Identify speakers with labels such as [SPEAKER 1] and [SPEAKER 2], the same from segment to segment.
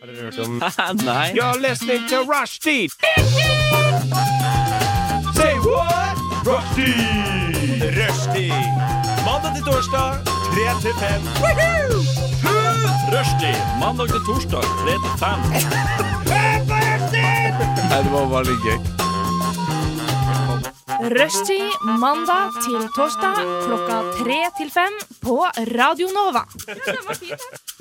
[SPEAKER 1] Har dere hørt om
[SPEAKER 2] Nei.
[SPEAKER 1] You're listening to Rushdie! Say what? Rushdie! Rushdie! Mandag til torsdag, 3 til 5. Rushdie! Mandag til torsdag, 3 til 5.
[SPEAKER 2] Nei, det var bare litt gøy.
[SPEAKER 3] Rushtid mandag til torsdag klokka tre til fem på Radio Nova.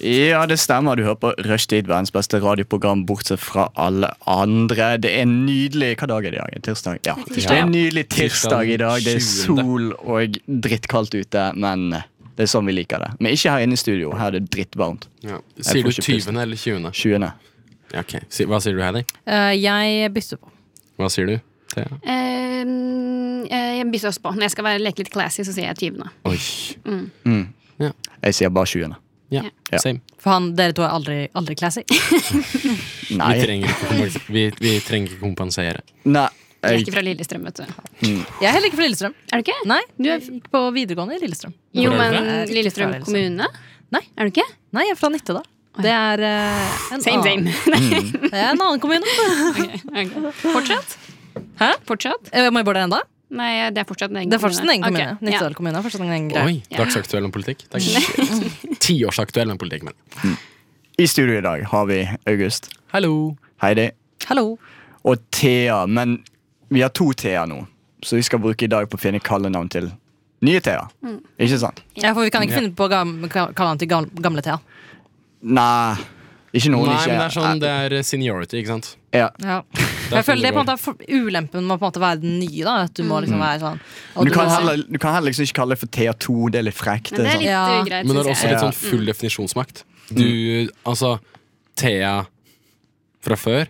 [SPEAKER 2] Ja, det stemmer. Du hører på Rushtid, verdens beste radioprogram, bortsett fra alle andre. Det er nydelig Hva dag er det i dag? Tirsdag? Ja. Det er en nydelig tirsdag i dag. Det er sol og drittkaldt ute, men det er sånn vi liker det. Men ikke her inne i studio. Her er det drittvarmt.
[SPEAKER 4] Ja. Sier
[SPEAKER 2] får
[SPEAKER 4] du
[SPEAKER 2] ikke
[SPEAKER 4] 20.
[SPEAKER 2] pusten.
[SPEAKER 4] eller 20.?
[SPEAKER 2] 20.
[SPEAKER 4] Ja, ok. Si, hva sier du, Heidi?
[SPEAKER 5] Eh, jeg bytter på.
[SPEAKER 4] Hva sier du? Thea?
[SPEAKER 6] Eh, mm, eh, jeg bytter også på. Når jeg skal være, leke litt classy, så sier jeg 20.
[SPEAKER 4] Oi.
[SPEAKER 2] Jeg sier bare 20.
[SPEAKER 4] Ja,
[SPEAKER 2] Ja.
[SPEAKER 4] same.
[SPEAKER 5] For han, dere to er aldri, aldri classy.
[SPEAKER 2] Nei.
[SPEAKER 4] Vi trenger ikke kompensere. Vi, vi trenger ikke kompensere.
[SPEAKER 2] Nei.
[SPEAKER 6] Du er
[SPEAKER 2] Jeg,
[SPEAKER 6] ikke fra Lillestrøm, vet du.
[SPEAKER 5] Jeg er heller ikke fra Lillestrøm.
[SPEAKER 6] Er du ikke?
[SPEAKER 5] Nei, Du er gikk på videregående i Lillestrøm.
[SPEAKER 6] Jo,
[SPEAKER 4] Hvor er
[SPEAKER 6] men
[SPEAKER 4] du
[SPEAKER 5] fra?
[SPEAKER 6] Lillestrøm
[SPEAKER 5] Jeg er ikke fra
[SPEAKER 6] kommune?
[SPEAKER 5] Nei.
[SPEAKER 6] Er du ikke?
[SPEAKER 5] Nei, jeg er fra Nittedal. Det er eh, en,
[SPEAKER 6] Same,
[SPEAKER 5] annen, det
[SPEAKER 6] same.
[SPEAKER 5] er en annen kommune. Mm.
[SPEAKER 6] Ok. Fortsatt?
[SPEAKER 5] Hæ?
[SPEAKER 6] Fortsatt?
[SPEAKER 5] Eh, Må jeg bare det enda?
[SPEAKER 6] Nei, det er fortsatt en egen
[SPEAKER 5] Det er fortsatt en egen
[SPEAKER 6] Ok,
[SPEAKER 5] kommune. Nittedal kommune er fortsatt en egen greie.
[SPEAKER 4] Oi, Dagsaktuell om politikk? Takk. Tiårsaktuell om politikk, men.
[SPEAKER 2] I studio i dag har vi August,
[SPEAKER 4] Hallo.
[SPEAKER 2] Heidi
[SPEAKER 5] Hallo.
[SPEAKER 2] og Thea. Men vi har to Thea nå, så vi skal bruke i dag på å finne kallenavn til nye Thea.
[SPEAKER 6] Mm.
[SPEAKER 2] Ikke sant?
[SPEAKER 5] Ja, for vi kan ikke finne på å gam- ka- kalle han til gam- gamle Thea.
[SPEAKER 2] Nei. Ikke noen
[SPEAKER 4] Nei,
[SPEAKER 2] ikke
[SPEAKER 4] men det er sånn, det er seniority, ikke sant?
[SPEAKER 2] ja.
[SPEAKER 5] Ja.
[SPEAKER 4] er
[SPEAKER 5] Jeg
[SPEAKER 4] sånn
[SPEAKER 5] føler det
[SPEAKER 4] det
[SPEAKER 5] på en måte er for- ulempen med å på en måte være den nye. da At du
[SPEAKER 6] Mm.
[SPEAKER 5] må liksom være sånn og
[SPEAKER 2] du, kan
[SPEAKER 5] må-
[SPEAKER 2] heller, du kan heller liksom ikke kalle det for Thea 2. Det er litt frekt.
[SPEAKER 6] Men det er
[SPEAKER 2] sånn.
[SPEAKER 6] litt
[SPEAKER 5] Ja.
[SPEAKER 6] ugreit,
[SPEAKER 4] Men det er
[SPEAKER 6] synes
[SPEAKER 4] også
[SPEAKER 6] jeg.
[SPEAKER 4] litt sånn
[SPEAKER 5] Mm.
[SPEAKER 4] full definisjonsmakt. Du, altså Thea fra før,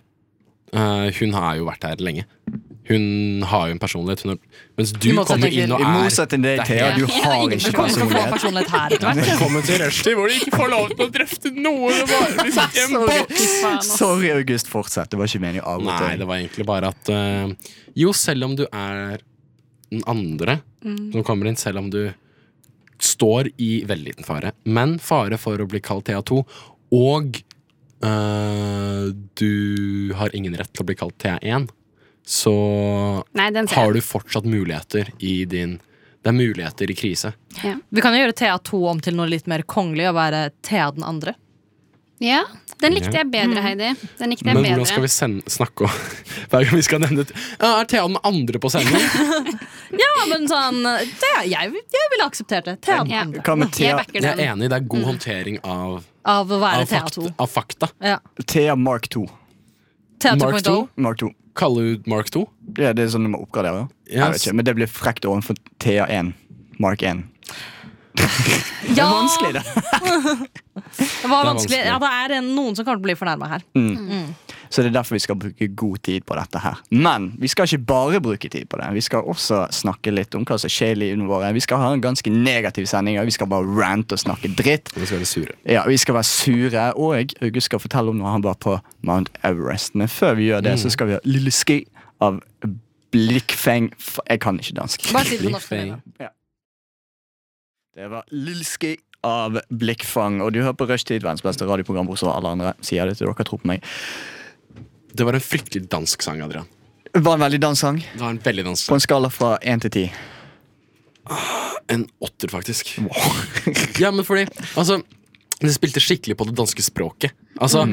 [SPEAKER 4] eh, hun har jo vært her lenge. Hun har jo en personlighet. Hun har, mens du
[SPEAKER 5] I motsetning
[SPEAKER 4] kommer inn og
[SPEAKER 2] I
[SPEAKER 4] er
[SPEAKER 2] motsetning til deg, Thea, du har
[SPEAKER 6] ingen
[SPEAKER 2] ikke
[SPEAKER 5] Kommer ikke til å få
[SPEAKER 2] personlighet.
[SPEAKER 5] personlighet her etter hvert.
[SPEAKER 4] Velkommen til rushtid, hvor de ikke får lov til å drøfte noe! Det var liksom en boks!
[SPEAKER 6] Faen, ass.
[SPEAKER 2] Sorry, August. Fortsett. Det var ikke meningen å
[SPEAKER 4] Nei,
[SPEAKER 2] avbryte.
[SPEAKER 4] det var egentlig bare at eh, Jo, selv om du er den andre
[SPEAKER 6] Mm.
[SPEAKER 4] som kommer inn, selv om du står i veldig liten fare, men fare for å bli kalt Thea2, og eh, du har ingen rett til å bli kalt Thea1, så
[SPEAKER 6] Nei, den ser
[SPEAKER 4] har
[SPEAKER 6] jeg.
[SPEAKER 4] du fortsatt muligheter i din Det er muligheter i krise.
[SPEAKER 5] Vi kan jo gjøre Thea 2 om til noe litt mer kongelig og være Thea den andre.
[SPEAKER 6] Ja, den likte jeg bedre,
[SPEAKER 5] Mm.
[SPEAKER 6] Heidi. Den likte jeg
[SPEAKER 4] Men hvordan skal
[SPEAKER 6] bedre.
[SPEAKER 4] vi sende, snakke om Hver gang vi skal nevne det Ja, Er Thea den andre på sending?
[SPEAKER 5] Ja, men sånn Thea, jeg, jeg ville akseptert det. Thea den
[SPEAKER 6] Ja.
[SPEAKER 5] andre.
[SPEAKER 2] Hva med
[SPEAKER 6] Jeg
[SPEAKER 2] Thea,
[SPEAKER 6] backer
[SPEAKER 4] Jeg er
[SPEAKER 6] den. Mm.
[SPEAKER 4] enig, det er god håndtering av,
[SPEAKER 5] Av å være
[SPEAKER 4] av,
[SPEAKER 5] Thea
[SPEAKER 4] fakta,
[SPEAKER 5] 2.
[SPEAKER 4] av fakta.
[SPEAKER 5] Ja.
[SPEAKER 2] Thea Mark 2?
[SPEAKER 5] Thea
[SPEAKER 4] Mark
[SPEAKER 5] 2.0.
[SPEAKER 2] Mark 2.
[SPEAKER 4] Kaller du Mark 2?
[SPEAKER 2] Ja, det er sånn du må oppgradere. Jeg vet
[SPEAKER 4] Yes.
[SPEAKER 2] ikke, men det blir frekt overfor Thea 1. Mark 1. Det
[SPEAKER 5] Ja,
[SPEAKER 2] er vanskelig, det.
[SPEAKER 5] det var
[SPEAKER 4] Det er
[SPEAKER 5] vanskelig.
[SPEAKER 4] vanskelig.
[SPEAKER 5] Ja, det er en- noen som kan bli fornærma her.
[SPEAKER 2] Så det er derfor vi skal bruke god tid på dette her. Men vi skal ikke bare bruke tid på det. Vi skal også snakke litt om hva som skjer i livene våre. Vi skal ha en ganske negativ sending, og vi skal bare rante og snakke dritt.
[SPEAKER 4] Nå skal jeg være sure.
[SPEAKER 2] Ja, Vi skal være sure, og August skal fortelle om når han var på Mount Everest. Men før vi gjør det, så skal vi ha Lille Ski av Blikkfeng F- Jeg kan ikke dansk.
[SPEAKER 5] Bare si det på norsk.
[SPEAKER 4] Blikkfeng.
[SPEAKER 5] med en gang.
[SPEAKER 2] Det var Lille Ski av Blikkfang, og du hører på Rushtid, verdens beste radioprogram, bortsett fra alle andre. Sier jeg det til dere, tro på meg.
[SPEAKER 4] Det var en fryktelig dansk sang, Adrian.
[SPEAKER 2] Det var en veldig dansk sang.
[SPEAKER 4] Det var En veldig dansk
[SPEAKER 2] På
[SPEAKER 4] sang.
[SPEAKER 2] en skala fra én til ti.
[SPEAKER 4] En åtter, faktisk. ja, men fordi Altså, det spilte skikkelig på det danske språket. Altså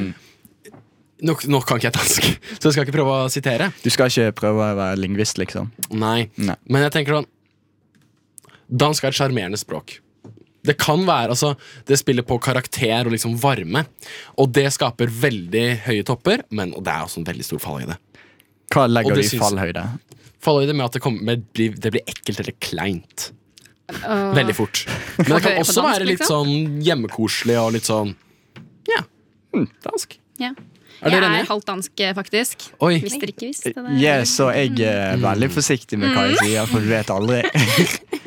[SPEAKER 4] Nå nå kan ikke jeg dansk, så jeg skal ikke prøve å sitere.
[SPEAKER 2] Du skal ikke prøve å være lingvist, liksom?
[SPEAKER 4] Nei.
[SPEAKER 2] Nei.
[SPEAKER 4] Men jeg tenker sånn Dansk er et sjarmerende språk. Det kan være, altså Det spiller på karakter og liksom varme. Og det skaper veldig høye topper, men og det er også en veldig stor fallhøyde.
[SPEAKER 2] Hva
[SPEAKER 4] Og
[SPEAKER 2] legger
[SPEAKER 4] det
[SPEAKER 2] du i
[SPEAKER 4] syns-
[SPEAKER 2] fallhøyde?
[SPEAKER 4] Fallhøyde med at det, kommer, med, blir- det blir ekkelt eller kleint. Veldig fort. Men det
[SPEAKER 6] høre
[SPEAKER 4] kan
[SPEAKER 6] på
[SPEAKER 4] også
[SPEAKER 6] dansk,
[SPEAKER 4] være litt
[SPEAKER 6] liksom?
[SPEAKER 4] sånn hjemmekoselig og litt sånn Ja.
[SPEAKER 5] Hmm,
[SPEAKER 4] Dansk.
[SPEAKER 6] Ja.
[SPEAKER 4] Er
[SPEAKER 6] Jeg
[SPEAKER 4] dere enige?
[SPEAKER 6] er halvt dansk, eh, faktisk.
[SPEAKER 4] Oi.
[SPEAKER 6] Hvis dere ikke visste det.
[SPEAKER 2] eh,
[SPEAKER 5] Mm.
[SPEAKER 2] Ja, så jeg er veldig forsiktig med hva jeg sier, for du vet aldri.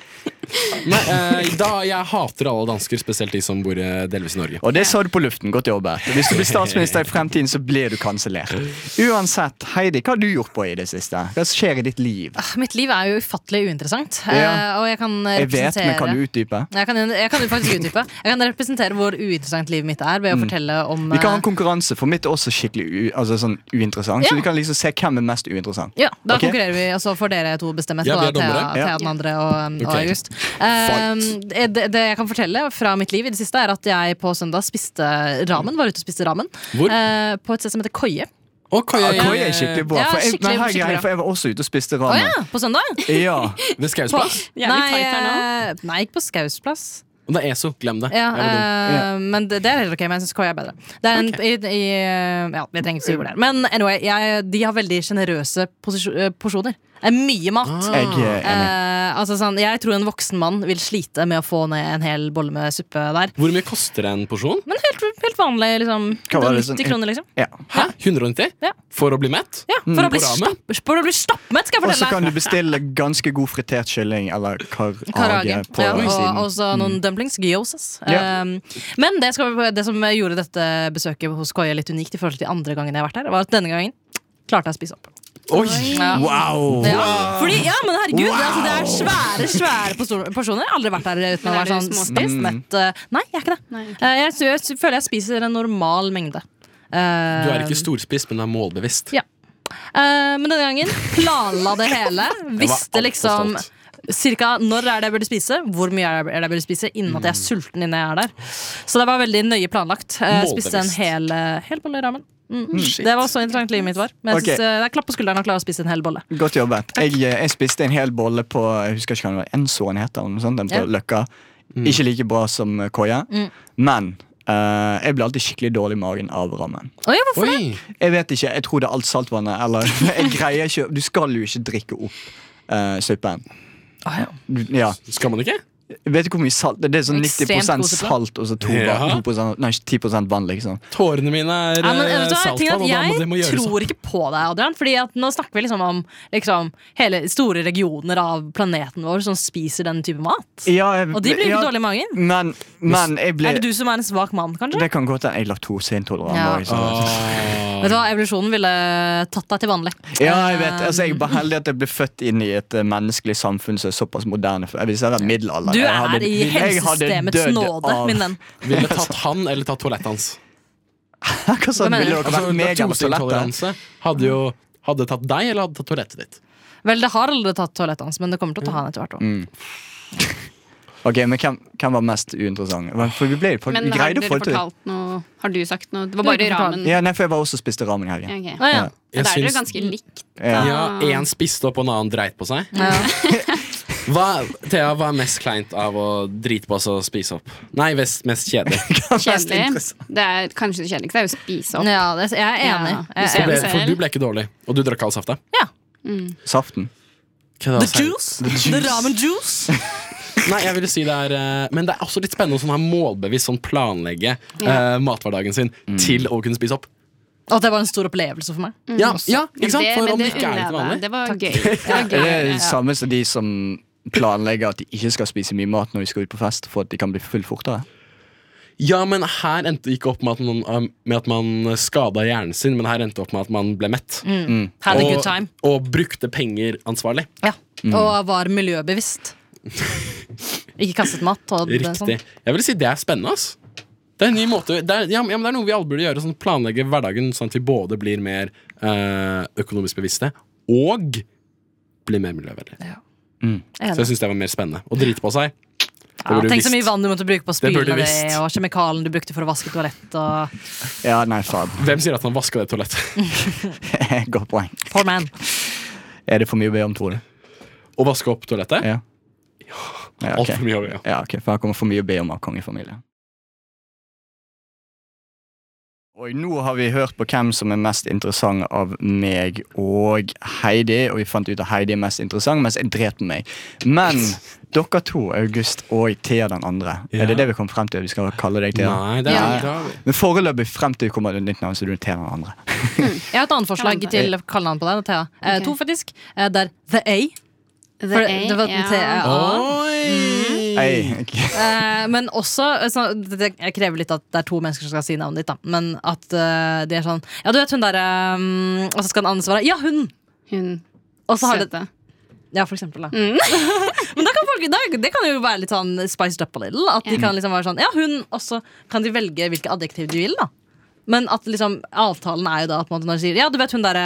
[SPEAKER 4] Nei, eh, da, jeg hater alle dansker, spesielt de som bor eh, delvis i Norge.
[SPEAKER 2] Og det sa du på luften. Godt jobbet. Hvis du blir statsminister i fremtiden, så blir du kansellert. Uansett, Heidi, hva har du gjort på i det siste? Hva skjer i ditt liv?
[SPEAKER 5] Mitt liv er jo ufattelig uinteressant.
[SPEAKER 2] Ja.
[SPEAKER 5] eh, Og jeg kan
[SPEAKER 2] Jeg vet,
[SPEAKER 5] representere
[SPEAKER 2] men kan du utdype?
[SPEAKER 5] jeg kan, jeg kan jo faktisk utdype. Jeg kan representere hvor uinteressant livet mitt er ved å fortelle om
[SPEAKER 2] Mm. Vi kan ha en
[SPEAKER 5] eh,
[SPEAKER 2] konkurranse, for mitt er også skikkelig u altså sånn uinteressant. Så
[SPEAKER 5] Ja.
[SPEAKER 2] vi kan liksom se hvem er mest uinteressant.
[SPEAKER 5] ja, Da
[SPEAKER 2] Ok.
[SPEAKER 5] konkurrerer vi, og så får dere to bestemme.
[SPEAKER 4] Ja,
[SPEAKER 5] Ja,
[SPEAKER 4] vi er
[SPEAKER 5] Thea,
[SPEAKER 4] dommere.
[SPEAKER 5] Thea
[SPEAKER 2] Ja.
[SPEAKER 5] den andre og, um, og
[SPEAKER 4] Ok.
[SPEAKER 5] August. Um, det, det jeg kan fortelle fra mitt liv i det siste, er at jeg på søndag spiste ramen. Var ute og spiste ramen
[SPEAKER 4] Hvor?
[SPEAKER 5] eh, på et sted som heter Koie.
[SPEAKER 4] Og Koi,
[SPEAKER 2] Ja, Koi er skikkelig bra.
[SPEAKER 5] Ja,
[SPEAKER 2] For jeg,
[SPEAKER 5] skikkelig-
[SPEAKER 2] nei, her er
[SPEAKER 5] skikkelig
[SPEAKER 2] greia,
[SPEAKER 5] bra.
[SPEAKER 2] for jeg var også ute og spiste
[SPEAKER 5] Å
[SPEAKER 2] ramen.
[SPEAKER 5] ja, på søndag?
[SPEAKER 2] Ja.
[SPEAKER 4] Ved
[SPEAKER 5] På,
[SPEAKER 4] Skausplass.
[SPEAKER 5] nei,
[SPEAKER 6] Jævlig tight her
[SPEAKER 5] eh, nei, ikke på Skausplass.
[SPEAKER 4] Og Det er ESO, glem det.
[SPEAKER 5] Ja,
[SPEAKER 4] Jeg var dum.
[SPEAKER 5] eh, Men det, det er helt ok, men jeg syns Koi er bedre. Det er en, i, i, ja, vi trenger ikke si hvor det er. Men anyway, jeg, de har veldig sjenerøse posisjo- eh, porsjoner. Det er mye mat.
[SPEAKER 4] Ah.
[SPEAKER 2] Jeg er enig.
[SPEAKER 5] Eh, altså sånn, jeg tror en voksen mann vil slite med å få ned en hel bolle med suppe der.
[SPEAKER 4] Hvor mye koster en porsjon?
[SPEAKER 5] Men helt, helt vanlig. Liksom,
[SPEAKER 2] Hva var det sånn-
[SPEAKER 5] 90 kroner, liksom.
[SPEAKER 2] Ja.
[SPEAKER 4] Hæ? 190?
[SPEAKER 5] Ja.
[SPEAKER 4] For å bli mett?
[SPEAKER 5] Ja, for, å bli
[SPEAKER 4] På ramen?
[SPEAKER 5] stapp, for å bli stappmett, skal jeg
[SPEAKER 2] Mm. Og så
[SPEAKER 5] fortelle
[SPEAKER 2] kan
[SPEAKER 5] deg!
[SPEAKER 2] du bestille ganske god fritert kylling eller karage
[SPEAKER 5] Karage.
[SPEAKER 2] på
[SPEAKER 5] Ja, og
[SPEAKER 2] siden.
[SPEAKER 5] også noen dumplings. Gyoses.
[SPEAKER 2] Ja.
[SPEAKER 5] Um, men det, skal, vi- det som gjorde dette besøket hos Koie litt unikt, i forhold til de andre gangen jeg har vært her, var at denne gangen klarte jeg å spise opp.
[SPEAKER 4] Oi!
[SPEAKER 5] Ja.
[SPEAKER 2] Wow!
[SPEAKER 5] Ja. Fordi, ja, men herregud, altså, det er svære svære porsjon- porsjoner. Jeg har aldri vært der uten å
[SPEAKER 6] Men
[SPEAKER 5] være
[SPEAKER 6] er du
[SPEAKER 5] sånn
[SPEAKER 6] småspist?
[SPEAKER 5] spist
[SPEAKER 4] Mm.
[SPEAKER 5] mett. eh, Nei, jeg er ikke det.
[SPEAKER 6] Nei.
[SPEAKER 5] Eh, Jeg, sy- jeg sy- føler jeg spiser en normal mengde. Eh,
[SPEAKER 4] Du er ikke storspist, men du er målbevisst.
[SPEAKER 5] Ja. eh, men denne gangen planla det hele.
[SPEAKER 4] Jeg var
[SPEAKER 5] Visste
[SPEAKER 4] alt
[SPEAKER 5] liksom
[SPEAKER 4] for stolt.
[SPEAKER 5] Cirka når er det jeg burde spise, hvor mye er det jeg burde spise, innen at jeg er
[SPEAKER 4] Mm.
[SPEAKER 5] sulten innen jeg er der. Så det var veldig nøye planlagt. Eh, Jeg spiste en
[SPEAKER 4] Målbevisst.
[SPEAKER 5] hel, eh, hel bolle i ramen. Mm. Det var så interessant livet mitt var. Men jeg
[SPEAKER 2] Ok.
[SPEAKER 5] synes, eh, det er klapp på skulderen å klare å spise en hel bolle.
[SPEAKER 2] Godt jobbet. Jeg, eh, jeg spiste en hel bolle på jeg husker ikke hva den var, Enzoen heter den, sånn, den på
[SPEAKER 5] Ja. Mm.
[SPEAKER 2] Løkka. Ikke like bra som koia, men eh, jeg blir alltid skikkelig dårlig i magen av rammen.
[SPEAKER 5] Å ja, hvorfor det?
[SPEAKER 4] Oi!
[SPEAKER 2] Jeg vet ikke, jeg tror det er alt saltvannet. Eller, jeg greier ikke, du skal jo ikke drikke opp eh, suppen.
[SPEAKER 5] Ah,
[SPEAKER 2] Du- Ja.
[SPEAKER 4] Skal man ikke?
[SPEAKER 2] Vet du hvor mye salt Det er sånn
[SPEAKER 5] Ekstremt
[SPEAKER 2] 90
[SPEAKER 5] god suppe.
[SPEAKER 2] salt og så to-
[SPEAKER 4] Ja.
[SPEAKER 2] 2%, nei, 10 vann, liksom.
[SPEAKER 4] Tårene mine er
[SPEAKER 5] Ja, men, vet
[SPEAKER 4] eh,
[SPEAKER 5] du, hva,
[SPEAKER 4] saltvann,
[SPEAKER 5] tingen
[SPEAKER 4] og da
[SPEAKER 5] er
[SPEAKER 4] må
[SPEAKER 5] at
[SPEAKER 4] det må sånn.
[SPEAKER 5] jeg
[SPEAKER 4] gjøres
[SPEAKER 5] tror ikke på deg, Adrian. Fordi at Nå snakker vi liksom om liksom, hele store regioner av planeten vår som spiser den type mat.
[SPEAKER 2] Ja, jeg-
[SPEAKER 5] Og de blir jo ikke
[SPEAKER 2] ja,
[SPEAKER 5] dårlige i magen.
[SPEAKER 2] Men, men jeg ble
[SPEAKER 5] Er det du som er en svak mann, kanskje?
[SPEAKER 2] Det kan godt hende jeg er laktoseintolerant.
[SPEAKER 5] Ja.
[SPEAKER 2] og jeg- så-
[SPEAKER 5] Vet du hva, Evolusjonen ville tatt deg til vanlig.
[SPEAKER 2] Ja, jeg vet. Altså, jeg er bare heldig at jeg ble født inn i et eh, menneskelig samfunn som er såpass moderne. For- Hvis jeg hadde vært middelalder
[SPEAKER 5] Du
[SPEAKER 2] jeg
[SPEAKER 5] er
[SPEAKER 2] hadde-
[SPEAKER 5] i
[SPEAKER 2] jeg hadde
[SPEAKER 5] helsesystemets
[SPEAKER 2] dødd
[SPEAKER 5] nåde,
[SPEAKER 2] av-
[SPEAKER 5] min venn.
[SPEAKER 4] Ville tatt han eller tatt toalettet hans? Altså,
[SPEAKER 2] Hva sa
[SPEAKER 5] Hva
[SPEAKER 2] du? sånn
[SPEAKER 5] mener
[SPEAKER 2] Ville
[SPEAKER 5] du?
[SPEAKER 2] dere vært meg eller toalettet?
[SPEAKER 4] Laktoseintoleranse hadde jo hadde tatt deg eller hadde tatt toalettet ditt.
[SPEAKER 5] Vel, det har aldri tatt toalettet hans, men det kommer til å ta han etter hvert òg.
[SPEAKER 2] Ok, men hvem, hvem var mest uinteressant? Hva- For vi ble jo på-
[SPEAKER 6] Men
[SPEAKER 2] vi
[SPEAKER 6] har
[SPEAKER 2] greide å
[SPEAKER 6] dere
[SPEAKER 2] få det til.
[SPEAKER 6] fortalt noe? Har du sagt noe? Det var
[SPEAKER 5] Du har
[SPEAKER 6] bare
[SPEAKER 5] ikke fortalt.
[SPEAKER 6] ramen.
[SPEAKER 2] Ja, nei, for jeg var også og spiste ramen i helgen.
[SPEAKER 6] Ok.
[SPEAKER 5] Ja.
[SPEAKER 2] Ja.
[SPEAKER 6] Da er dere
[SPEAKER 4] syns-
[SPEAKER 6] ganske likt.
[SPEAKER 2] Ja.
[SPEAKER 4] Ja, én spiste opp og en annen dreit på seg.
[SPEAKER 5] Ja.
[SPEAKER 4] Hva, Thea, hva er mest kleint av å drite på seg og spise opp? Nei, mest, mest kjedelig.
[SPEAKER 2] Mest
[SPEAKER 6] Kjedelig.
[SPEAKER 2] interessant.
[SPEAKER 6] Det er kanskje det kjedeligste er jo å spise opp.
[SPEAKER 5] Ja, det, jeg er enig.
[SPEAKER 6] Ja.
[SPEAKER 5] Jeg
[SPEAKER 4] Så
[SPEAKER 5] er
[SPEAKER 4] ble,
[SPEAKER 5] enig.
[SPEAKER 4] for du ble ikke dårlig, og du drakk all safta?
[SPEAKER 2] Saften.
[SPEAKER 5] The juice! The ramen juice!
[SPEAKER 4] Nei, jeg ville si det er eh, Men det er også litt spennende å sånn her målbevisst sånn planlegge eh, mathverdagen sin til å kunne spise opp.
[SPEAKER 5] Og det var en stor opplevelse for meg.
[SPEAKER 4] Ja, ja, ikke sant?
[SPEAKER 6] Det-
[SPEAKER 4] For
[SPEAKER 6] men
[SPEAKER 4] om det
[SPEAKER 6] det
[SPEAKER 4] ikke er litt
[SPEAKER 6] unner jeg deg.
[SPEAKER 4] vanlig.
[SPEAKER 6] Det var gøy. Det var
[SPEAKER 2] Er det
[SPEAKER 6] gøy.
[SPEAKER 2] det samme som de som planlegger at de ikke skal spise mye mat når de skal ut på fest, for at de kan bli full fortere?
[SPEAKER 4] Ja, men her endte det ikke opp med at man, eh, med at man skada hjernen sin, men her endte det opp med at man ble mett.
[SPEAKER 5] Mm. Had a
[SPEAKER 4] Og,
[SPEAKER 5] good time.
[SPEAKER 4] og brukte penger ansvarlig.
[SPEAKER 5] Ja. Og var miljøbevisst. Ikke kastet mat. Og det- sånn.
[SPEAKER 4] Riktig. Jeg vil si det er spennende. ass. Det er en ny måte det er, ja, men det er noe vi alle burde gjøre. Sånn, planlegge hverdagen sånn at vi både blir mer eh, økonomisk bevisste og blir mer miljøvennlige. Så jeg syns det var mer spennende. Å drite på seg. Det
[SPEAKER 5] Ja,
[SPEAKER 4] burde vi
[SPEAKER 5] tenk så mye
[SPEAKER 4] visst.
[SPEAKER 5] vann du måtte bruke på å
[SPEAKER 4] Det burde
[SPEAKER 5] spyle
[SPEAKER 4] du
[SPEAKER 5] det,
[SPEAKER 4] visst.
[SPEAKER 5] og kjemikalen du brukte for å vaske toalett. Og
[SPEAKER 2] Ja, nei, faen.
[SPEAKER 4] Hvem sier at han vaska det toalettet?
[SPEAKER 2] Godt poeng.
[SPEAKER 5] poor man.
[SPEAKER 2] Er det for mye å be om, tror du?
[SPEAKER 4] Å vaske opp toalettet?
[SPEAKER 2] Ja. Ja,
[SPEAKER 4] Alt
[SPEAKER 2] ok.
[SPEAKER 4] for mye over, ja.
[SPEAKER 2] Ja, ok, for her kommer for mye å be om av kongefamilien. Oi, nå har vi hørt på hvem som er mest interessant av meg og Heidi, og vi fant ut at Heidi er mest interessant, mens jeg drepte meg. Men dere to, August og Thea den andre,
[SPEAKER 4] Ja.
[SPEAKER 2] er det det vi kom frem til? Vi skal kalle deg Thea?
[SPEAKER 4] Nei, det er
[SPEAKER 5] Ja.
[SPEAKER 4] ja.
[SPEAKER 2] Men foreløpig frem til vi kommer til nytt navn, så er du Thea den andre.
[SPEAKER 5] Jeg har et annet forslag
[SPEAKER 6] Kallenavn.
[SPEAKER 5] til kallenavn på deg, Thea. Eh,
[SPEAKER 6] Ok.
[SPEAKER 5] To, faktisk. Eh, det er The A.
[SPEAKER 6] The
[SPEAKER 5] For,
[SPEAKER 6] A,
[SPEAKER 5] det var den
[SPEAKER 6] ja.
[SPEAKER 5] T, ja. Mm.
[SPEAKER 4] Oi!
[SPEAKER 2] Ei, ok.
[SPEAKER 5] Eh, men også så, det, Jeg krever litt at det er to mennesker som skal si navnet ditt, da. Men at eh, de er sånn Ja, du vet hun derre um, Og så skal den andre svare Ja, hun!
[SPEAKER 6] Hun
[SPEAKER 5] Og så har det
[SPEAKER 6] søte.
[SPEAKER 5] Ja, for eksempel, da.
[SPEAKER 6] Mm.
[SPEAKER 5] men da kan folk, da, det kan jo være litt sånn spiced up a little. At de
[SPEAKER 6] Ja.
[SPEAKER 5] kan liksom være sånn Ja, hun! Og så kan de velge hvilke adjektiv de vil, da. Men at liksom avtalen er jo da at man når de sier Ja, du vet hun derre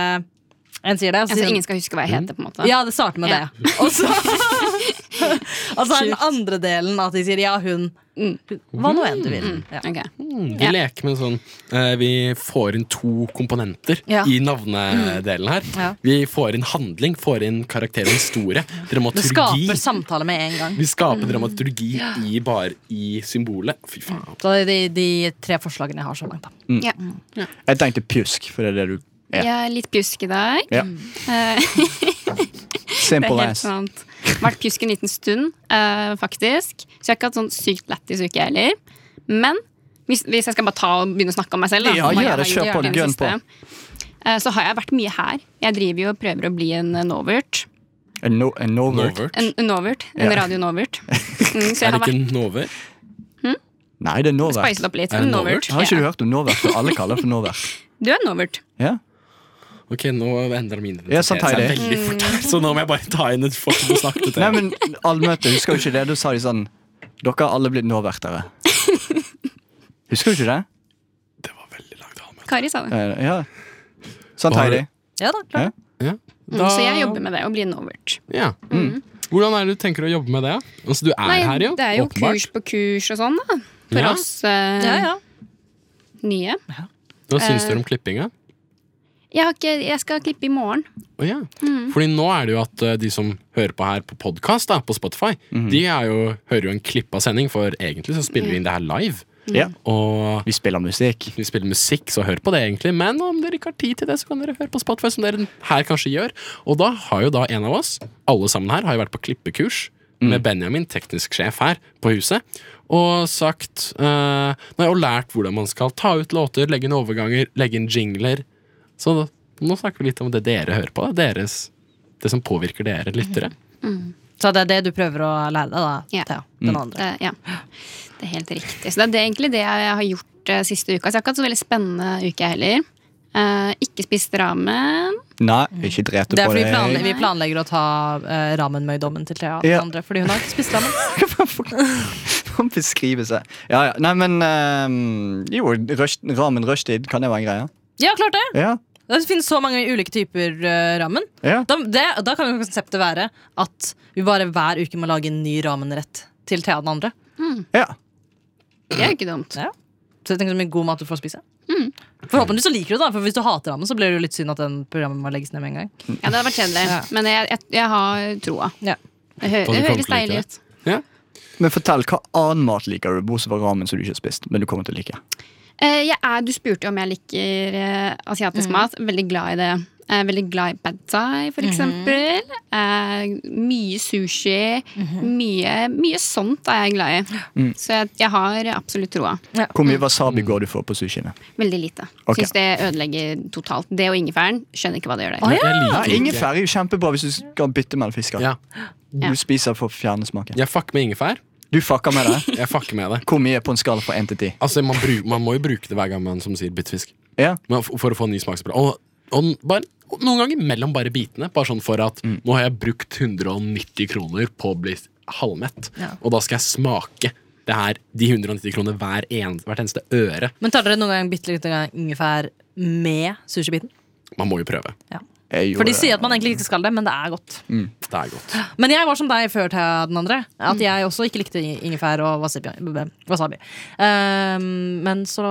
[SPEAKER 5] En sier det, og så
[SPEAKER 6] Altså,
[SPEAKER 5] sier
[SPEAKER 6] ingen
[SPEAKER 5] hun
[SPEAKER 6] skal huske hva jeg heter, på en måte.
[SPEAKER 5] ja, det starter med
[SPEAKER 6] Ja.
[SPEAKER 5] det. Og så Og så er den andre delen at de sier ja, hun.
[SPEAKER 6] Mm.
[SPEAKER 5] Hva nå enn du vil. Ja.
[SPEAKER 6] Ok.
[SPEAKER 2] Mm.
[SPEAKER 4] Vi
[SPEAKER 6] Ja.
[SPEAKER 4] leker med sånn eh, Vi får inn to komponenter
[SPEAKER 5] Ja.
[SPEAKER 4] i navnedelen her.
[SPEAKER 5] Ja.
[SPEAKER 4] Vi får inn handling, får inn karakterens historie.
[SPEAKER 5] Det
[SPEAKER 4] Dramaturgi.
[SPEAKER 5] skaper samtale med en gang.
[SPEAKER 4] Vi skaper
[SPEAKER 6] Mm.
[SPEAKER 4] dramaturgi i bare i symbolet. Fy
[SPEAKER 6] Mm.
[SPEAKER 4] faen.
[SPEAKER 5] Så det er de, de tre forslagene jeg har så langt, da.
[SPEAKER 6] Ja.
[SPEAKER 2] Jeg tenkte pjusk, for det er det du Ja.
[SPEAKER 6] Jeg er litt pjusk i dag.
[SPEAKER 2] Ja.
[SPEAKER 6] Eh, det er
[SPEAKER 2] Simple
[SPEAKER 6] helt
[SPEAKER 2] ass.
[SPEAKER 6] sant. Vært pjusk en liten stund, eh, faktisk. Så jeg har ikke hatt sånn sykt lættis uke heller. Men hvis, hvis jeg skal bare ta og begynne å snakke om meg selv, da,
[SPEAKER 2] Ja,
[SPEAKER 6] om hva
[SPEAKER 2] gjør
[SPEAKER 6] jeg har
[SPEAKER 2] det. Kjør
[SPEAKER 6] gjort
[SPEAKER 2] på.
[SPEAKER 6] den
[SPEAKER 2] Gønn
[SPEAKER 6] siste, eh, så har jeg vært mye her. Jeg driver jo og prøver å bli en eh, novert.
[SPEAKER 2] En no, en novert.
[SPEAKER 4] Novert.
[SPEAKER 6] En, en novert. En
[SPEAKER 2] Ja.
[SPEAKER 6] radio-novert. Mm, så
[SPEAKER 4] Er
[SPEAKER 6] jeg har
[SPEAKER 4] det ikke
[SPEAKER 6] vært
[SPEAKER 4] en novert?
[SPEAKER 2] Nei, det er novert.
[SPEAKER 6] spicet opp litt.
[SPEAKER 4] Er det
[SPEAKER 6] En
[SPEAKER 4] novert?
[SPEAKER 6] novert.
[SPEAKER 2] Har ikke du
[SPEAKER 6] Ja.
[SPEAKER 2] hørt om novert? For alle kaller det for novert.
[SPEAKER 6] Du er en novert.
[SPEAKER 2] Ja?
[SPEAKER 4] Ok, nå endrer min
[SPEAKER 2] Ja,
[SPEAKER 4] identitet
[SPEAKER 2] sant,
[SPEAKER 4] seg
[SPEAKER 2] Heidi.
[SPEAKER 4] veldig fort her, så nå må jeg bare ta inn et folk og snakke til
[SPEAKER 2] Nei,
[SPEAKER 4] dere.
[SPEAKER 2] men allmøte, husker du ikke det? Da sa de sånn Dere har alle blitt novertere. Husker du ikke det?
[SPEAKER 4] Det var veldig langt allmøte.
[SPEAKER 6] Kari sa det.
[SPEAKER 2] Eh, Ja. Sånn Sant,
[SPEAKER 4] Hva har
[SPEAKER 2] Heidi?
[SPEAKER 5] Ja da, klart.
[SPEAKER 4] Ja.
[SPEAKER 6] Mm, så jeg jobber med det, å bli en overt.
[SPEAKER 4] Ja. Hvordan er det du tenker å jobbe med det? Altså, du er her, jo.
[SPEAKER 6] det er jo
[SPEAKER 4] åpenbart.
[SPEAKER 6] kurs på kurs og sånn, da. For
[SPEAKER 4] Ja.
[SPEAKER 6] oss eh,
[SPEAKER 5] Ja, ja.
[SPEAKER 6] nye.
[SPEAKER 4] Hva
[SPEAKER 6] eh,
[SPEAKER 4] syns dere om klippinga?
[SPEAKER 6] Jeg, har ikke, jeg skal klippe i morgen.
[SPEAKER 4] Å ja. Fordi nå er det jo at eh, de som hører på her på podkast, på Spotify, de er jo, hører jo en klippa sending, for egentlig så spiller vi inn det her live.
[SPEAKER 2] Ja.
[SPEAKER 4] Og
[SPEAKER 2] Vi spiller musikk.
[SPEAKER 4] vi spiller musikk, så hør på det, egentlig. Men om dere ikke har tid til det, så kan dere høre på Spotify, som dere her kanskje gjør. Og da har jo da en av oss, alle sammen her, har jo vært på klippekurs med Benjamin, teknisk sjef her på huset, og sagt eh, Nei, og lært hvordan man skal ta ut låter, legge inn overganger, legge inn jingler. Så da, nå snakker vi litt om det dere hører på, da. Deres, det som påvirker dere lyttere.
[SPEAKER 5] Så det er det du prøver å lære deg, da,
[SPEAKER 6] Ja.
[SPEAKER 5] Thea. Den andre.
[SPEAKER 6] Det, ja. det er helt riktig. Så det er det, egentlig det jeg har gjort eh, siste uka. Så jeg har ikke hatt så veldig spennende uke heller. Eh, ikke spist ramen.
[SPEAKER 2] Nei, ikke drete
[SPEAKER 5] Det er
[SPEAKER 2] på
[SPEAKER 5] fordi vi
[SPEAKER 2] det.
[SPEAKER 5] planlegger, vi planlegger å ta uh, ramenmøydommen til Thea.
[SPEAKER 2] Ja.
[SPEAKER 5] den Andre, fordi hun har ikke spist ramen.
[SPEAKER 2] Kan beskrive seg. Ja, ja. Nei, men ehm, Jo, rush, ramen rushtid, kan det være en greie?
[SPEAKER 5] Ja, klart det!
[SPEAKER 2] Ja.
[SPEAKER 5] Det finnes så mange ulike typer eh, ramen.
[SPEAKER 2] ja.
[SPEAKER 5] Da, det, da kan jo konseptet være at vi bare hver uke må lage en ny ramenrett til Thea den andre.
[SPEAKER 2] ja.
[SPEAKER 6] Det er jo ikke dumt.
[SPEAKER 5] Ja. Så jeg tenker så mye god mat du får spise. Forhåpentlig så liker du det, da, for hvis du hater ramen, så blir det jo litt synd at den programmet må legges ned med en gang.
[SPEAKER 6] Ja, det hadde vært kjedelig.
[SPEAKER 5] Ja.
[SPEAKER 6] Men jeg, jeg, jeg har troa.
[SPEAKER 5] Ja.
[SPEAKER 6] Det,
[SPEAKER 4] Og du
[SPEAKER 6] hø det
[SPEAKER 4] kommer
[SPEAKER 6] høres
[SPEAKER 4] til å like det.
[SPEAKER 6] deilig ut.
[SPEAKER 4] Ja.
[SPEAKER 2] Men fortell, hva annen mat liker du, bortsett fra ramen som du ikke har spist, men du kommer til å like?
[SPEAKER 6] Eh, jeg er, du spurte jo om jeg liker eh, asiatisk mat. Veldig glad i det. Jeg er veldig glad i pad thai, for eksempel. Eh, mye sushi. mye, mye sånt er jeg glad i. Så jeg, jeg har absolutt troa.
[SPEAKER 2] Hvor mye
[SPEAKER 4] Mm.
[SPEAKER 2] wasabi går du for på sushiene?
[SPEAKER 6] Veldig lite.
[SPEAKER 2] Ok.
[SPEAKER 6] Syns det ødelegger totalt. Det og ingefæren. Skjønner ikke hva det gjør der.
[SPEAKER 5] Å,
[SPEAKER 4] Jeg
[SPEAKER 2] Nei,
[SPEAKER 4] liker ikke-
[SPEAKER 2] Ingefær er jo kjempebra hvis du skal bytte mellom fisker.
[SPEAKER 4] Ja.
[SPEAKER 2] Du spiser for å fjerne smaken.
[SPEAKER 4] Jeg fucker med ingefær.
[SPEAKER 2] Du fucker med det.
[SPEAKER 4] Jeg fucker med det.
[SPEAKER 2] Hvor mye på en skala fra 1 til 10?
[SPEAKER 4] Altså, man, bru- man må jo bruke det hver gang man som sier byttfisk.
[SPEAKER 2] Ja.
[SPEAKER 4] Men for, for å få en ny smaksprøve. Og, og bare, og noen ganger mellom bare bitene. Bare sånn for at nå har jeg brukt 190 kroner på å bli halvmett, og da skal jeg smake det her, de 190 kronene hver en, hvert eneste øre.
[SPEAKER 5] Men tar dere noen gang bitte litt ingefær med sushibiten?
[SPEAKER 4] Man må jo prøve.
[SPEAKER 2] Jeg
[SPEAKER 5] For de
[SPEAKER 2] gjorde det.
[SPEAKER 5] sier at man egentlig ikke skal det, men det er godt.
[SPEAKER 4] Det er godt.
[SPEAKER 5] Men jeg var som deg før Thea den andre. At jeg også ikke likte ingefær og wasabi. wasabi. Ehm, men så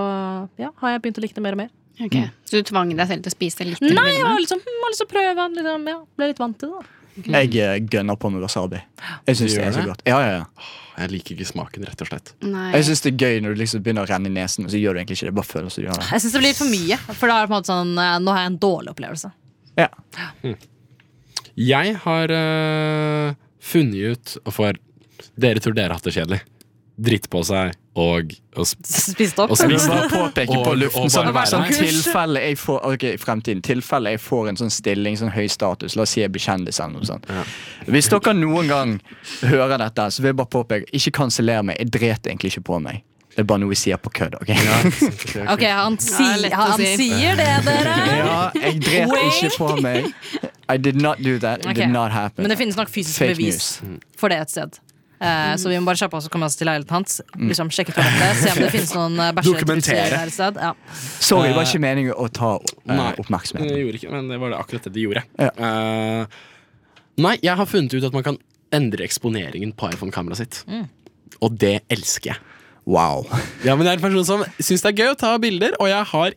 [SPEAKER 5] ja, har jeg begynt å like det mer og mer.
[SPEAKER 6] Ok. Så du tvang deg selv til å spise litt? eller
[SPEAKER 5] Nei, jeg
[SPEAKER 6] mindre?
[SPEAKER 5] har liksom, hm, har lyst til å prøve. Liksom, ja, ble litt vant til det. da.
[SPEAKER 2] Jeg eh, gønner på med wasabi. Jeg syns
[SPEAKER 4] Du
[SPEAKER 2] det er
[SPEAKER 4] gjør
[SPEAKER 2] så
[SPEAKER 4] det?
[SPEAKER 2] godt. Ja, ja, ja.
[SPEAKER 4] Jeg liker ikke smaken, rett og slett.
[SPEAKER 6] Nei.
[SPEAKER 2] Jeg syns det er gøy når du liksom begynner å renne i nesen, og så gjør du egentlig ikke det. Bare føler som du gjør det.
[SPEAKER 5] Jeg syns det blir litt for mye. For da er det på en måte sånn, eh, nå har jeg en dårlig opplevelse.
[SPEAKER 2] Ja.
[SPEAKER 4] eh, Jeg har øh, funnet ut For dere tror dere har hatt det kjedelig. dritte på seg og, og s-
[SPEAKER 5] Spist opp.
[SPEAKER 4] Og
[SPEAKER 2] Jeg vil
[SPEAKER 4] spist
[SPEAKER 5] Nei,
[SPEAKER 4] opp.
[SPEAKER 2] bare påpeke på
[SPEAKER 4] Og- og
[SPEAKER 2] luften sånn,
[SPEAKER 4] bare
[SPEAKER 2] sånn
[SPEAKER 5] være der.
[SPEAKER 2] tilfelle jeg får ok, i fremtiden, tilfelle jeg får en sånn stilling, sånn høy status, la oss si jeg blir kjendis eller noe sånt. Hvis dere noen gang hører dette, så vil jeg bare påpeke, ikke kanseller meg. Jeg dret egentlig ikke på meg. Det er bare noe jeg sier på kødd. ok? Ja,
[SPEAKER 5] Ok, han, si,
[SPEAKER 6] Ja, lett å
[SPEAKER 5] han
[SPEAKER 6] si.
[SPEAKER 5] sier det, dere.
[SPEAKER 2] jeg dret
[SPEAKER 5] Wink.
[SPEAKER 2] ikke på meg. I did not do that. It
[SPEAKER 5] Ok.
[SPEAKER 2] did not happen.
[SPEAKER 5] Men det finnes nok fysiske
[SPEAKER 2] Fake
[SPEAKER 5] bevis Mm. for det et sted. Eh, Så vi må bare kjappe oss og komme oss til leiligheten hans. Liksom sjekke toalettet, Se om det finnes noen eh, bæsjetrusler
[SPEAKER 4] Mm. Dokumentere.
[SPEAKER 5] der et sted. Ja.
[SPEAKER 2] Sorry, det var ikke meningen å ta eh,
[SPEAKER 4] Nei,
[SPEAKER 2] oppmerksomheten.
[SPEAKER 4] Jeg gjorde ikke, men det var det akkurat det de gjorde.
[SPEAKER 2] Ja.
[SPEAKER 4] Eh, nei, jeg har funnet ut at man kan endre eksponeringen på iPhone-kameraet sitt. Og det elsker jeg.
[SPEAKER 2] Wow.
[SPEAKER 4] Ja, men Jeg er en person som syns det er gøy å ta bilder, og jeg har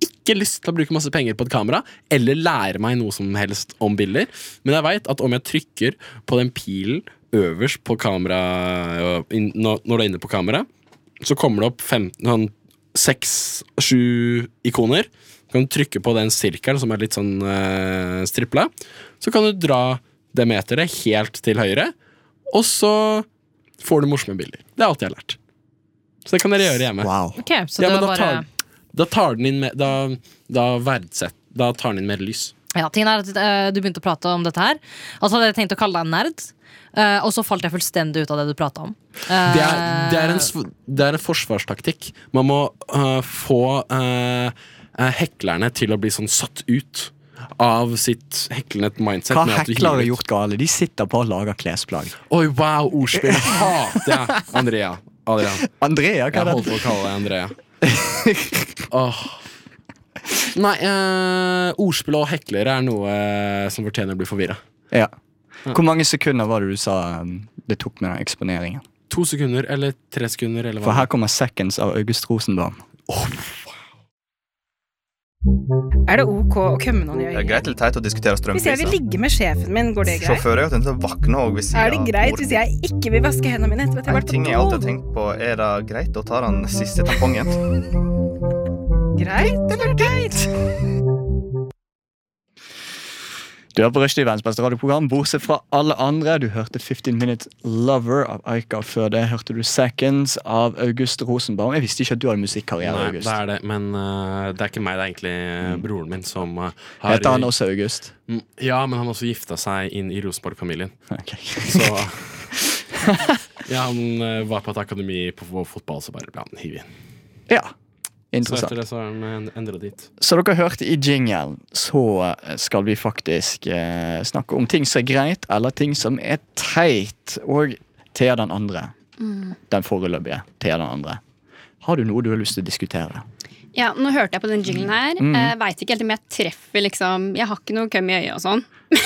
[SPEAKER 4] ikke lyst til å bruke masse penger på et kamera eller lære meg noe som helst om bilder. Men jeg veit at om jeg trykker på den pilen øverst på kamera inn- Når når du er inne på kamera, så kommer det opp 15, sånn, 6-7 ikoner. Du kan trykke på den sirkelen som er litt sånn uh, stripla. Så kan du dra det meteret helt til høyre, og så får du morsomme bilder. Det er alt jeg har lært. Så det kan dere gjøre hjemme.
[SPEAKER 2] wow.
[SPEAKER 5] Ok, så
[SPEAKER 4] Ja,
[SPEAKER 5] det
[SPEAKER 4] men da
[SPEAKER 5] var bare
[SPEAKER 4] tar, da tar den inn mer da, da verdsett Da tar den inn mer lys.
[SPEAKER 5] Ja, tingen er at eh, Du begynte å prate om dette her. Og så hadde jeg tenkt å kalle deg en nerd. eh, og så falt jeg fullstendig ut av det du prata om. Eh,
[SPEAKER 4] Det er, det er, en, sv- det er en forsvarstaktikk. Man må øh, få øh, øh, heklerne til å bli sånn satt ut av sitt heklende mindset.
[SPEAKER 2] Hva
[SPEAKER 4] med at du
[SPEAKER 2] heklere
[SPEAKER 4] hiver
[SPEAKER 2] har
[SPEAKER 4] ut.
[SPEAKER 2] gjort gale? De sitter på og lager klesplagg.
[SPEAKER 4] Oi, wow, ordspill! Hater jeg! Andrea. Adrian.
[SPEAKER 2] Andrea, hva
[SPEAKER 4] Jeg
[SPEAKER 2] er det?
[SPEAKER 4] holdt på å kalle deg Andrea. Åh. Nei, eh, ordspill og heklere er noe eh, som fortjener å bli forvirra.
[SPEAKER 2] Ja. Hvor mange sekunder var det du sa um, det tok med den eksponeringen?
[SPEAKER 4] To sekunder eller tre sekunder eller
[SPEAKER 2] For
[SPEAKER 4] hva.
[SPEAKER 2] her kommer Seconds av August Rosenbaum.
[SPEAKER 7] Er det ok å kømme noen i
[SPEAKER 8] Det er
[SPEAKER 7] øyet?
[SPEAKER 8] greit eller teit å diskutere
[SPEAKER 7] Hvis jeg vil
[SPEAKER 8] strømpriser.
[SPEAKER 7] ligge med sjefen min, går det greit?
[SPEAKER 8] Sjåfører er jo tenkt å våkne òg hvis
[SPEAKER 7] Er det greit hvis jeg ikke vil vaske hendene mine etter at jeg
[SPEAKER 8] En
[SPEAKER 7] har vært
[SPEAKER 8] ting jeg alltid har
[SPEAKER 7] på do?
[SPEAKER 8] tenkt på, er det greit å ta den siste tampongen?
[SPEAKER 7] Greit eller teit?
[SPEAKER 2] Du er på Rushdie, verdens beste radioprogram, bortsett fra alle andre. Du hørte 15 Minutes Lover av Aika, og før det hørte du Seconds av August Rosenbaum. Jeg visste ikke at du hadde musikkarriere,
[SPEAKER 4] Nei,
[SPEAKER 2] August. Mm.
[SPEAKER 4] det er det, men eh, det er ikke meg, det er egentlig eh, broren min som eh, har
[SPEAKER 2] Heter han også August?
[SPEAKER 4] Mm, Ja, men han har også gifta seg inn i Rosenborg-familien.
[SPEAKER 2] Ok.
[SPEAKER 4] Så Ja, han eh, var på et akademi på f- fotball, så bare ble han hivet inn.
[SPEAKER 2] Ja.
[SPEAKER 4] Så etter
[SPEAKER 2] Interessant.
[SPEAKER 4] det så har han endra dit.
[SPEAKER 2] Så dere hørte i jingelen, så eh, skal vi faktisk eh, snakke om ting som er greit, eller ting som er teit. Og Thea den andre,
[SPEAKER 6] Mm.
[SPEAKER 2] den foreløpige Thea den andre, har du noe du har lyst til å diskutere?
[SPEAKER 6] Ja, nå hørte jeg på den jinglen her. Eh, Veit ikke helt om jeg treffer, liksom. Jeg har ikke noe køm i øyet og sånn.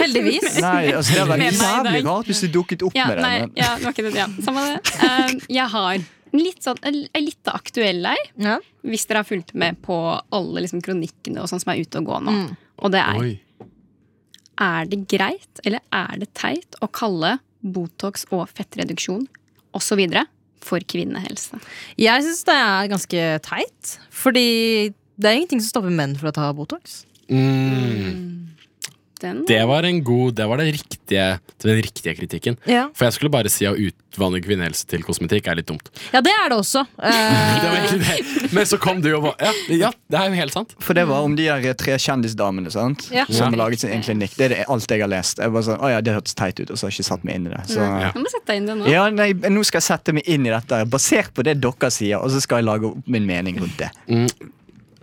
[SPEAKER 5] Heldigvis.
[SPEAKER 2] Nei, altså det var
[SPEAKER 6] Med meg i
[SPEAKER 2] jævlig
[SPEAKER 6] dag.
[SPEAKER 2] rart hvis du dukket opp
[SPEAKER 6] Ja,
[SPEAKER 2] med det.
[SPEAKER 6] nei,
[SPEAKER 2] men-
[SPEAKER 6] ja, det var ikke det. Ja, samme det. Eh, jeg har en litt sånn, en en litt aktuell her.
[SPEAKER 5] Ja.
[SPEAKER 6] Hvis dere har fulgt med på alle liksom, kronikkene og sånn som er ute og gå nå. Og det er
[SPEAKER 4] Oi.
[SPEAKER 6] er det greit eller er det teit å kalle Botox og fettreduksjon osv. for kvinnehelse?
[SPEAKER 5] Jeg syns det er ganske teit. Fordi det er ingenting som stopper menn fra å ta Botox.
[SPEAKER 4] Mm.
[SPEAKER 6] Den
[SPEAKER 4] Det var en god Det var det riktige, den riktige kritikken.
[SPEAKER 5] Ja.
[SPEAKER 4] For jeg skulle bare si å utvanne kvinnehelse til kosmetikk er litt dumt.
[SPEAKER 5] det er det også. Eh,
[SPEAKER 4] Det var egentlig det. Men så kom du og ba ja, ja, det er jo helt sant.
[SPEAKER 2] For det var om de der tre kjendisdamene sant?
[SPEAKER 5] Ja.
[SPEAKER 2] som har
[SPEAKER 4] Ja.
[SPEAKER 2] laget sin egen klinikk. Det er det, alt jeg har lest. Jeg var sånn, å ja, Det hørtes teit ut, og så har jeg ikke satt meg inn i det. Så,
[SPEAKER 6] Nei,
[SPEAKER 2] ja.
[SPEAKER 6] Jeg må sette deg inn det nå.
[SPEAKER 2] nei, Nå skal jeg sette meg inn i dette, basert på det dere sier, og så skal jeg lage opp min mening rundt det.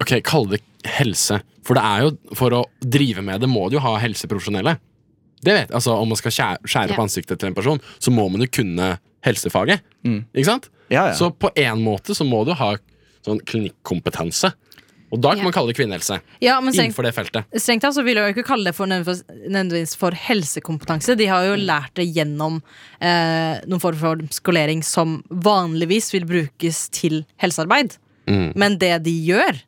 [SPEAKER 4] Ok, Kalle det helse. For det er jo For å drive med det må du jo ha helseprofesjonelle. Det vet altså Om man skal skjære, skjære opp
[SPEAKER 6] Ja.
[SPEAKER 4] ansiktet til en person, så må man jo kunne helsefaget. Ikke sant?
[SPEAKER 2] Mm. Ja, ja.
[SPEAKER 4] Så på en måte så må du ha sånn klinikkompetanse. Og da kan
[SPEAKER 6] Ja.
[SPEAKER 4] man kalle det kvinnehelse.
[SPEAKER 5] ja, men strengt,
[SPEAKER 4] Innenfor det feltet.
[SPEAKER 5] strengt tatt så vil jeg jo ikke kalle det for nødvendigvis, nødvendigvis for helsekompetanse. De har jo lært det gjennom eh, noen form for skolering som vanligvis vil brukes til helsearbeid. Men det de gjør,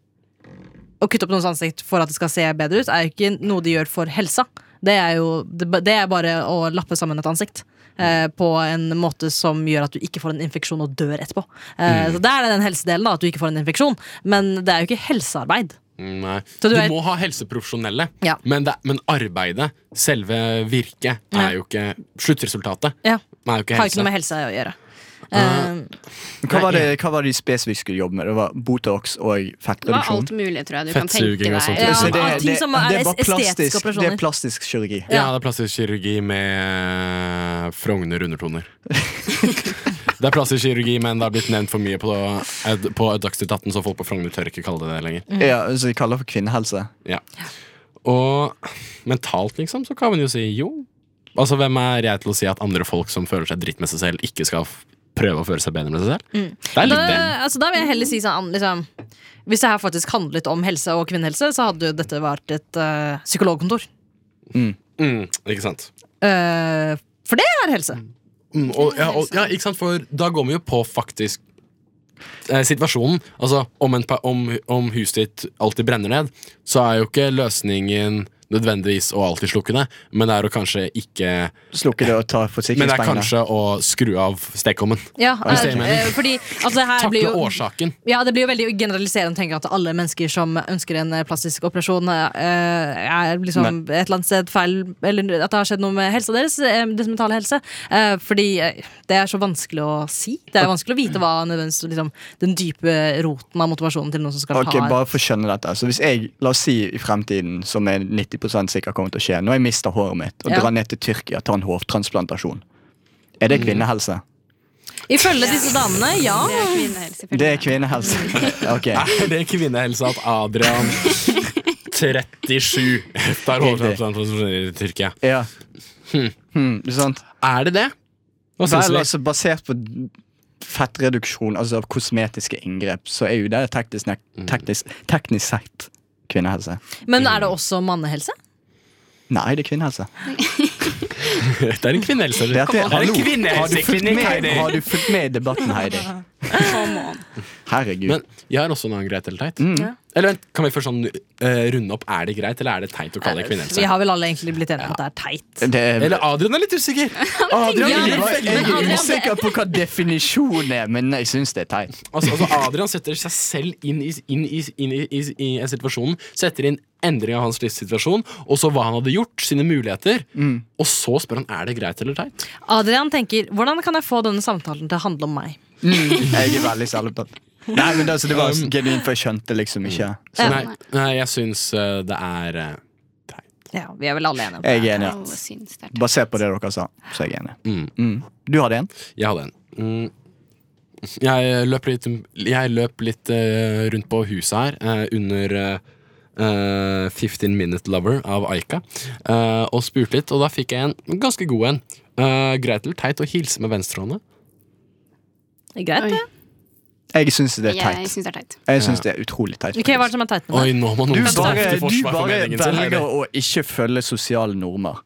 [SPEAKER 5] å kutte opp noens ansikt for at det skal se bedre ut, er jo ikke noe de gjør for helsa. Det er jo det ba- det er bare å lappe sammen et ansikt. Eh, på en måte som gjør at du ikke får en infeksjon og dør etterpå. Eh, Så Der er det den helsedelen, da, at du ikke får en infeksjon. Men det er jo ikke helsearbeid.
[SPEAKER 4] Nei. Du
[SPEAKER 5] Så du er-
[SPEAKER 4] må ha helseprofesjonelle,
[SPEAKER 5] Ja.
[SPEAKER 4] men, det, men arbeidet, selve virket,
[SPEAKER 5] Ja.
[SPEAKER 4] er jo ikke Sluttresultatet
[SPEAKER 5] Ja.
[SPEAKER 4] er jo ikke
[SPEAKER 5] Har ikke
[SPEAKER 4] helse.
[SPEAKER 5] noe med helse å gjøre. Eh,
[SPEAKER 2] Hva var det, hva var det de spesifikt skulle jobbe med? Det var Botox og
[SPEAKER 6] Det var
[SPEAKER 2] fettreduksjon?
[SPEAKER 6] alt mulig, tror jeg du kan tenke
[SPEAKER 4] Fettsuging og sånt.
[SPEAKER 6] deg.
[SPEAKER 5] Ja,
[SPEAKER 2] Så
[SPEAKER 5] men alt ting som er
[SPEAKER 2] det var
[SPEAKER 5] estetiske
[SPEAKER 2] plastisk, det
[SPEAKER 5] operasjoner.
[SPEAKER 2] er plastisk kirurgi.
[SPEAKER 4] Ja, det er plastisk kirurgi med eh, Frogner undertoner. det er plastisk kirurgi, men det har blitt nevnt for mye på, Ed- på Dagsnytt 18, så folk på Frogner tør ikke kalle det det lenger.
[SPEAKER 5] Mm.
[SPEAKER 2] Ja, så de kaller det for kvinnehelse.
[SPEAKER 4] Og mentalt, liksom, så kan man jo si jo. Altså, hvem er jeg til å si at andre folk som føler seg dritt med seg selv, ikke skal f- prøve å føle seg bedre med seg selv? Det er
[SPEAKER 5] da,
[SPEAKER 4] litt det.
[SPEAKER 5] altså, da vil jeg heller si sånn liksom, Hvis det her faktisk handlet om helse og kvinnehelse, så hadde jo dette vært et eh, psykologkontor.
[SPEAKER 4] Mm, ikke sant?
[SPEAKER 5] Eh, for det er helse.
[SPEAKER 4] Mm, og, ja, og, ja, ikke sant, for da går vi jo på faktisk eh, situasjonen. Altså, om, en, pa- om, om huset ditt alltid brenner ned, så er jo ikke løsningen nødvendigvis å alltid slukke det, men det er å kanskje ikke
[SPEAKER 2] Slukke det og
[SPEAKER 4] Men det
[SPEAKER 2] ta
[SPEAKER 4] er
[SPEAKER 2] forsikringspengene.
[SPEAKER 4] kanskje å skru av stekeovnen.
[SPEAKER 5] Ja,
[SPEAKER 4] Hvis det gir
[SPEAKER 5] eh,
[SPEAKER 4] mening.
[SPEAKER 5] eh, fordi altså, det her blir
[SPEAKER 4] Takle
[SPEAKER 5] jo
[SPEAKER 4] årsaken.
[SPEAKER 5] Ja, Det blir jo veldig generaliserende å tenke at alle mennesker som ønsker en eh, plastisk operasjon, eh, er liksom et eller annet sted feil Eller at det har skjedd noe med helsa deres. eh, Deres mentale helse. Eh, Fordi eh, det er så vanskelig å si. Det er vanskelig å vite hva nødvendigvis liksom, den dype roten av motivasjonen til noen som skal
[SPEAKER 2] Ok,
[SPEAKER 5] ha
[SPEAKER 2] bare for å skjønne dette Så Hvis jeg, la oss si i fremtiden, som er 90 sikkert kommer til å skje Når jeg mister håret mitt og
[SPEAKER 5] Ja.
[SPEAKER 2] drar ned til Tyrkia og tar en hårtransplantasjon Er
[SPEAKER 5] Mm.
[SPEAKER 2] det kvinnehelse?
[SPEAKER 5] Ifølge disse damene, ja.
[SPEAKER 6] Det er kvinnehelse, selvfølgelig.
[SPEAKER 2] Det er kvinnehelse. Ok,
[SPEAKER 4] Er det kvinnehelse at Adrian 37 tar hårtransplantasjon i Tyrkia?
[SPEAKER 2] ja. Hmm, det er sant?
[SPEAKER 4] Er det det? Hva syns
[SPEAKER 2] Vel,
[SPEAKER 4] vi?
[SPEAKER 2] altså, basert på fettreduksjon, altså av kosmetiske inngrep, så er jo det teknisk,
[SPEAKER 4] Mm.
[SPEAKER 2] nek- teknisk, teknisk sett kvinnehelse.
[SPEAKER 5] Men er det også mannehelse?
[SPEAKER 2] Nei, det er kvinnehelse.
[SPEAKER 4] Det er en kvinnehelse.
[SPEAKER 2] Det er at det-
[SPEAKER 4] Det er en
[SPEAKER 2] Hallo, har du fulgt
[SPEAKER 4] kvinnehelse.
[SPEAKER 2] med, har du fulgt med i debatten, Heidi? Herregud.
[SPEAKER 4] Men jeg har også noe greit eller teit.
[SPEAKER 5] Ja.
[SPEAKER 4] Eller vent, kan vi først sånn eh, runde opp? Er det greit, eller er det teit å kalle det
[SPEAKER 5] Eh, Vi
[SPEAKER 4] kvinnehelse?
[SPEAKER 5] har vel alle egentlig blitt enige om at det er teit.
[SPEAKER 2] det er
[SPEAKER 4] Eller Adrian er litt usikker.
[SPEAKER 2] Adrian,
[SPEAKER 5] Ja,
[SPEAKER 2] jeg
[SPEAKER 5] men- men
[SPEAKER 2] er
[SPEAKER 5] Adrian-
[SPEAKER 2] usikker på hva definisjonen er, men jeg syns det er teit.
[SPEAKER 4] Altså, altså Adrian setter seg selv inn i, inn i, inn i, i, i en situasjon, setter inn endring av hans livssituasjon, og så hva han hadde gjort, sine muligheter, og så spør han er det greit eller teit.
[SPEAKER 5] Adrian tenker 'hvordan kan jeg få denne samtalen til å handle om meg'?
[SPEAKER 2] Jeg er veldig selvopptatt. Nei, men det, altså, det
[SPEAKER 4] Um.
[SPEAKER 2] var genuint, for jeg skjønte liksom ikke.
[SPEAKER 5] Ja.
[SPEAKER 4] Nei, nei, jeg syns eh, det er eh, teit.
[SPEAKER 5] Ja, Vi er vel alle enige om det.
[SPEAKER 2] Jeg er enig.
[SPEAKER 6] Alle syns det er teit.
[SPEAKER 2] Basert på det dere sa, så er jeg enig.
[SPEAKER 4] Mm.
[SPEAKER 2] Mm. Du hadde en?
[SPEAKER 4] Jeg hadde en. Mm. Jeg løp litt, jeg løp litt eh, rundt på huset her eh, under eh, eh, 15 Minute Lover av Aika eh, og spurte litt, og da fikk jeg en ganske god en. Eh, greit eller teit å hilse med venstrehånda?
[SPEAKER 5] Greit, det.
[SPEAKER 2] Jeg syns det er
[SPEAKER 6] Jeg
[SPEAKER 2] teit.
[SPEAKER 6] syns det er teit.
[SPEAKER 2] Jeg syns det er utrolig teit.
[SPEAKER 5] Ok, Hva er det som er teit med det?
[SPEAKER 4] Oi, nå må
[SPEAKER 2] Du
[SPEAKER 4] noen stå
[SPEAKER 2] bare,
[SPEAKER 4] til
[SPEAKER 2] du
[SPEAKER 4] forsvar for
[SPEAKER 2] bare
[SPEAKER 4] meningen sin.
[SPEAKER 2] velger
[SPEAKER 4] Heidi.
[SPEAKER 2] å ikke følge sosiale normer.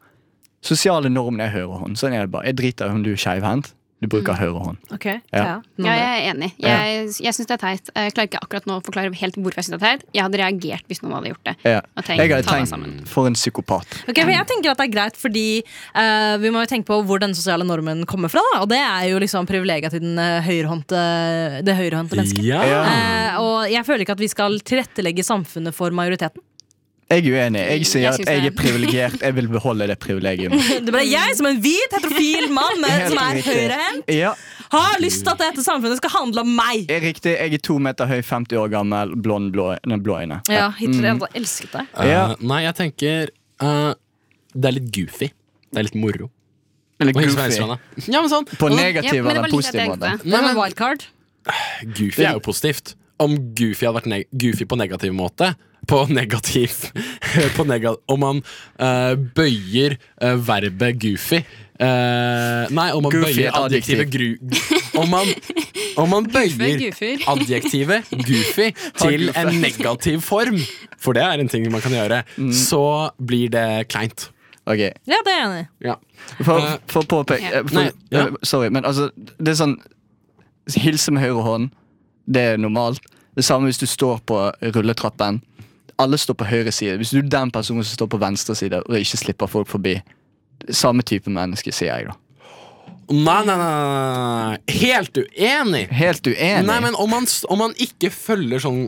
[SPEAKER 2] Sosiale normer er høyrehånd. Sånn er det bare. Jeg driter i om du er skeivhendt. Du
[SPEAKER 6] Mm.
[SPEAKER 2] bruker høyrehånd.
[SPEAKER 5] Ok,
[SPEAKER 2] Ja.
[SPEAKER 5] ja.
[SPEAKER 6] Ja, jeg er enig. Jeg, jeg syns det er teit. Jeg klarer ikke akkurat nå å forklare helt hvorfor jeg syns det er teit. Jeg hadde reagert hvis noen hadde gjort det.
[SPEAKER 2] Ja.
[SPEAKER 6] Og tenkt,
[SPEAKER 2] Jeg hadde
[SPEAKER 6] ta deg sammen.
[SPEAKER 2] tenkt For en psykopat.
[SPEAKER 5] Ok, men jeg tenker at det er greit, fordi eh, vi må jo tenke på hvor den sosiale normen kommer fra. Da. Og det er jo liksom privilegiet til den, eh, høyrehåndte- det høyrehåndte mennesket.
[SPEAKER 4] Ja.
[SPEAKER 5] Eh, og jeg føler ikke at vi skal tilrettelegge samfunnet for majoriteten.
[SPEAKER 2] Jeg er uenig. Jeg sier
[SPEAKER 6] Jeg
[SPEAKER 2] at
[SPEAKER 6] syns
[SPEAKER 2] jeg
[SPEAKER 6] det.
[SPEAKER 2] er privilegert. Jeg vil beholde det privilegiet.
[SPEAKER 5] Det ble jeg som en hvit heterofil mann med,
[SPEAKER 2] Helt
[SPEAKER 5] som er
[SPEAKER 2] riktig.
[SPEAKER 5] høyrehendt,
[SPEAKER 2] Ja,
[SPEAKER 5] har lyst til at dette samfunnet skal handle om meg!
[SPEAKER 2] er riktig. Jeg er to meter høy, 50 år gammel, blond, blå, nei, blå øyne.
[SPEAKER 5] Ja, Hitler
[SPEAKER 2] Mm.
[SPEAKER 5] hadde elsket deg.
[SPEAKER 4] Eh,
[SPEAKER 2] Ja.
[SPEAKER 4] nei, jeg tenker eh, det er litt goofy. Det er litt moro.
[SPEAKER 2] Eller
[SPEAKER 4] Å hilse med
[SPEAKER 2] goofy.
[SPEAKER 4] venstrehånda. Ja, men sånn.
[SPEAKER 2] På
[SPEAKER 6] Ja, men
[SPEAKER 2] negativ
[SPEAKER 6] det var
[SPEAKER 2] eller
[SPEAKER 6] litt at
[SPEAKER 2] positiv
[SPEAKER 6] jeg
[SPEAKER 2] måte.
[SPEAKER 6] tenkte.
[SPEAKER 5] Det var wildcard.
[SPEAKER 4] Goofy er jo positivt. Om Goofy hadde vært neg Goofy på negativ måte På negativ på nega Om man eh, bøyer eh, verbet goofy eh, Nei, om man
[SPEAKER 2] Goofy
[SPEAKER 4] bøyer
[SPEAKER 2] er adjektiv.
[SPEAKER 4] adjektivet gru... Om man, om man bøyer
[SPEAKER 6] goofer.
[SPEAKER 4] adjektivet goofy til en negativ form, for det er en ting man kan gjøre, så blir det kleint.
[SPEAKER 2] Ok.
[SPEAKER 5] Ja, det er jeg enig i.
[SPEAKER 4] Ja.
[SPEAKER 2] For,
[SPEAKER 4] Eh,
[SPEAKER 2] for å påpeke eh, for,
[SPEAKER 4] Nei, ja.
[SPEAKER 2] eh, Sorry, men altså Det er sånn Hilse med høyre hånd Det er normalt Det samme hvis du står på rulletrappen Alle står på høyre side Hvis du er den personen som står på venstre side Og ikke slipper folk forbi Samme type menneske, sier jeg da
[SPEAKER 4] Nei, nei, nei, nei. nei. Helt uenig!
[SPEAKER 2] Helt uenig
[SPEAKER 4] Nei, men om man, s- om man ikke følger sånn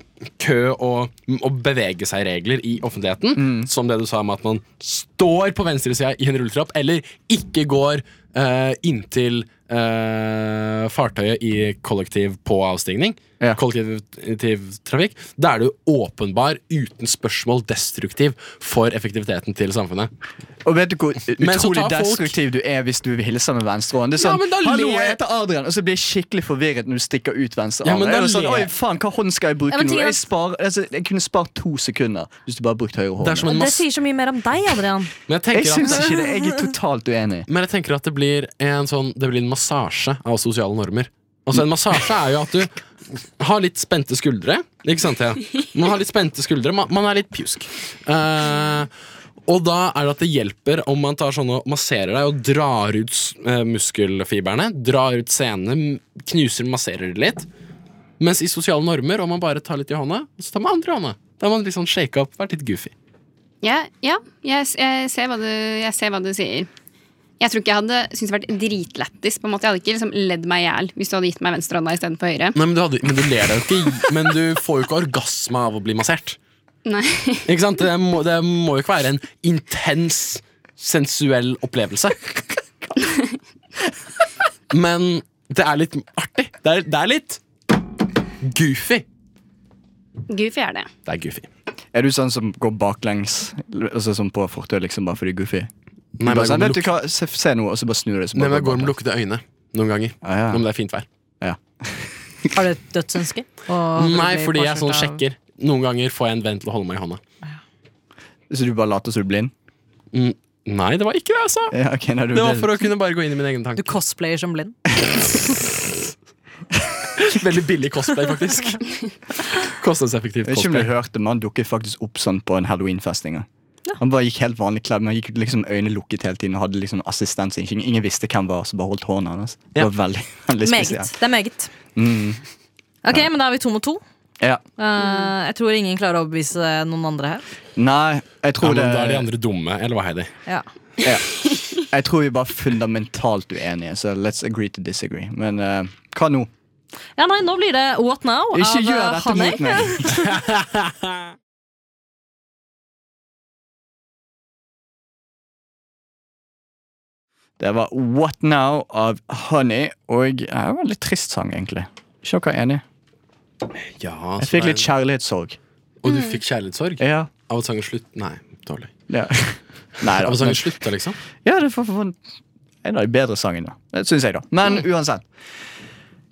[SPEAKER 4] kø og, og bevege seg-regler i offentligheten,
[SPEAKER 2] Mm.
[SPEAKER 4] som det du sa om at man står på venstresida i en rulletrapp, eller ikke går eh, inntil eh, fartøyet i kollektiv på avstigning,
[SPEAKER 2] Ja.
[SPEAKER 4] kollektivtrafikk, da er du åpenbar, uten spørsmål, destruktiv for effektiviteten til samfunnet.
[SPEAKER 2] Og vet du hvor
[SPEAKER 4] Men så
[SPEAKER 2] utrolig
[SPEAKER 4] tar folk-
[SPEAKER 2] destruktiv du er hvis du vil hilse med venstrehånd? Det er
[SPEAKER 4] Ja,
[SPEAKER 2] sånn,
[SPEAKER 4] men da
[SPEAKER 2] hallo,
[SPEAKER 4] le-
[SPEAKER 2] jeg heter Adrian, og så blir jeg skikkelig forvirret når du stikker ut venstre
[SPEAKER 4] Ja,
[SPEAKER 2] arm.
[SPEAKER 4] men
[SPEAKER 2] Jeg
[SPEAKER 4] da
[SPEAKER 2] er sånn,
[SPEAKER 4] le-
[SPEAKER 2] Oi, faen, hva hånd skal jeg bruke
[SPEAKER 5] Ja, men
[SPEAKER 2] nå?
[SPEAKER 5] tingen er-
[SPEAKER 2] Jeg, sparer- altså, jeg kunne spart to sekunder hvis du bare brukte høyre
[SPEAKER 4] Det er
[SPEAKER 2] hånd.
[SPEAKER 4] som en
[SPEAKER 5] Det
[SPEAKER 4] masse...
[SPEAKER 5] sier så mye mer om deg, Adrian.
[SPEAKER 4] Men jeg
[SPEAKER 2] Jeg
[SPEAKER 4] tenker
[SPEAKER 2] syns
[SPEAKER 4] at...
[SPEAKER 2] ikke det. Jeg er totalt uenig.
[SPEAKER 4] Men jeg tenker at det blir en sånn Det blir en massasje av sosiale normer. Altså En massasje er jo at du har litt spente skuldre. Ikke sant, Thea? Man har litt spente skuldre, man, man er litt pjusk. Eh, og da er det at det hjelper om man tar sånn og masserer deg og drar ut s- eh, muskelfibrene. Drar ut senene, m- knuser, masserer det litt. Mens i sosiale normer, om man bare tar litt i hånda, så tar man andre hånda. Da har man liksom shaka opp, vært litt goofy.
[SPEAKER 6] Ja, ja jeg, s- jeg, ser hva du, jeg ser hva du sier. Jeg tror ikke jeg hadde syntes det vært dritlættis. på en måte. Jeg hadde ikke liksom ledd meg i hjel hvis du hadde gitt meg venstrehånda istedenfor høyre.
[SPEAKER 4] Nei, men du, hadde, men du ler deg jo ikke, men du får jo ikke orgasme av å bli massert.
[SPEAKER 6] Nei.
[SPEAKER 4] Ikke sant? Det må, det må jo ikke være en intens sensuell opplevelse. Men det er litt artig. Det er, det er litt goofy.
[SPEAKER 6] Goofy er det.
[SPEAKER 4] Det er goofy.
[SPEAKER 2] Er du sånn som går baklengs altså sånn på fortauet liksom, bare fordi du er goofy?
[SPEAKER 4] Nei, men
[SPEAKER 2] bare
[SPEAKER 4] jeg går
[SPEAKER 2] sånn,
[SPEAKER 4] med,
[SPEAKER 2] vet
[SPEAKER 4] luk
[SPEAKER 2] du hva, se, se noe, og så bare snur det. Så
[SPEAKER 4] Nei,
[SPEAKER 2] bare
[SPEAKER 4] men jeg går med
[SPEAKER 2] baklengs.
[SPEAKER 4] lukkede øyne noen ganger.
[SPEAKER 2] Ah,
[SPEAKER 4] Om
[SPEAKER 2] ja.
[SPEAKER 4] det er fint vær.
[SPEAKER 5] Har du et dødsønske?
[SPEAKER 4] Nei, fordi jeg sånn sjekker. Noen ganger får jeg en venn til å holde meg i hånda.
[SPEAKER 2] Så du bare later som du er blind?
[SPEAKER 4] Mm. Nei, det var ikke det jeg sa!
[SPEAKER 2] Ja, ok, nei, du,
[SPEAKER 4] Det var for å kunne bare gå inn i mine egne
[SPEAKER 5] Du
[SPEAKER 4] tanker.
[SPEAKER 5] cosplayer som blind.
[SPEAKER 4] Veldig billig cosplay, faktisk. Kostnadseffektivt
[SPEAKER 2] Jeg vet ikke om du
[SPEAKER 4] cosplay.
[SPEAKER 2] hørte, men han dukket faktisk opp sånn på en halloweenfest en gang. Han bare gikk helt vanlig kledd, men han gikk liksom øynene lukket hele tiden og hadde liksom assistent. så Ingen, ingen visste hvem var, så bare holdt hånden hans. Det
[SPEAKER 4] Ja.
[SPEAKER 2] var veldig, veldig
[SPEAKER 5] Meget.
[SPEAKER 2] spesielt. Mm.
[SPEAKER 5] Det er meget. Ok, men da er vi to mot to.
[SPEAKER 2] Ja.
[SPEAKER 5] Eh, jeg tror ingen klarer å overbevise noen andre her.
[SPEAKER 2] Nei, jeg
[SPEAKER 4] Ja,
[SPEAKER 2] tror,
[SPEAKER 4] men da er de
[SPEAKER 2] det,
[SPEAKER 4] andre dumme, eller hva, Heidi?
[SPEAKER 5] Ja.
[SPEAKER 2] ja. jeg tror vi er bare fundamentalt uenige, så let's agree to disagree. Men eh, hva nå?
[SPEAKER 5] ja, nei, nå blir det What Now
[SPEAKER 2] Ikke
[SPEAKER 5] av
[SPEAKER 2] gjør
[SPEAKER 5] eh,
[SPEAKER 2] dette
[SPEAKER 5] Hanni.
[SPEAKER 2] mot meg. Det var What Now av Honey, og det var en litt trist sang, egentlig. Ikke dere enig?
[SPEAKER 4] Ja,
[SPEAKER 2] Jeg fikk litt kjærlighetssorg.
[SPEAKER 4] Og du fikk kjærlighetssorg?
[SPEAKER 2] Ja.
[SPEAKER 4] Av at sangen slutt... Nei, dårlig.
[SPEAKER 2] ja. Nei
[SPEAKER 4] Av at
[SPEAKER 2] da. men-
[SPEAKER 4] sangen slutta, liksom?
[SPEAKER 2] Ja, det får for en av de bedre sangene. Det syns jeg, da. Men uansett.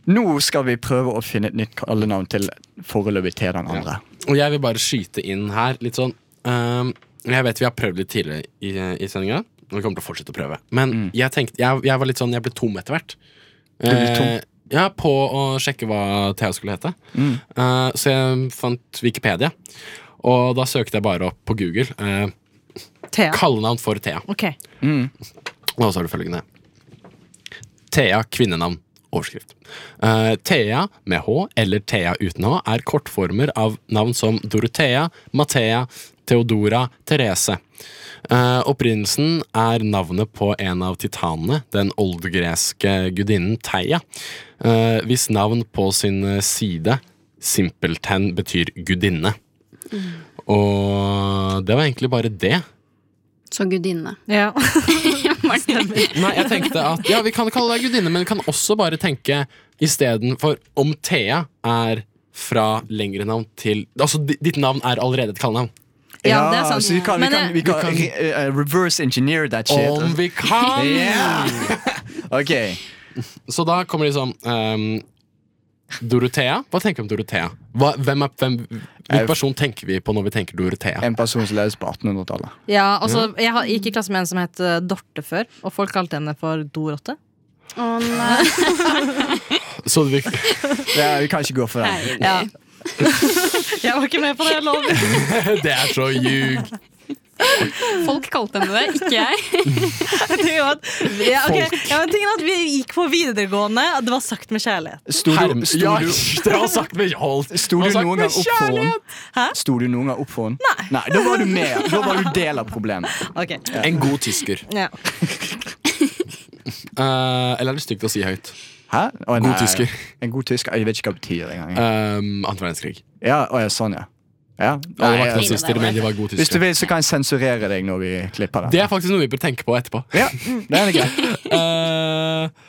[SPEAKER 2] Nå skal vi prøve å finne et nytt kallenavn til foreløpig til den andre.
[SPEAKER 4] Og jeg vil bare skyte inn her litt sånn ehm, Jeg vet vi har prøvd litt tidligere i, i sendinga, og vi kommer til å fortsette å prøve. Men
[SPEAKER 2] Mm.
[SPEAKER 4] jeg tenkte jeg, jeg var litt sånn Jeg ble tom etter hvert.
[SPEAKER 2] ble tom?
[SPEAKER 4] Eh, ja, på å sjekke hva Thea skulle hete.
[SPEAKER 2] Mm.
[SPEAKER 4] Eh, så jeg fant Wikipedia. Og da søkte jeg bare opp på Google eh,
[SPEAKER 5] Thea.
[SPEAKER 4] kallenavn for Thea.
[SPEAKER 5] Ok.
[SPEAKER 4] Og så har du følgende. Thea kvinnenavn. Overskrift. Eh, Thea med H eller Thea uten H er kortformer av navn som Dorothea, Mathea, Theodora, Therese. Eh, opprinnelsen er navnet på en av titanene, den oldgreske gudinnen Theia, eh, hvis navn på sin side simpelthen betyr gudinne. Og det var egentlig bare det.
[SPEAKER 6] Så gudinne.
[SPEAKER 5] Ja.
[SPEAKER 4] Nei, jeg tenkte at Ja, vi kan kalle deg gudinne, men vi kan også bare tenke istedenfor om Thea er fra lengre navn til Altså, di- ditt navn er allerede et kallenavn.
[SPEAKER 5] Ja, det er sant.
[SPEAKER 2] Så vi kan, vi
[SPEAKER 5] Men,
[SPEAKER 2] kan, vi
[SPEAKER 5] eh,
[SPEAKER 2] kan, re- eh, reverse engineer that shit.
[SPEAKER 4] Om vi kan!
[SPEAKER 2] Ja! Ok.
[SPEAKER 4] Så da kommer liksom ehm, Dorothea? Hva tenker vi om Dorothea? Hva, hvem er, hvem, hvilken person tenker vi på når vi tenker Dorothea?
[SPEAKER 2] En person som leves på 1800-tallet.
[SPEAKER 5] ja, altså, jeg har- gikk i klasse med en som het eh, Dorte før, og folk kalte henne for Dorotte.
[SPEAKER 6] Å nei.
[SPEAKER 4] Så vi,
[SPEAKER 2] Ja, vi kan ikke gå for den.
[SPEAKER 5] Ja. jeg var ikke med på det, jeg lover.
[SPEAKER 4] det er så ljug!
[SPEAKER 6] Folk kalte henne det, ikke jeg.
[SPEAKER 5] Tingen var at- Ja, ok. ja, men tingen er at vi gikk på videregående, og det var sagt med kjærlighet.
[SPEAKER 2] Sto
[SPEAKER 4] Herm,
[SPEAKER 2] du, sto
[SPEAKER 4] ja,
[SPEAKER 2] du,
[SPEAKER 4] det var sagt med hold.
[SPEAKER 2] sto du
[SPEAKER 4] Det var sagt
[SPEAKER 2] noen
[SPEAKER 4] med
[SPEAKER 2] gang opp for
[SPEAKER 4] kjærlighet.
[SPEAKER 2] henne?
[SPEAKER 5] Hæ?
[SPEAKER 2] Sto du noen gang opp for henne? Nei. Nei, Da var du med. Da var du del av problemet.
[SPEAKER 5] Ok.
[SPEAKER 4] En god tysker.
[SPEAKER 5] Ja.
[SPEAKER 4] Eh, eller er det stygt å si høyt?
[SPEAKER 2] Hæ? Å,
[SPEAKER 4] God
[SPEAKER 2] nei.
[SPEAKER 4] tysker.
[SPEAKER 2] En god tysker? Jeg vet ikke hva det betyr engang.
[SPEAKER 4] Um, Annen verdenskrig.
[SPEAKER 2] Ja, å, ja, sånn, ja. ja.
[SPEAKER 4] Alle
[SPEAKER 2] Nei,
[SPEAKER 4] var
[SPEAKER 2] altså,
[SPEAKER 4] nazister, men de var gode
[SPEAKER 2] hvis du
[SPEAKER 4] tyskere.
[SPEAKER 2] vil, så kan jeg sensurere deg når vi klipper
[SPEAKER 4] Det
[SPEAKER 2] den.
[SPEAKER 4] er faktisk noe vi bør tenke på etterpå.
[SPEAKER 2] Ja, det er greit.
[SPEAKER 4] Eh,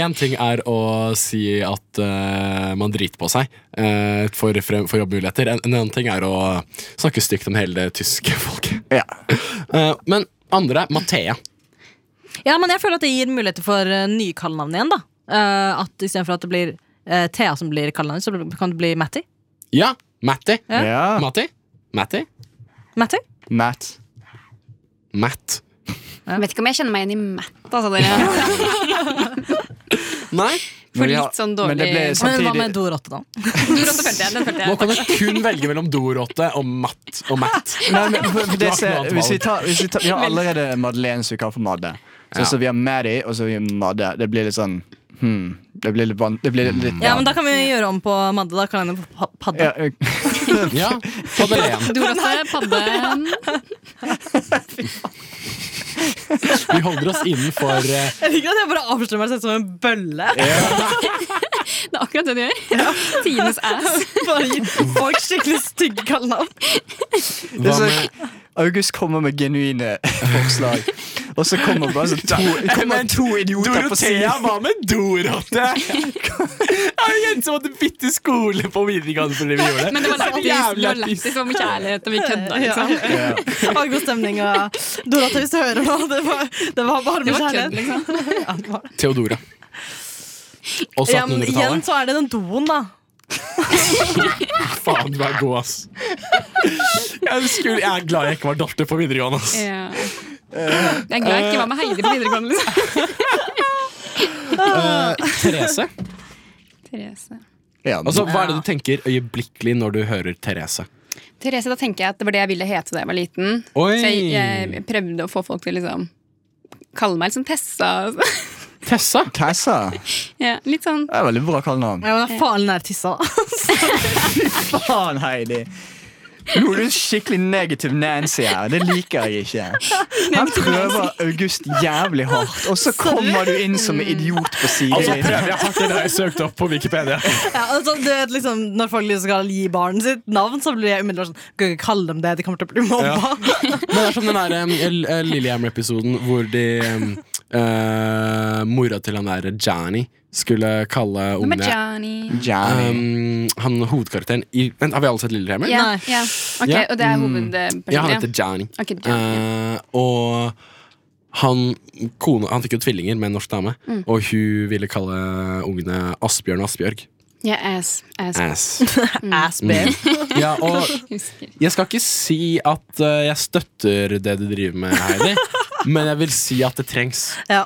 [SPEAKER 4] Én ting er å si at eh, man driter på seg eh, for, frem- for jobbmuligheter. En, en annen ting er å snakke stygt om hele det tyske folket.
[SPEAKER 2] Ja.
[SPEAKER 4] Eh, men andre er Mathea.
[SPEAKER 5] Ja, men jeg føler at det gir muligheter for eh, nye kallenavn igjen, da. Uh, at Istedenfor at det blir eh, Thea som blir kallenavn, så kan det bli Matti.
[SPEAKER 4] Ja, Matti.
[SPEAKER 5] Ja.
[SPEAKER 2] ja.
[SPEAKER 4] Matti? Matti?
[SPEAKER 5] Matti?
[SPEAKER 2] Matt.
[SPEAKER 4] Matt.
[SPEAKER 6] Jeg vet ikke om jeg kjenner meg igjen i Matt, altså. Dere.
[SPEAKER 4] Nei,
[SPEAKER 6] For
[SPEAKER 2] Men vi har-
[SPEAKER 6] litt sånn
[SPEAKER 2] men
[SPEAKER 6] dårlig
[SPEAKER 2] det ble
[SPEAKER 6] Men
[SPEAKER 5] Men hva
[SPEAKER 2] Samtidig-
[SPEAKER 5] med Dorotte, da?
[SPEAKER 6] den følte jeg, den følte
[SPEAKER 4] nå
[SPEAKER 6] jeg.
[SPEAKER 4] kan du kun velge mellom Dorotte og Matt og Matt.
[SPEAKER 2] Nei, men for- for
[SPEAKER 4] Du har ikke
[SPEAKER 2] det
[SPEAKER 4] noe
[SPEAKER 2] ser,
[SPEAKER 4] annet
[SPEAKER 2] hvis vi,
[SPEAKER 4] valg.
[SPEAKER 2] tar, hvis vi, tar, vi har allerede Madeleine som vi kaller for Madde. Så,
[SPEAKER 4] Ja.
[SPEAKER 2] så vi har Maddy, og så har vi Madde. Det blir litt sånn hmm, Det blir litt, van, det blir
[SPEAKER 4] Hmm.
[SPEAKER 2] litt
[SPEAKER 5] Ja, men Da kan vi gjøre om på Madde. Da kan hende på Padde.
[SPEAKER 2] Ja, eh,
[SPEAKER 4] Ja, Madeleine.
[SPEAKER 6] Dorotte, padden
[SPEAKER 4] Vi holder oss innenfor eh,
[SPEAKER 5] Jeg liker at jeg bare avslører meg selv som en bølle.
[SPEAKER 6] Det er akkurat det du gjør. Tines ass.
[SPEAKER 5] Bare gir folk skikkelig stygge kallenavn.
[SPEAKER 2] det
[SPEAKER 4] hva
[SPEAKER 2] er
[SPEAKER 4] med
[SPEAKER 2] så, August kommer med genuine forslag, og så kommer bare så to, kommer to idioter på
[SPEAKER 4] Dorothea,
[SPEAKER 2] siden.
[SPEAKER 4] hva med Dorotte? Er det jente som måtte bytte skole på videregående fordi vi gjorde det?
[SPEAKER 6] Men det var
[SPEAKER 4] Så
[SPEAKER 6] lættis. Det
[SPEAKER 4] jævla
[SPEAKER 6] var
[SPEAKER 4] piss.
[SPEAKER 6] lættis om kjærlighet, og vi kødda, liksom.
[SPEAKER 5] Og god stemning. Og Dorothe, hvis du hører nå, det var, det var bare
[SPEAKER 6] Det
[SPEAKER 5] med
[SPEAKER 6] var kødd,
[SPEAKER 5] kjærlighet.
[SPEAKER 6] liksom.
[SPEAKER 5] Ja, det var det.
[SPEAKER 4] Theodora. Også
[SPEAKER 5] Ja, men igjen
[SPEAKER 4] 1800-tallet.
[SPEAKER 5] så er det den doen, da.
[SPEAKER 4] Faen, du er god, ass. Jeg, skulle, jeg er glad jeg ikke var datter på videregående. ass
[SPEAKER 6] Ja. Jeg er glad jeg ikke var med Heidi på videregående, liksom.
[SPEAKER 4] Eh, Therese.
[SPEAKER 6] Therese.
[SPEAKER 2] Ja, men-
[SPEAKER 4] Altså, Hva er det du tenker øyeblikkelig når du hører Therese?
[SPEAKER 6] Therese, da tenker jeg at det var det jeg ville hete da jeg var liten.
[SPEAKER 4] Oi.
[SPEAKER 6] Så jeg, jeg prøvde å få folk til å liksom kalle meg liksom Tessa. og så-
[SPEAKER 4] Tessa?
[SPEAKER 2] Tessa. Det
[SPEAKER 6] Ja, litt sånn
[SPEAKER 2] er veldig bra kallenavn.
[SPEAKER 5] Ja, men det er farlig nær tissa. da.
[SPEAKER 2] Faen, Heidi. Nå er du skikkelig negativ Nancy her. Det liker jeg ikke. Han prøver August jævlig hardt, og så kommer du inn som en idiot på
[SPEAKER 4] Altså,
[SPEAKER 2] siden.
[SPEAKER 4] prøver jeg hardt det jeg søkte opp på Wikipedia.
[SPEAKER 5] Ja, altså, du vet, liksom, når folk liksom skal gi barnet sitt navn, så blir jeg umiddelbart sånn Kan ikke kalle dem det, de kommer til å bli mobba.
[SPEAKER 4] Men det er som den der um, L- eh, Lillehammer-episoden hvor de um, eh, Mora til han der Johnny skulle kalle
[SPEAKER 6] Hva med
[SPEAKER 4] ungene
[SPEAKER 6] Johnny?
[SPEAKER 2] Johnny.
[SPEAKER 4] um, Han hovedkarakteren i Vent, har vi alle sett Lillehammer?
[SPEAKER 6] Ja,
[SPEAKER 5] Nei.
[SPEAKER 6] ja. Ok,
[SPEAKER 4] Ja.
[SPEAKER 6] Og det
[SPEAKER 4] Ja,
[SPEAKER 6] er
[SPEAKER 4] han
[SPEAKER 6] hovedpersonen?
[SPEAKER 4] heter Johnny.
[SPEAKER 6] Ok, Johnny.
[SPEAKER 4] Eh, og han, kone, han fikk jo tvillinger med en norsk dame,
[SPEAKER 6] Mm.
[SPEAKER 4] og hun ville kalle ungene Asbjørn og Asbjørg.
[SPEAKER 6] Ja, ass. ass.
[SPEAKER 4] Ass.
[SPEAKER 5] Ass, babe.
[SPEAKER 4] Ja, og
[SPEAKER 6] Husker.
[SPEAKER 4] Jeg skal ikke si at eh, jeg støtter det du driver med, Heidi. men jeg vil si at det trengs.
[SPEAKER 5] Ja.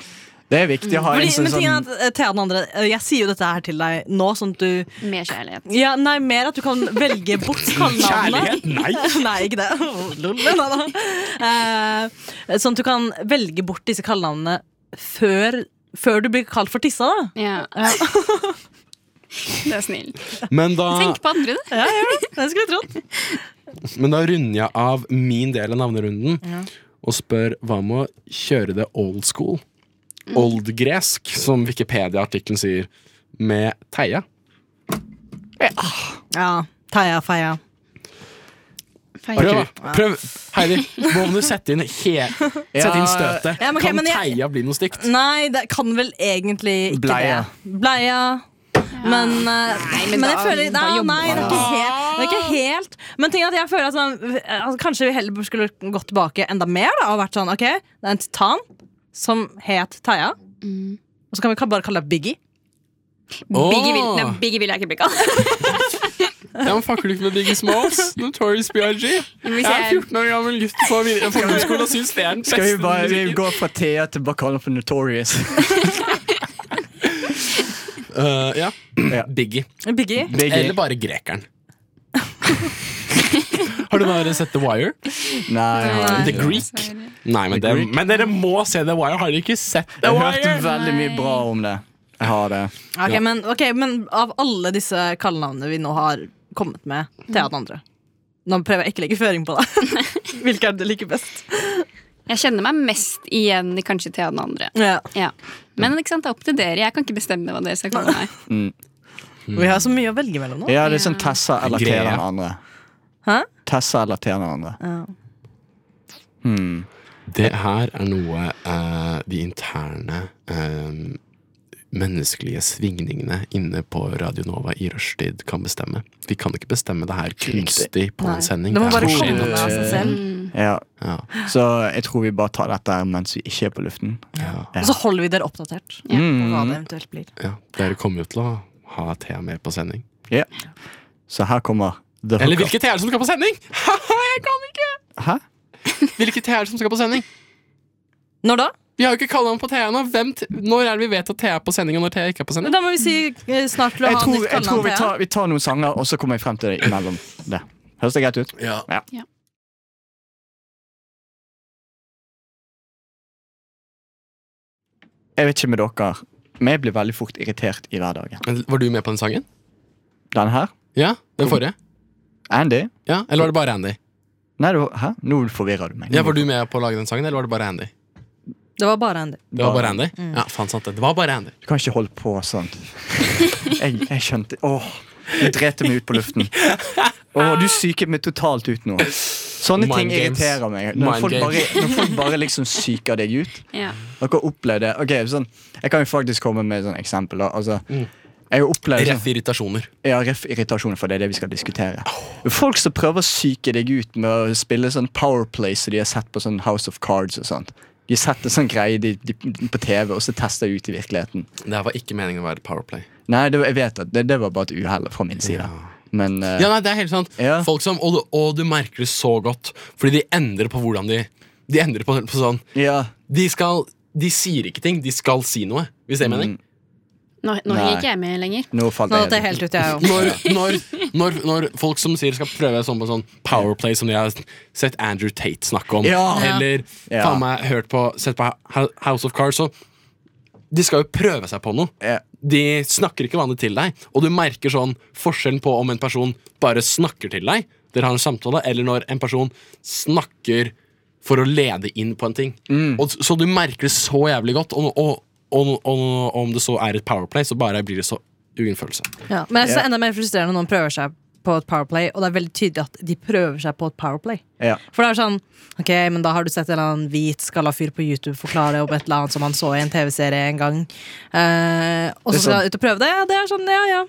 [SPEAKER 2] Det er viktig å ha
[SPEAKER 5] Fordi,
[SPEAKER 2] en sånn
[SPEAKER 5] men ting er
[SPEAKER 2] sånn
[SPEAKER 5] at, eh, Thea den andre, eh, jeg sier jo dette her til deg nå, sånn at du
[SPEAKER 6] Mer kjærlighet.
[SPEAKER 5] Ja, nei, mer at du kan velge bort kallenavnet.
[SPEAKER 4] Kjærlighet? Nei!
[SPEAKER 5] Nei, ikke det. Lol, nei da. Eh, sånn at du kan velge bort disse kallenavnene før, før du blir kalt for tissa, da.
[SPEAKER 6] Ja. Det er snilt.
[SPEAKER 4] Men da,
[SPEAKER 6] Tenk på andre, du.
[SPEAKER 5] Ja, jeg gjør det. Det skulle jeg trodd.
[SPEAKER 4] men da runder jeg av min del av navnerunden og spør hva med å kjøre det old school? Oldgresk, som Wikipedia-artikkelen sier, med Theia.
[SPEAKER 5] Ja. Theia, feia.
[SPEAKER 4] Prøv,
[SPEAKER 6] Feil.
[SPEAKER 4] da. prøv. Heidi, hva om du setter inn, he sette inn støtet?
[SPEAKER 5] Ja, men ok,
[SPEAKER 4] kan
[SPEAKER 5] men jeg-
[SPEAKER 4] Theia bli noe stygt?
[SPEAKER 5] Nei, det kan vel egentlig ikke
[SPEAKER 2] Bleia.
[SPEAKER 5] det. Bleia. Men, eh, men, jeg
[SPEAKER 6] da-
[SPEAKER 5] føler
[SPEAKER 6] da
[SPEAKER 5] Nei,
[SPEAKER 6] jobber
[SPEAKER 5] nei det, er ikke helt, det er ikke helt Men ting er at jeg føler at sånn, altså, kanskje vi heller skulle gått tilbake enda mer da, og vært sånn OK, det er en titan som het Theia.
[SPEAKER 6] Mm.
[SPEAKER 5] Og så kan vi bare kalle deg Biggie.
[SPEAKER 6] Biggie vil,
[SPEAKER 4] Åh.
[SPEAKER 6] nei, Biggie vil jeg ikke bli kalt.
[SPEAKER 4] Ja, men Fucker du ikke med Biggie Smalls? Notorious BRG?
[SPEAKER 6] hvis
[SPEAKER 4] Jeg er
[SPEAKER 6] jeg-
[SPEAKER 4] 14 år gammel gutt på vid- på ungdomsskolen og syns det er den
[SPEAKER 2] Skal vi
[SPEAKER 4] beste
[SPEAKER 2] bare vi
[SPEAKER 4] musikken.
[SPEAKER 2] går fra Thea til Bacana for Notorious?
[SPEAKER 4] Eh, ja.
[SPEAKER 2] Ja.
[SPEAKER 4] Biggie.
[SPEAKER 5] Biggie?
[SPEAKER 4] Eller
[SPEAKER 2] Begge.
[SPEAKER 4] bare grekeren. Har du bare sett The Wire?
[SPEAKER 2] Nei, jeg har
[SPEAKER 4] The
[SPEAKER 2] ikke.
[SPEAKER 4] Greek? Nei, men,
[SPEAKER 2] The
[SPEAKER 4] det,
[SPEAKER 2] Greek.
[SPEAKER 4] men dere må se The Wire. Har dere ikke sett The
[SPEAKER 2] Jeg har hørt
[SPEAKER 4] Wire?
[SPEAKER 2] veldig mye bra om det. Jeg har det.
[SPEAKER 5] Ok,
[SPEAKER 4] Ja.
[SPEAKER 5] men, ok, men av alle disse kallenavnene vi nå har kommet med,
[SPEAKER 6] Mm.
[SPEAKER 5] Thea den andre Nå prøver jeg ikke å legge føring på deg. Hvilke er det du liker best?
[SPEAKER 6] Jeg kjenner meg mest igjen i kanskje Thea den andre.
[SPEAKER 5] Ja.
[SPEAKER 6] Ja. Men ikke sant, det er opp til dere. Jeg kan ikke bestemme hva dere skal kalle meg.
[SPEAKER 5] Vi har så mye å velge mellom nå.
[SPEAKER 2] Ja, det er sånn Tessa eller Thea
[SPEAKER 4] Greia.
[SPEAKER 2] den andre.
[SPEAKER 5] Hæ?
[SPEAKER 2] Tessa eller Thea den andre.
[SPEAKER 4] Det her er noe eh, de interne eh, menneskelige svingningene inne på Radio Nova i rushtid kan bestemme. Vi kan ikke bestemme det her kunstig på
[SPEAKER 5] Nei.
[SPEAKER 4] en sending.
[SPEAKER 5] Det må bare
[SPEAKER 4] her skjer
[SPEAKER 5] komme
[SPEAKER 4] noe.
[SPEAKER 5] med av seg selv.
[SPEAKER 6] Mm.
[SPEAKER 2] Ja,
[SPEAKER 4] Ja,
[SPEAKER 2] så jeg tror vi bare tar dette her mens vi ikke er på luften.
[SPEAKER 4] ja,
[SPEAKER 5] Og så holder vi dere oppdatert på hva
[SPEAKER 2] Mm.
[SPEAKER 5] det eventuelt blir.
[SPEAKER 4] ja. Dere kommer jo til å ha Thea med på sending.
[SPEAKER 2] Så her kommer The
[SPEAKER 4] Eller
[SPEAKER 2] Hookup.
[SPEAKER 4] hvilke Thea er det som skal på sending?! Jeg kan ikke!
[SPEAKER 2] Hæ?
[SPEAKER 4] Hvilke Thea er det som skal på sending?
[SPEAKER 5] Når da?
[SPEAKER 4] Vi har jo ikke kallenavn på Thea ennå. Hvem t- Når er det vi vet at Thea er på sending, og når Thea ikke er på sending?
[SPEAKER 5] Da må vi si eh, snart til å
[SPEAKER 2] Jeg
[SPEAKER 5] ha
[SPEAKER 2] tror,
[SPEAKER 5] nytt
[SPEAKER 2] jeg tror vi,
[SPEAKER 5] kallenavn.
[SPEAKER 2] tar, vi tar noen sanger, og så kommer jeg frem til det imellom det. Høres det greit ut?
[SPEAKER 4] Ja.
[SPEAKER 2] Ja.
[SPEAKER 6] Ja.
[SPEAKER 2] Jeg vet ikke med dere, men jeg blir veldig fort irritert i hverdagen.
[SPEAKER 4] Men Var du med på den sangen?
[SPEAKER 2] Den her,
[SPEAKER 4] Ja, Den forrige?
[SPEAKER 2] Andy
[SPEAKER 4] Ja, Eller var det bare Andy?
[SPEAKER 2] Nei, du, hæ? Nå forvirrer du meg.
[SPEAKER 4] Ja, Var du med på å lage den sangen, eller var det bare Andy?
[SPEAKER 5] Thea. Det var bare en del.
[SPEAKER 4] Det var bare Mm. Andy? Ja, faen sant det. Det var bare Andy.
[SPEAKER 2] Du kan ikke holde på sånn. Jeg, jeg skjønte Åh, du drepte meg ut på luften. Åh, du psyket meg totalt ut nå. Sånne
[SPEAKER 4] Mind
[SPEAKER 2] ting
[SPEAKER 4] games.
[SPEAKER 2] irriterer meg.
[SPEAKER 4] Mind
[SPEAKER 2] Når folk, bare,
[SPEAKER 4] games.
[SPEAKER 2] når folk bare liksom psyker deg ut.
[SPEAKER 6] Ja.
[SPEAKER 2] Dere opplevde Ok, sånn Jeg kan jo faktisk komme med et sånt eksempel. da. Altså, jeg har opplevd
[SPEAKER 4] Mm.
[SPEAKER 2] sånn,
[SPEAKER 4] Ref irritasjoner.
[SPEAKER 2] ja, ref irritasjon, for det er det vi skal diskutere. Folk som prøver å psyke deg ut med å spille sånn Powerplay som de har sett på sånn House of Cards og sånt. De setter sånn greie de, de, på TV, og så tester de ut i virkeligheten.
[SPEAKER 4] Det her var ikke meningen å være Powerplay.
[SPEAKER 2] Nei, det, var- jeg vet at det, det var bare et uhell fra min side. Men eh,
[SPEAKER 4] Ja, nei, det er helt sant.
[SPEAKER 2] Ja.
[SPEAKER 4] Folk som, og, du- og du merker det så godt, fordi de endrer på hvordan de De endrer på, på sånn
[SPEAKER 2] ja.
[SPEAKER 4] De skal De sier ikke ting, de skal si noe. Hvis det er mening?
[SPEAKER 6] Nå, nå
[SPEAKER 2] Nei.
[SPEAKER 6] henger ikke jeg med lenger.
[SPEAKER 2] mm, Nå falt
[SPEAKER 5] Nå datt
[SPEAKER 2] jeg
[SPEAKER 5] jeg helt ut, jeg òg.
[SPEAKER 4] Når, når, når, når folk som sier skal prøve sånn på sånn Powerplay som de har sett Andrew Tate snakke om,
[SPEAKER 2] Ja.
[SPEAKER 4] eller
[SPEAKER 2] Ja.
[SPEAKER 4] faen meg hørt på sett på Ho- House of Cards, så De skal jo prøve seg på noe.
[SPEAKER 2] Ja.
[SPEAKER 4] De snakker ikke vanlig til deg, og du merker sånn forskjellen på om en person bare snakker til deg, dere har en samtale, eller når en person snakker for å lede inn på en ting.
[SPEAKER 2] Mm.
[SPEAKER 4] Og, så du merker det så jævlig godt, og, og, og, og, og om det så er et powerplay, så bare blir det så ingen følelse.
[SPEAKER 5] Ja. Men jeg synes det er enda mer frustrerende når noen prøver seg på et Powerplay, og det er veldig tydelig at de prøver seg på et Powerplay.
[SPEAKER 2] Ja.
[SPEAKER 5] For det er sånn Ok, men da har du sett en eller annen hvit skalla fyr på YouTube forklare om et eller annet som han så i en TV-serie en gang. Eh, og
[SPEAKER 2] Det er
[SPEAKER 5] så skal
[SPEAKER 2] sånn-
[SPEAKER 5] han ut og prøve det. Ja, det er sånn, ja, ja.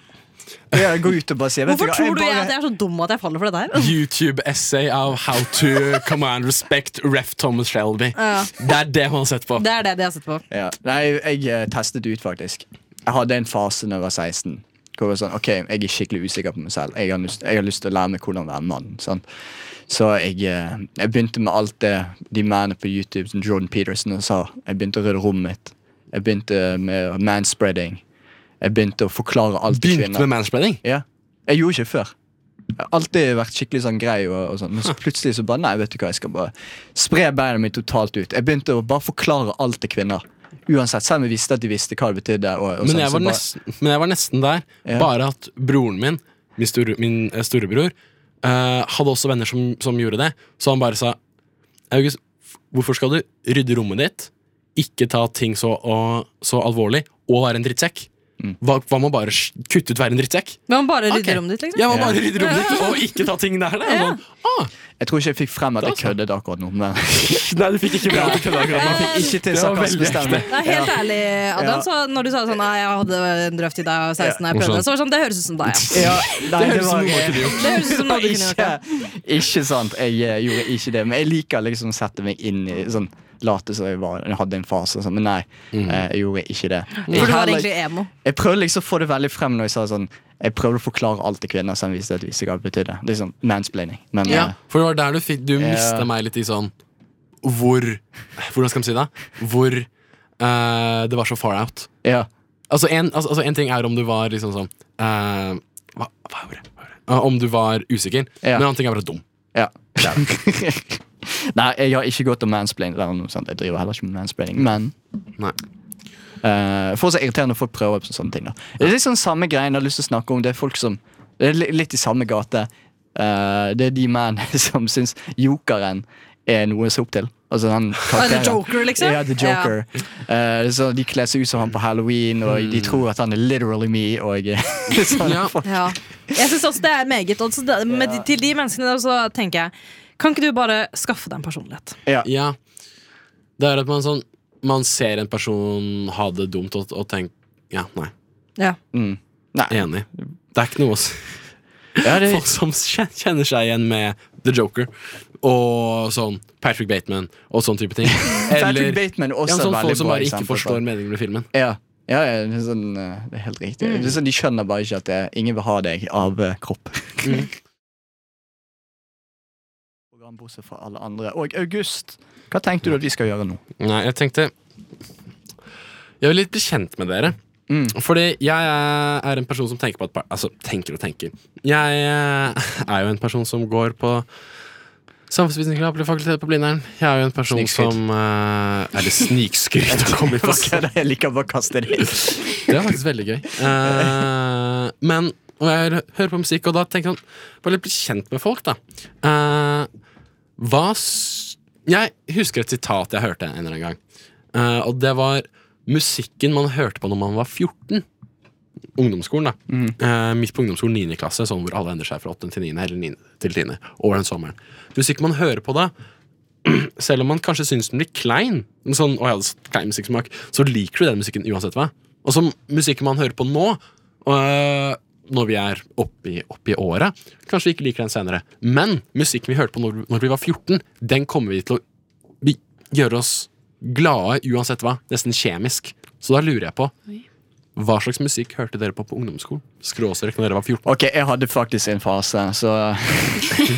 [SPEAKER 2] Ja, gå ut og bare si vet
[SPEAKER 5] Hvorfor
[SPEAKER 2] hva,
[SPEAKER 5] tror du jeg,
[SPEAKER 2] bare-
[SPEAKER 5] at jeg er så dum at jeg faller for det der?
[SPEAKER 4] YouTube-essay av How to Command Respect Ref Thomas Shelby. Det er det hun har sett på.
[SPEAKER 5] Det er det de har sett på.
[SPEAKER 2] Ja. Nei, jeg eh, testet ut, faktisk. Jeg hadde en fase da jeg var 16. Hvor jeg var sånn, ok, Jeg er skikkelig usikker på meg selv. Jeg har lyst, jeg har lyst til å lære meg hvordan være mann. sant? Så jeg, eh, jeg begynte med alt det de mennene på YouTube som Jordan Peterson sa. Jeg begynte å rydde rommet mitt. Jeg begynte med manspreading. Jeg begynte å forklare alt til
[SPEAKER 4] Begynte
[SPEAKER 2] kvinner.
[SPEAKER 4] med manspreading.
[SPEAKER 2] Ja. Jeg gjorde ikke før. Jeg har alltid vært skikkelig sånn grei, og, og sånn. men så plutselig så bare Nei, vet du hva, jeg skal bare spre beina mine totalt ut. Jeg begynte å bare forklare alt til kvinner. Uansett, Selv om jeg visste at de visste hva det betydde. Og, og
[SPEAKER 4] Men
[SPEAKER 2] sånn,
[SPEAKER 4] jeg
[SPEAKER 2] så
[SPEAKER 4] var
[SPEAKER 2] bare-
[SPEAKER 4] nesten, men jeg var nesten der.
[SPEAKER 2] Ja.
[SPEAKER 4] Bare at broren min, min, store, min eh, storebror, eh, hadde også venner som, som gjorde det. Så han bare sa August, f- hvorfor skal du rydde rommet ditt, ikke ta ting så, og, så alvorlig, og være en drittsekk?
[SPEAKER 2] Mm.
[SPEAKER 4] Hva, hva med å bare sh- kutte ut være en drittsekk?
[SPEAKER 5] Men man bare rydder
[SPEAKER 4] Ok.
[SPEAKER 5] rommet ditt, liksom.
[SPEAKER 4] Jeg må bare rydde rommet ditt og ikke ta ting der. der. Og Sånn, ah,
[SPEAKER 2] Jeg tror ikke jeg fikk frem at jeg
[SPEAKER 4] Da
[SPEAKER 2] køddet akkurat nå. Men
[SPEAKER 4] Nei, du fikk ikke bra til kødda akkurat nå.
[SPEAKER 2] ikke til
[SPEAKER 4] Eh, Det var veldig
[SPEAKER 2] sarkasmestemme.
[SPEAKER 5] Nei, helt ærlig, Adam,
[SPEAKER 2] Ja.
[SPEAKER 5] så når du sa sånn Nei, jeg hadde en drøft i deg og 16 da jeg
[SPEAKER 4] Morsomt.
[SPEAKER 5] prøvde, så var det sånn Det høres ut som deg, ja.
[SPEAKER 2] Ja, nei,
[SPEAKER 4] Det høres ut som noe
[SPEAKER 2] var-
[SPEAKER 4] du gjorde.
[SPEAKER 5] Det høres ut som noe du kunne gjort.
[SPEAKER 2] ikke,
[SPEAKER 5] ja.
[SPEAKER 2] ikke sant. Jeg eh, gjorde ikke det. Men jeg liker liksom å sette meg inn i sånn late som jeg var. Jeg hadde en fase og sånn, men nei.
[SPEAKER 4] Mm.
[SPEAKER 2] eh, Jeg gjorde ikke det. Jeg,
[SPEAKER 5] For du var
[SPEAKER 2] heller-
[SPEAKER 5] egentlig emo.
[SPEAKER 2] jeg prøvde liksom å få det veldig frem når jeg sa sånn Jeg prøvde å forklare alt til kvinner som viste at visse hva det betydde. Det er sånn mansplaining. Men
[SPEAKER 4] Ja,
[SPEAKER 2] eh,
[SPEAKER 4] for det var der du fikk Du
[SPEAKER 2] Ja.
[SPEAKER 4] mista meg litt i sånn Hvor Hvordan skal man si det? Hvor eh, det var så far out.
[SPEAKER 2] ja.
[SPEAKER 4] Altså en, altså, altså en ting er om du var liksom sånn eh, hva, hva var det? Hva var det? Eh, om du var usikker,
[SPEAKER 2] Ja.
[SPEAKER 4] men en annen ting er bare dum.
[SPEAKER 2] ja. Der. Nei, jeg har ikke gått og mansplained eller noe sånt. Jeg driver heller ikke med mansplaining. Men
[SPEAKER 4] Nei.
[SPEAKER 2] Eh, for så irriterende når folk prøver på sånne ting. da Det er litt sånn samme greien jeg har lyst til å snakke om. Det er folk som Det er li- litt i samme gate. Eh, det er de mennene som syns jokeren er noe å se opp til. Altså
[SPEAKER 4] Ah,
[SPEAKER 2] den
[SPEAKER 5] The
[SPEAKER 2] karakteren.
[SPEAKER 5] Joker, liksom.
[SPEAKER 2] Ja, The Joker. Eh, så De kler seg ut som han på halloween, og de tror at han er literally me. Og sånn,
[SPEAKER 4] Hmm. Ja.
[SPEAKER 2] folk-
[SPEAKER 5] Ja. Jeg syns også det er meget. Og så det, med, de- Til de menneskene der så tenker jeg Kan ikke du bare skaffe deg en personlighet?
[SPEAKER 2] ja.
[SPEAKER 4] Ja. Det er at man sånn Man ser en person ha det dumt og, og tenk- Ja, nei.
[SPEAKER 2] Mm. Nei.
[SPEAKER 4] Enig. Det er ikke noe å s-
[SPEAKER 2] Ja, det,
[SPEAKER 4] Folk som kjen- kjenner seg igjen med The Joker og sånn Patrick Bateman og sånn type ting.
[SPEAKER 2] Patrick
[SPEAKER 4] Eller
[SPEAKER 2] Bateman er
[SPEAKER 4] ja,
[SPEAKER 2] også
[SPEAKER 4] sånn
[SPEAKER 2] veldig
[SPEAKER 4] folk som
[SPEAKER 2] bra
[SPEAKER 4] bare ikke
[SPEAKER 2] eksempel på-
[SPEAKER 4] forstår meningen med filmen.
[SPEAKER 2] Ja, ja, ja det, er sånn, eh, det er helt riktig. Det er sånn, de skjønner bare ikke at det, ingen vil ha deg av eh, kropp.
[SPEAKER 4] Mm.
[SPEAKER 2] Program Bortsett fra alle andre. Og August, hva tenkte du at vi skal gjøre nå?
[SPEAKER 4] Nei, jeg tenkte Jeg vil litt bli kjent med dere.
[SPEAKER 2] Mm.
[SPEAKER 4] Fordi jeg er en person som tenker på et par Altså, tenker og tenker. Jeg eh, er jo en person som går på Samfunnsvitenskapelig fakultet på Blindern. Jeg er jo en person
[SPEAKER 2] Snikskryt.
[SPEAKER 4] som eh, Eller snikskryt. å komme i
[SPEAKER 2] Ok,
[SPEAKER 4] fakke.
[SPEAKER 2] da, Jeg liker bare å kaste det inn.
[SPEAKER 4] Det er faktisk veldig gøy. Eh, men og jeg hø- hører på musikk, og da tenker jeg sånn Bare litt bli kjent med folk, da. Eh, hva s Jeg husker et sitat jeg hørte en eller annen gang. Eh, og det var musikken man hørte på når man var 14. Ungdomsskolen, da. Eh, midt på ungdomsskolen, 9. klasse, sånn hvor alle endrer seg fra 8. til 9. eller 9. til 10. over den sommeren. Musikk man hører på da, selv om man kanskje syns den blir klein, sånn, å, jeg hadde så klein musikksmak, så liker du den musikken uansett hva. Og som musikken man hører på nå, øh, når vi er oppe i, oppe i året, kanskje vi ikke liker den senere. Men musikken vi hørte på når, når vi var 14, den kommer vi til å vi, gjøre oss glade uansett hva. Nesten kjemisk. Så da lurer jeg på
[SPEAKER 6] Oi.
[SPEAKER 4] hva slags musikk hørte dere på på ungdomsskolen? Skråstrek når dere var 14.
[SPEAKER 2] Ok, jeg hadde faktisk en fase, så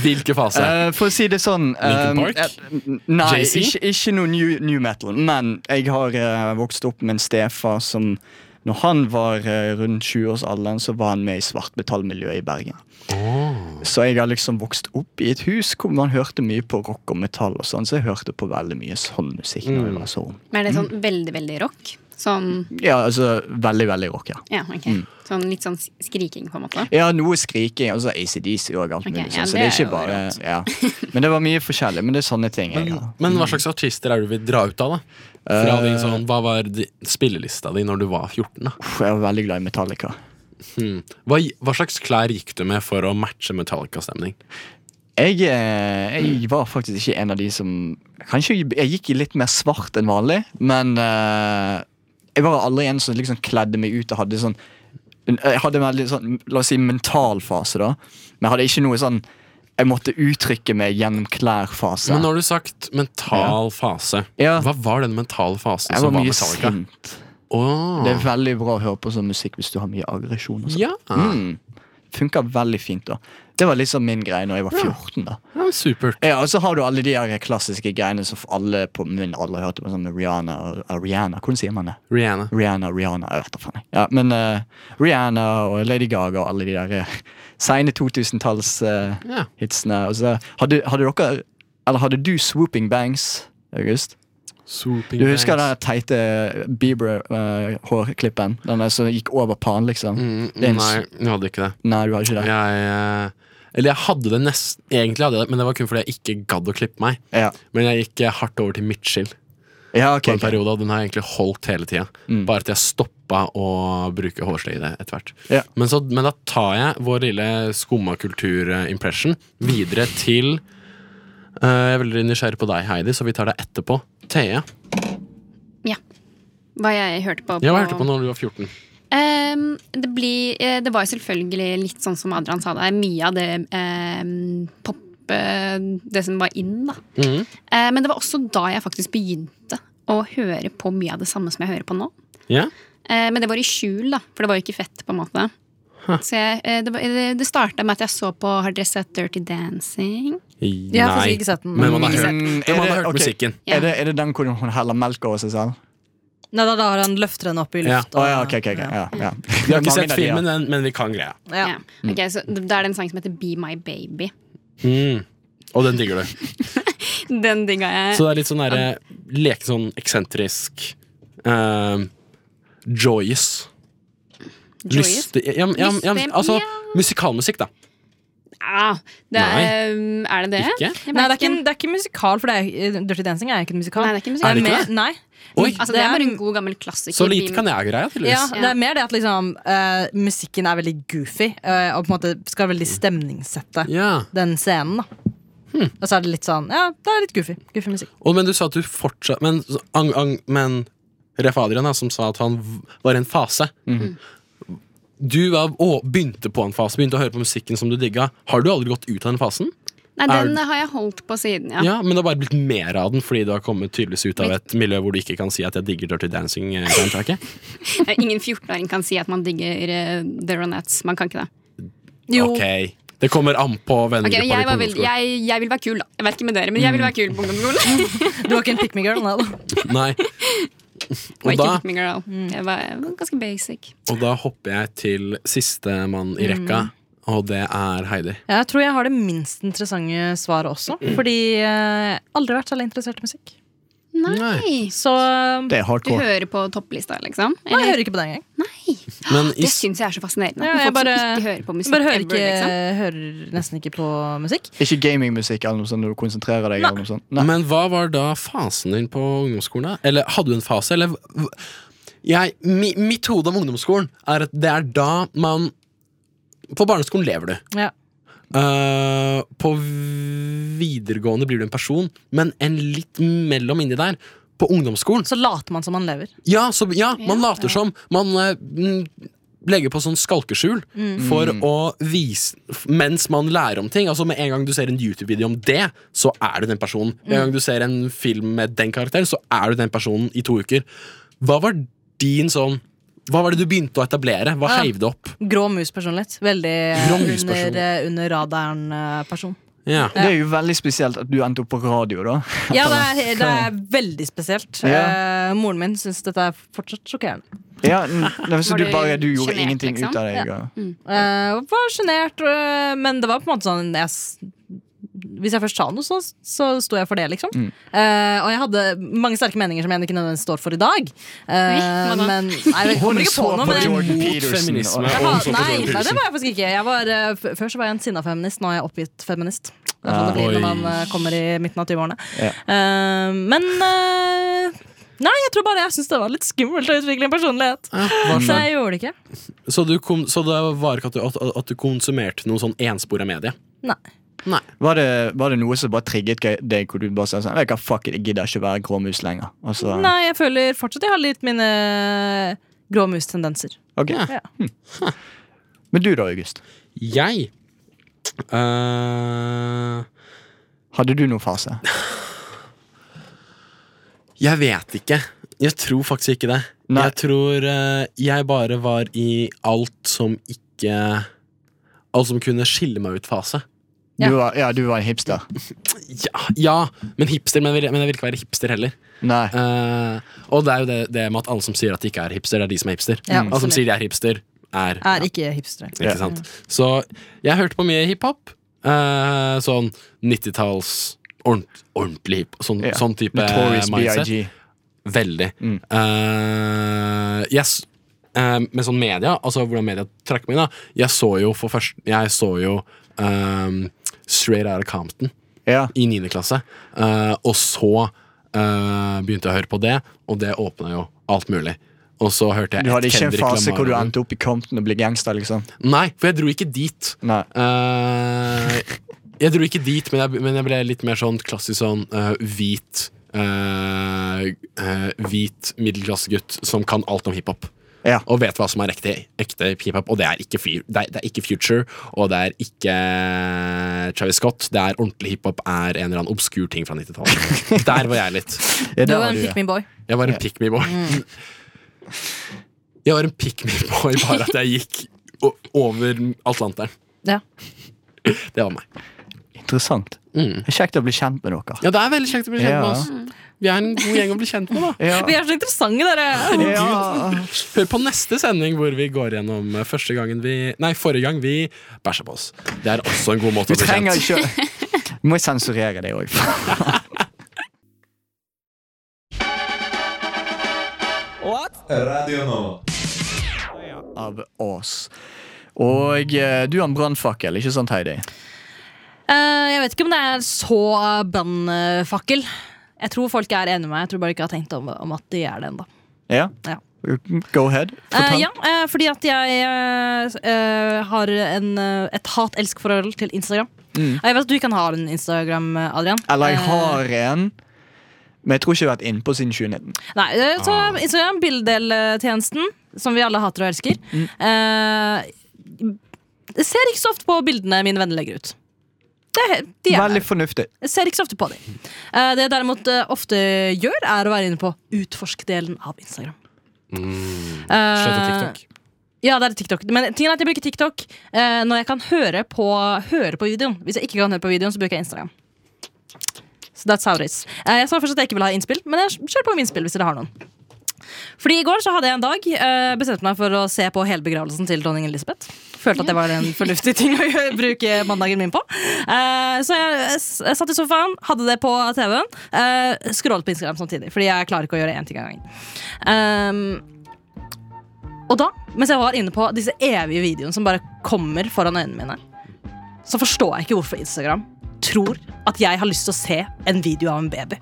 [SPEAKER 4] Hvilke fase?
[SPEAKER 2] Eh, For å si det sånn
[SPEAKER 4] Linkin
[SPEAKER 2] eh,
[SPEAKER 4] Park?
[SPEAKER 2] eh, Nei,
[SPEAKER 4] Jay-Z?
[SPEAKER 2] ikke, ikke noe new, new metal. Men jeg har eh, vokst opp med en stefar som når han var eh, rundt 20-årsalderen, så var han med i svartmetallmiljøet i Bergen.
[SPEAKER 4] Oh.
[SPEAKER 2] Så jeg har liksom vokst opp i et hus hvor man hørte mye på rock og metall. og sånn, Så jeg hørte på veldig mye sånn musikk når
[SPEAKER 4] Mm.
[SPEAKER 2] jeg var så ung.
[SPEAKER 6] Men er det sånn veldig, veldig rock? Sånn,
[SPEAKER 2] Ja, altså veldig, veldig rock, ja.
[SPEAKER 6] ja, ok.
[SPEAKER 4] Mm.
[SPEAKER 6] sånn litt sånn skriking, på en måte.
[SPEAKER 2] Ja, noe skriking. altså Og så ACDC og alt
[SPEAKER 6] Ok,
[SPEAKER 2] mulig.
[SPEAKER 6] ja,
[SPEAKER 2] sånn, så det
[SPEAKER 6] det er
[SPEAKER 2] er ikke
[SPEAKER 6] jo
[SPEAKER 2] bare ja. Men det var mye forskjellig. Men det er sånne ting. jeg
[SPEAKER 4] Men,
[SPEAKER 2] har.
[SPEAKER 4] men hva slags artister er det du vil dra ut av, da? Fra din sånn, Hva var di- spillelista di når du var 14? da?
[SPEAKER 2] Uff, Jeg var veldig glad i Metallica.
[SPEAKER 4] Hva, hva slags klær gikk du med for å matche Metallica-stemning?
[SPEAKER 2] Jeg, eh, jeg var faktisk ikke en av de som Kanskje jeg jeg gikk i litt mer svart enn vanlig, men eh, jeg var aldri en som liksom kledde meg ut og hadde sånn Jeg hadde en veldig sånn, la oss si, mental fase, da. Men jeg hadde ikke noe sånn Jeg måtte uttrykke meg gjennom klær-fase.
[SPEAKER 4] Men nå har du sagt mental fase.
[SPEAKER 2] Ja.
[SPEAKER 4] Hva var den mentale fasen
[SPEAKER 2] Jeg
[SPEAKER 4] som
[SPEAKER 2] var
[SPEAKER 4] var
[SPEAKER 2] mye
[SPEAKER 4] Metallica?
[SPEAKER 2] sint.
[SPEAKER 4] Åh.
[SPEAKER 2] Det er veldig bra å høre på sånn musikk hvis du har mye aggresjon. og sånn.
[SPEAKER 4] Ja,
[SPEAKER 2] Mm. Funker veldig fint, da. Det var liksom min greie når jeg var 14, da.
[SPEAKER 4] ja supert.
[SPEAKER 2] Ja, og så har du alle de her klassiske greiene som alle på min alder hørte på, sånn Rihanna og Rihanna. Hvordan sier man det?
[SPEAKER 4] Rihanna.
[SPEAKER 2] Rihanna, Rihanna, jeg vet da faen. jeg. Ja, men eh, Rihanna og Lady Gaga og alle de der eh, seine 2000-talls-hitsene.
[SPEAKER 4] Ja.
[SPEAKER 2] eh, og så hadde, hadde dere Eller hadde du Swooping Bangs, August?
[SPEAKER 4] Swooping
[SPEAKER 2] Du husker
[SPEAKER 4] Bangs.
[SPEAKER 2] den teite eh, Bieber-hårklippen? den der som gikk over pannen, liksom? Det er
[SPEAKER 4] Mm,
[SPEAKER 2] en
[SPEAKER 4] nei,
[SPEAKER 2] s-
[SPEAKER 4] jeg hadde ikke det.
[SPEAKER 2] Nei, du har ikke det?
[SPEAKER 4] Jeg, eh, eller jeg hadde det nesten Egentlig hadde jeg det, men det var kun fordi jeg ikke gadd å klippe meg.
[SPEAKER 2] Ja,
[SPEAKER 4] Men jeg gikk eh, hardt over til midtskill.
[SPEAKER 2] ja ok. Mm.
[SPEAKER 4] på en
[SPEAKER 2] ok.
[SPEAKER 4] periode, og den har jeg egentlig holdt hele tida. Bare at jeg stoppa å bruke hårsløye i det etter hvert.
[SPEAKER 2] Ja.
[SPEAKER 4] Men, så, men da tar jeg vår lille skumma kultur-impression videre til eh, Jeg er veldig nysgjerrig på deg, Heidi, så vi tar deg etterpå. Thea,
[SPEAKER 6] Hva jeg hørte på.
[SPEAKER 4] jeg hørte på når du var 14.
[SPEAKER 6] Ehm, det, blir, eh, det var jo selvfølgelig litt sånn som Adrian sa, det er mye av det ehm, pop eh, Det som var inn, da.
[SPEAKER 4] Mhm.
[SPEAKER 6] Eh, men det var også da jeg faktisk begynte å høre på mye av det samme som jeg hører på nå.
[SPEAKER 4] Ja?
[SPEAKER 6] Eh, men det var i skjul, da, for det var jo ikke fett, på en måte. Så jeg, eh, det var- det, det starta med at jeg så på Har dere sett Dirty Dancing?
[SPEAKER 5] Jeg har faktisk ikke sett den.
[SPEAKER 4] men man har
[SPEAKER 6] Ikke
[SPEAKER 4] hørt,
[SPEAKER 2] sett.
[SPEAKER 4] men
[SPEAKER 2] eh, Er
[SPEAKER 4] man
[SPEAKER 2] det-
[SPEAKER 4] har hørt
[SPEAKER 2] ok.
[SPEAKER 4] musikken.
[SPEAKER 6] Ja.
[SPEAKER 2] Er, det, er det den hvor hun heller melk over seg selv?
[SPEAKER 5] Nei, da, da har han løfter henne opp i
[SPEAKER 4] Ja.
[SPEAKER 5] luft.
[SPEAKER 2] Å
[SPEAKER 5] og-
[SPEAKER 2] ja, ok, ok, ok. Ja, ja.
[SPEAKER 4] Vi har ikke sett filmen, men, men vi kan greia.
[SPEAKER 5] Ja.
[SPEAKER 6] Ja. Ok, så Da er det en sang som heter Be My Baby.
[SPEAKER 4] Mm. Og den digger du.
[SPEAKER 6] Den digga jeg.
[SPEAKER 4] Så det er litt sånn derre leke sånn eksentrisk eh, Joyous.
[SPEAKER 6] Joyous.
[SPEAKER 4] Lystig ja, ja, ja,
[SPEAKER 6] Lystig,
[SPEAKER 4] Altså
[SPEAKER 6] ja. Mm.
[SPEAKER 4] musikalmusikk, da.
[SPEAKER 6] Ah, det er, er det det?
[SPEAKER 4] Ikke?
[SPEAKER 6] Jeg
[SPEAKER 5] Nei, det um, er,
[SPEAKER 6] vet
[SPEAKER 5] ikke, det er ikke musikal, for det er, eh, Dirty Dancing er ikke en musikal.
[SPEAKER 6] Nei, det er ikke en
[SPEAKER 4] musikal. Er det ikke
[SPEAKER 5] mer-
[SPEAKER 4] det?
[SPEAKER 5] Nei.
[SPEAKER 4] Oi.
[SPEAKER 6] Altså, det, er bare en god gammel klassiker.
[SPEAKER 4] Så lite kan jeg greia,
[SPEAKER 5] Ja,
[SPEAKER 4] tydeligvis.
[SPEAKER 5] det er mer det at liksom, eh, musikken er veldig goofy, eh, og på en måte skal veldig stemningssette
[SPEAKER 4] Ja.
[SPEAKER 5] den scenen. da Og så er det litt sånn Ja, det er litt goofy. Goofy musikk.
[SPEAKER 4] Og, men du sa at du fortsatt Men, så- ang, ang, men Ref. Adrian, da, som sa at han v- var i en fase. Du var, å, begynte på en fase, begynte å høre på musikken som du digga. Har du aldri gått ut av den fasen?
[SPEAKER 6] Nei,
[SPEAKER 4] Er-
[SPEAKER 6] den har jeg holdt på siden, ja.
[SPEAKER 4] Ja, Men det har bare blitt mer av den fordi du har kommet tydeligvis ut av et miljø hvor du ikke kan si at jeg digger Dirty Dancing. eh, soundtracket.
[SPEAKER 6] Eh, Ingen 14-åring kan si at man digger eh, The Ronettes. Man kan ikke det.
[SPEAKER 5] Jo,
[SPEAKER 4] Ok, Det kommer an på
[SPEAKER 6] Ok,
[SPEAKER 4] vennegruppa
[SPEAKER 6] jeg,
[SPEAKER 4] di på
[SPEAKER 6] var veldig,
[SPEAKER 4] ungdomsskolen.
[SPEAKER 6] jeg, jeg vil være kul, da. Jeg vet ikke med dere, men jeg vil være kul på ungdomsskolen.
[SPEAKER 5] du var ikke en pick me girl, nei da.
[SPEAKER 4] Nei.
[SPEAKER 6] Jeg var
[SPEAKER 4] Og da
[SPEAKER 6] ikke pick me girl.
[SPEAKER 5] Mm.
[SPEAKER 6] Jeg var, jeg var ganske basic.
[SPEAKER 4] Og da hopper jeg til sistemann i
[SPEAKER 6] Mm.
[SPEAKER 4] rekka, og det er Heidi.
[SPEAKER 5] Jeg tror jeg har det minst interessante svaret også. Fordi eh, aldri vært særlig interessert i musikk.
[SPEAKER 6] Nei.
[SPEAKER 5] Så eh,
[SPEAKER 2] Det er
[SPEAKER 6] Du
[SPEAKER 2] hardcore.
[SPEAKER 6] hører på topplista, liksom?
[SPEAKER 5] nei, jeg
[SPEAKER 6] Eller?
[SPEAKER 5] hører ikke på det engang.
[SPEAKER 4] Men i,
[SPEAKER 6] Det syns jeg er så fascinerende.
[SPEAKER 5] Ja, jeg
[SPEAKER 6] Folk
[SPEAKER 5] bare-
[SPEAKER 6] som ikke hører på musikk
[SPEAKER 5] Bare hører,
[SPEAKER 6] ever,
[SPEAKER 5] ikke,
[SPEAKER 6] liksom.
[SPEAKER 5] hører nesten ikke på musikk.
[SPEAKER 2] Ikke gamingmusikk eller noe sånt når du konsentrerer deg. eller noe sånt. Nei.
[SPEAKER 4] men hva var da fasen din på ungdomsskolen? da? Eller hadde du en fase? Eller, v- jeg, mi, mitt hode om ungdomsskolen er at det er da man På barneskolen lever du.
[SPEAKER 5] Ja.
[SPEAKER 4] Eh, på videregående blir du en person, men en litt mellom inni der. På ungdomsskolen
[SPEAKER 5] Så later man som man lever.
[SPEAKER 4] Ja, så, ja man later som. Man eh, mm, legger på sånn skalkeskjul for å vise f- Mens man lærer om ting. Altså Med en gang du ser en YouTube-video om det, så er du den personen. Med en gang du ser en film med den karakteren, så er du den personen i to uker. Hva var din sånn Hva var det du begynte å etablere? Hva
[SPEAKER 5] Ja.
[SPEAKER 4] heiv det opp?
[SPEAKER 5] Grå mus personlighet. Veldig eh,
[SPEAKER 4] Grå mus person.
[SPEAKER 5] under, eh, under eh, radaren-person.
[SPEAKER 4] Ja.
[SPEAKER 2] Det er jo veldig spesielt at du endte opp på radio, da.
[SPEAKER 5] Ja, det er, det er veldig spesielt.
[SPEAKER 2] Ja.
[SPEAKER 5] Eh, moren min syns dette er fortsatt sjokkerende.
[SPEAKER 2] Ja, n- det var så
[SPEAKER 6] Var
[SPEAKER 2] du
[SPEAKER 6] du
[SPEAKER 2] bare du gjorde
[SPEAKER 6] sjenert,
[SPEAKER 2] ingenting
[SPEAKER 6] liksom?
[SPEAKER 2] ut av deg. og-
[SPEAKER 5] Eh, var sjenert, eh, men det var på en måte sånn jeg, s- Hvis jeg først sa noe, så, så sto jeg for det, liksom.
[SPEAKER 2] Mm.
[SPEAKER 5] Eh, og jeg hadde mange sterke meninger som jeg ikke nødvendigvis står for i dag. Eh,
[SPEAKER 6] Oi, hva da?
[SPEAKER 5] men nei, jeg
[SPEAKER 2] Hun
[SPEAKER 5] kommer ikke
[SPEAKER 2] så
[SPEAKER 5] på
[SPEAKER 2] på
[SPEAKER 5] noe, men jeg,
[SPEAKER 2] Jordan
[SPEAKER 4] Mot
[SPEAKER 2] Peterson.
[SPEAKER 4] feminisme.
[SPEAKER 2] og-
[SPEAKER 5] jeg,
[SPEAKER 4] og altså. hun
[SPEAKER 5] har-
[SPEAKER 4] så på Jordan
[SPEAKER 5] nei, nei, det
[SPEAKER 4] Peterson.
[SPEAKER 5] var jeg faktisk ikke. Jeg var, eh, f- før så var jeg en sinna feminist, nå er jeg oppgitt feminist. Det er sånn det blir
[SPEAKER 4] Oi.
[SPEAKER 5] når man eh, kommer i midten av 20-årene.
[SPEAKER 2] Ah, Ja.
[SPEAKER 5] Eh, men eh, Nei, jeg tror bare jeg syns det var litt skummelt å utvikle en personlighet.
[SPEAKER 4] Ja, hva
[SPEAKER 5] Så jeg gjorde det ikke.
[SPEAKER 4] Så, du kom, så det var ikke at du, at, at du konsumerte noe sånn enspora medie?
[SPEAKER 5] Nei.
[SPEAKER 2] Var det, var det noe som bare trigget ge- deg, hvor du bare sa sånn, vet du hva, fuck it, jeg gidder ikke være gråmus lenger? Og så,
[SPEAKER 5] Nei, jeg føler fortsatt jeg har litt mine eh, grå mus-tendenser.
[SPEAKER 2] Ok.
[SPEAKER 4] Ja.
[SPEAKER 2] Hm. Men du da, August?
[SPEAKER 4] Jeg eh,
[SPEAKER 2] Hadde du noen fase?
[SPEAKER 4] Jeg vet ikke. Jeg tror faktisk ikke det.
[SPEAKER 2] Nei.
[SPEAKER 4] Jeg tror eh, jeg bare var i alt som ikke Alt som kunne skille meg ut-fase.
[SPEAKER 5] Ja.
[SPEAKER 2] Du var, ja, du var en hipster.
[SPEAKER 4] Ja, ja, men hipster, men, vil- men jeg vil ikke være hipster heller.
[SPEAKER 2] Nei.
[SPEAKER 4] Eh, og det er jo det, det med at alle som sier at de ikke er hipster, det er de som er hipster.
[SPEAKER 5] Ja,
[SPEAKER 4] alle som
[SPEAKER 5] absolutt.
[SPEAKER 4] sier de er hipster, er
[SPEAKER 5] Er ikke hipstere.
[SPEAKER 4] Ikke sant? Så jeg hørte på mye hiphop. eh, sånn 90-talls ordent, ordentlig hiphop. Sånn,
[SPEAKER 2] Ja.
[SPEAKER 4] sånn type
[SPEAKER 2] Notorious
[SPEAKER 4] mindset.
[SPEAKER 2] BIG.
[SPEAKER 4] Veldig.
[SPEAKER 2] Mm.
[SPEAKER 4] Eh, jeg s- eh, men sånn media, altså hvordan media trakk meg inn, da. Jeg så jo for først Jeg så jo ehm, Straight Out of Compton
[SPEAKER 2] Ja.
[SPEAKER 4] i 9. klasse. Eh, og så eh, begynte jeg å høre på det, og det åpna jo alt mulig. Og så hørte jeg
[SPEAKER 2] Du hadde
[SPEAKER 4] et
[SPEAKER 2] ikke en
[SPEAKER 4] Kendrick
[SPEAKER 2] fase hvor du
[SPEAKER 4] Lamar-album.
[SPEAKER 2] endte opp i Compton og ble gangster, liksom?
[SPEAKER 4] Nei, for jeg dro ikke dit.
[SPEAKER 2] Nei.
[SPEAKER 4] Eh, jeg dro ikke dit, men jeg, men jeg ble litt mer sånn klassisk sånn eh, hvit eh, eh, Hvit middelklassegutt som kan alt om hiphop.
[SPEAKER 2] Ja.
[SPEAKER 4] Og vet hva som er ekte, ekte hiphop. Og det er, ikke, fu- det, er, det er ikke Future, og det er ikke eh, Travis Scott. Det er ordentlig hiphop er en eller annen obskur ting fra 90-tallet. Der var jeg litt.
[SPEAKER 2] Ja,
[SPEAKER 5] Du
[SPEAKER 2] der
[SPEAKER 5] var
[SPEAKER 2] var
[SPEAKER 5] en
[SPEAKER 2] du,
[SPEAKER 5] pick
[SPEAKER 2] ja.
[SPEAKER 5] me boy.
[SPEAKER 4] Jeg var en pick me boy. Jeg var en pick me boy, bare at jeg gikk o- over Atlanteren.
[SPEAKER 5] Ja.
[SPEAKER 4] Det var meg.
[SPEAKER 2] Interessant.
[SPEAKER 4] Mm.
[SPEAKER 2] Kjekt å bli kjent med dere.
[SPEAKER 4] Ja, det er veldig kjekt å bli kjent
[SPEAKER 2] Ja.
[SPEAKER 4] med oss. Vi er en god gjeng å bli kjent med, da.
[SPEAKER 2] Ja.
[SPEAKER 5] Vi er så interessante, dere!
[SPEAKER 2] Ja.
[SPEAKER 4] Hør på neste sending hvor vi går gjennom eh, første gangen vi Nei, forrige gang vi bæsja på oss. Det er også en god måte å
[SPEAKER 2] Du
[SPEAKER 4] bli
[SPEAKER 2] trenger
[SPEAKER 4] kjent.
[SPEAKER 2] ikke Du må sensurere det òg. Av oss. Og eh, du har en brannfakkel, ikke sant, Heidi?
[SPEAKER 5] Eh, jeg vet ikke om det er så eh, brannfakkel. Jeg tror folk er enig med meg. Jeg tror bare ikke jeg har tenkt om, om at de er det ennå.
[SPEAKER 2] Ja?
[SPEAKER 5] Ja.
[SPEAKER 2] Go ahead.
[SPEAKER 5] Eh,
[SPEAKER 2] Fortell.
[SPEAKER 5] ja, eh, fordi at jeg eh, eh, har en, eh, et hat-elsk-forhold til Instagram.
[SPEAKER 2] Mm.
[SPEAKER 5] Og Jeg vet at du ikke kan ha en Instagram, eh, Adrian.
[SPEAKER 2] Eller jeg
[SPEAKER 5] Eh,
[SPEAKER 2] har en, Men jeg tror ikke jeg har vært innpå siden 2019.
[SPEAKER 5] Nei, eh, så
[SPEAKER 4] Ah.
[SPEAKER 5] Instagram, bildedeltjenesten, som vi alle hater og elsker.
[SPEAKER 4] Mm.
[SPEAKER 5] Eh, jeg ser ikke så ofte på bildene mine venner legger ut. Det, er- de er
[SPEAKER 2] Veldig
[SPEAKER 5] der.
[SPEAKER 2] fornuftig.
[SPEAKER 5] Jeg ser ikke så ofte på dem. Eh, det jeg derimot eh, ofte gjør, er å være inne på utforsk-delen av Instagram. Eh,
[SPEAKER 4] Mm. Slett av TikTok.
[SPEAKER 5] Ja, det er TikTok. Men tingen er at jeg bruker TikTok eh, når jeg kan høre på, høre på videoen. Hvis jeg ikke kan høre på videoen, så bruker jeg Instagram. Så that's how it is. Eh, jeg sa først at jeg ikke vil ha innspill, men jeg kjører på med innspill hvis dere har noen. Fordi I går så hadde jeg en dag eh, bestemt meg for å se på hele begravelsen til dronning Elisabeth. Følte at det var en fornuftig ting å gjøre- bruke mandagen min på. Eh, så jeg, jeg, s- jeg satt i sofaen, hadde det på TV-en. Eh, scrollet på Instagram samtidig, fordi jeg klarer ikke å gjøre én ting av gangen. Ehm, og da, mens jeg var inne på disse evige videoene som bare kommer foran øynene mine, så forstår jeg ikke hvorfor Instagram tror at jeg har lyst til å se en video av en baby.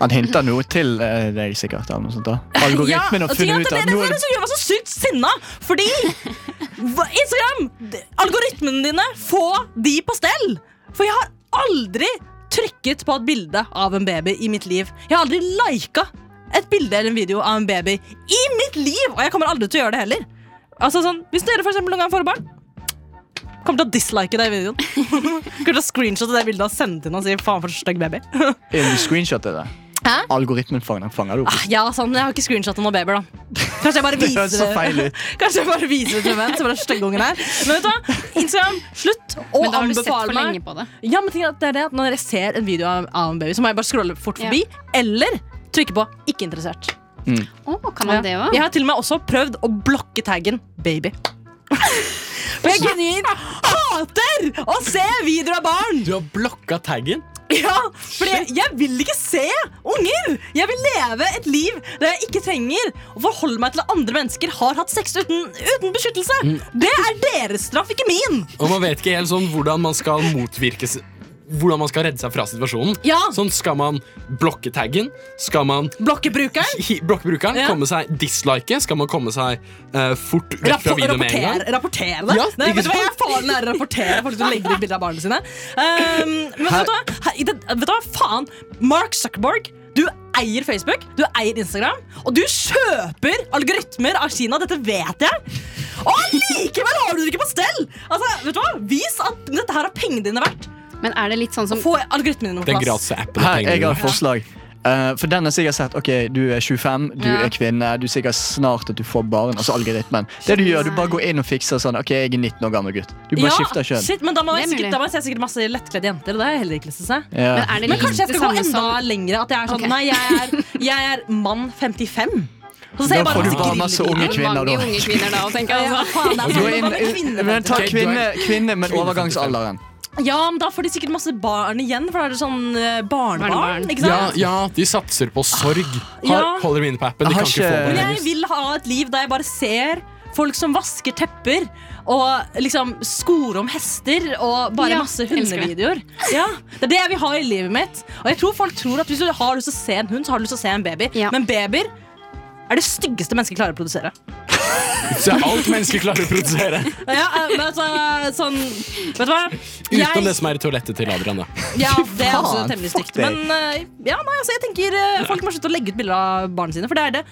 [SPEAKER 2] Han hinter noe til eh, deg, sikkert. Eller noe sånt da Algoritmen
[SPEAKER 5] Ja,
[SPEAKER 2] har
[SPEAKER 5] og ting
[SPEAKER 2] funnet
[SPEAKER 5] er at
[SPEAKER 2] ut
[SPEAKER 5] det-
[SPEAKER 2] at
[SPEAKER 5] Det
[SPEAKER 2] nå er
[SPEAKER 5] var det
[SPEAKER 2] det
[SPEAKER 5] som gjør meg så sykt sinna! Fordi hva- Instagram, algoritmene dine, få de på stell! For jeg har aldri trykket på et bilde av en baby i mitt liv. Jeg har aldri lika et bilde eller en video av en baby i mitt liv! Og jeg kommer aldri til å gjøre det heller. Altså sånn, Hvis dere for eksempel noen gang får barn Kommer til å dislike deg i videoen. Kommer til å screenshotte det bildet og sende til henne og si faen for en stygg baby.
[SPEAKER 2] Er det screenshotet der.
[SPEAKER 5] Hæ?
[SPEAKER 2] Algoritmen fanger, fanger det opp.
[SPEAKER 5] Ah, Ja, sånn, Jeg har ikke screenshotta noen babyer, da. Kanskje jeg bare
[SPEAKER 2] Det
[SPEAKER 5] viser
[SPEAKER 2] høres så feil ut.
[SPEAKER 5] Kanskje jeg bare viser det til venn, så bare stygge ungen her. Men vet du hva? Instagram, slutt å
[SPEAKER 6] Men da har du sett for
[SPEAKER 5] anbefale meg.
[SPEAKER 6] lenge på det.
[SPEAKER 5] Ja, men ting er at det er det at Når jeg ser en video av av en baby, så må jeg bare scrolle fort
[SPEAKER 6] Ja.
[SPEAKER 5] forbi. Eller trykke på 'ikke interessert'.
[SPEAKER 6] Å, kan man det
[SPEAKER 5] Ja.
[SPEAKER 6] òg?
[SPEAKER 5] Jeg har til og med også prøvd å blokke taggen 'baby'. For jeg genuint hater å se videoer av barn!
[SPEAKER 4] Du har blokka taggen?
[SPEAKER 5] Ja, for jeg, jeg vil ikke se unger! Jeg vil leve et liv der jeg ikke trenger å forholde meg til at andre mennesker har hatt sex uten, uten beskyttelse. Det er deres straff, ikke min!
[SPEAKER 4] Og man vet ikke helt sånn hvordan man skal motvirke s- Hvordan man skal redde seg fra situasjonen.
[SPEAKER 5] Ja.
[SPEAKER 4] Sånn Skal man blokke taggen? Skal man
[SPEAKER 5] Blokkebrukeren
[SPEAKER 4] hi- blokke brukeren?
[SPEAKER 5] Ja.
[SPEAKER 4] Komme seg dislike? Skal man komme seg eh, fort vekk fra
[SPEAKER 5] Rappo-
[SPEAKER 4] videoen med en gang?
[SPEAKER 5] rapportere, rapportere det.
[SPEAKER 4] Ja,
[SPEAKER 5] Nei,
[SPEAKER 4] ikke
[SPEAKER 5] vet du hva jeg
[SPEAKER 4] sant?
[SPEAKER 5] er faren er å rapportere folk som legger ut bilder av barna sine? Um, men vet du, hva? Her- i det, vet du hva, faen? Mark Zuckerberg, du eier Facebook, du eier Instagram, og du kjøper algoritmer av Kina. Dette vet jeg. Og likevel har du det ikke på stell! Altså, vet du hva? Vis at dette her har pengene dine verdt.
[SPEAKER 6] Men er det litt sånn som
[SPEAKER 5] Få algoritmene dine
[SPEAKER 4] Den
[SPEAKER 5] på plass.
[SPEAKER 4] gratis appen.
[SPEAKER 2] Her, jeg har
[SPEAKER 4] pengene.
[SPEAKER 2] et forslag. Eh, for den har sikkert sett ok, du er 25, du
[SPEAKER 6] Ja.
[SPEAKER 2] er kvinne, du er sikkert snart at du får barn. Altså algoritmen. Det du gjør, du bare går inn og fikser sånn. Ok, jeg er 19 år gammel gutt. Du bare skifter kjønn.
[SPEAKER 5] shit, men da må,
[SPEAKER 6] Det er
[SPEAKER 5] jeg sikkert,
[SPEAKER 6] mulig.
[SPEAKER 5] da må jeg se sikkert masse lettkledde jenter. og Det har jeg heller ikke lyst til å
[SPEAKER 2] Ja.
[SPEAKER 5] se.
[SPEAKER 6] Men er det
[SPEAKER 5] Men
[SPEAKER 6] litt
[SPEAKER 5] kanskje jeg
[SPEAKER 6] det
[SPEAKER 5] skal gå
[SPEAKER 6] samme
[SPEAKER 5] enda
[SPEAKER 6] som
[SPEAKER 5] lengre. At jeg er sånn
[SPEAKER 6] Ok.
[SPEAKER 5] Nei, jeg er, jeg er mann 55. Og så ser
[SPEAKER 2] Da
[SPEAKER 5] jeg bare
[SPEAKER 2] får du
[SPEAKER 5] masse
[SPEAKER 2] bare
[SPEAKER 5] griller
[SPEAKER 2] masse
[SPEAKER 5] bilder.
[SPEAKER 2] unge kvinner,
[SPEAKER 6] mange
[SPEAKER 2] da.
[SPEAKER 6] unge kvinner da, tenker
[SPEAKER 5] Ja,
[SPEAKER 6] jeg
[SPEAKER 5] ja,
[SPEAKER 6] altså.
[SPEAKER 2] Og du
[SPEAKER 5] faen, det er
[SPEAKER 2] er
[SPEAKER 5] sånn
[SPEAKER 2] inn,
[SPEAKER 5] bare kvinner,
[SPEAKER 2] men ta
[SPEAKER 4] Ok, du er-
[SPEAKER 2] kvinne, kvinne men
[SPEAKER 4] Kvinne
[SPEAKER 2] overgangsalderen.
[SPEAKER 5] vet du. Ja, men da får de sikkert masse barn igjen, for da er det sånn eh, barnebarn.
[SPEAKER 6] Barnebarn.
[SPEAKER 4] Ja,
[SPEAKER 5] Ikke sant?
[SPEAKER 4] ja, de satser på sorg.
[SPEAKER 5] Ja.
[SPEAKER 4] Har, holder dem inne på appen. De kan
[SPEAKER 2] Jeg har
[SPEAKER 4] ikke få
[SPEAKER 2] ikke-
[SPEAKER 4] det
[SPEAKER 5] Men
[SPEAKER 4] lenger.
[SPEAKER 5] jeg vil ha et liv der jeg bare ser folk som vasker tepper og liksom skorer om hester og bare
[SPEAKER 6] Ja,
[SPEAKER 5] masse
[SPEAKER 6] elsker det.
[SPEAKER 5] hundevideoer. Ja, det er det jeg vil ha i livet mitt. Og jeg tror folk tror at hvis du har lyst til å se en hund, så har du lyst til å se en baby.
[SPEAKER 6] Ja.
[SPEAKER 5] Men babyer er det styggeste mennesker klarer å produsere.
[SPEAKER 4] Så det er alt mennesker klarer å produsere.
[SPEAKER 5] Ja, eh, men altså, sånn Vet du hva?
[SPEAKER 4] Utenom det som er i toalettet til Adrian, da.
[SPEAKER 5] Ja, det er også
[SPEAKER 2] Faen,
[SPEAKER 5] temmelig
[SPEAKER 2] fuck
[SPEAKER 5] stygt.
[SPEAKER 2] deg.
[SPEAKER 5] Men eh, ja, nei, altså, jeg tenker eh, folk må slutte å legge ut bilder av barna sine. For det er det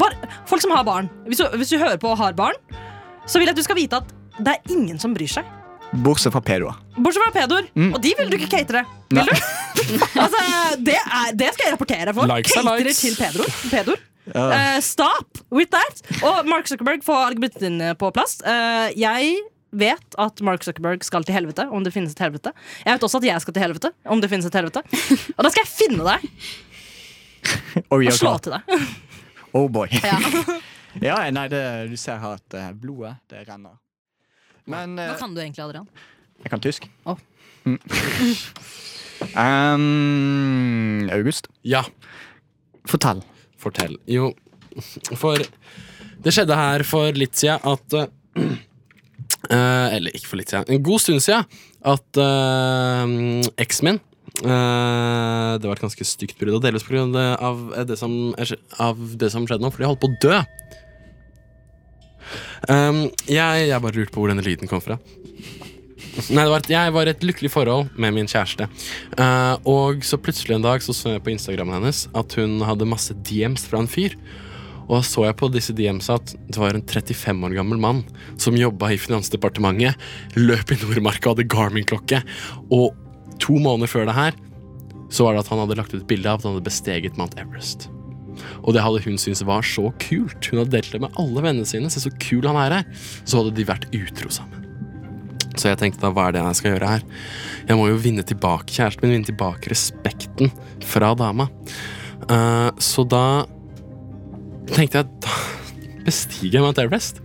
[SPEAKER 5] Bare, Folk som har barn. Hvis du, hvis du hører på og har barn, så vil jeg at du skal vite at det er ingen som bryr seg.
[SPEAKER 2] Bortsett fra pedoer.
[SPEAKER 5] Bortsett fra pedoer.
[SPEAKER 4] Mm.
[SPEAKER 5] Og de vil du ikke catere.
[SPEAKER 2] Nei.
[SPEAKER 5] Vil du? altså, det, er, det skal jeg rapportere for.
[SPEAKER 4] Likes er
[SPEAKER 5] Caterer
[SPEAKER 4] likes.
[SPEAKER 5] til pedoer. pedoer. Eh, stop with that! Og Mark Zuckerberg får argumentene dine på plass. Eh, jeg vet at Mark Zuckerberg skal til helvete, om det finnes et helvete. Jeg vet også at jeg skal til helvete, om det finnes et helvete. Og da skal jeg finne deg
[SPEAKER 2] Og vi
[SPEAKER 5] og
[SPEAKER 2] har
[SPEAKER 5] slå
[SPEAKER 2] klart.
[SPEAKER 5] til deg.
[SPEAKER 2] Oh boy.
[SPEAKER 5] Ja.
[SPEAKER 2] Ja, nei, det, du ser her at eh, blodet, det renner. Men eh,
[SPEAKER 5] kan du egentlig, Adrian?
[SPEAKER 2] Jeg kan tysk.
[SPEAKER 5] Å.
[SPEAKER 2] Mm. Ehm, August,
[SPEAKER 4] Ja,
[SPEAKER 2] fortell.
[SPEAKER 4] fortell. Jo, for det skjedde her for litt siden at eh, Eller ikke for litt siden. En god stund siden at eh, eksen min eh, Det var et ganske stygt brudd, og delvis pga. Av, eh, det som er skje- av det som skjedde nå, fordi jeg holdt på å dø. Eh, Um, jeg, jeg bare lurte på hvor denne lyden kom fra. Nei, det var et, jeg var i et lykkelig forhold med min kjæreste. Eh, og så plutselig en dag så, så jeg på Instagrammen hennes at hun hadde masse DMs fra en fyr. Og da så jeg på disse DMs at det var en 35 år gammel mann som jobba i Finansdepartementet, løp i Nordmarka og hadde Garmin-klokke. Og to måneder før det her så var det at han hadde lagt ut et bilde av at han hadde besteget Mount Everest. Og det hadde hun syntes var så kult. Hun hadde delt det med alle vennene sine. Se så kul han er her. Så hadde de vært utro sammen. Så jeg tenkte da, hva er det jeg skal gjøre her? Jeg må jo vinne tilbake kjæresten min, vinne tilbake respekten fra dama. Eh, så da tenkte jeg da bestiger jeg Mount Everest.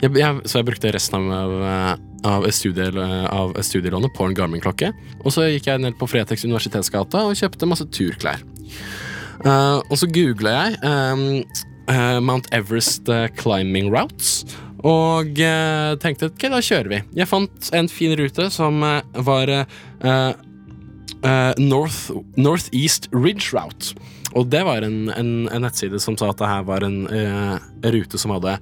[SPEAKER 4] Jeg, jeg, så jeg brukte resten av, eh, av, studie, eh, av studielånet på en Garmin-klokke. Og så gikk jeg ned på Fretex Universitetsgata og kjøpte masse turklær. Eh, og så googla jeg eh, eh, Mount Everest eh, climbing routes. Og eh, tenkte ok, da kjører vi. Jeg fant en fin rute som eh, var eh, eh, North, Northeast Ridge Route. Og det var en, en, en nettside som sa at det her var en eh, rute som hadde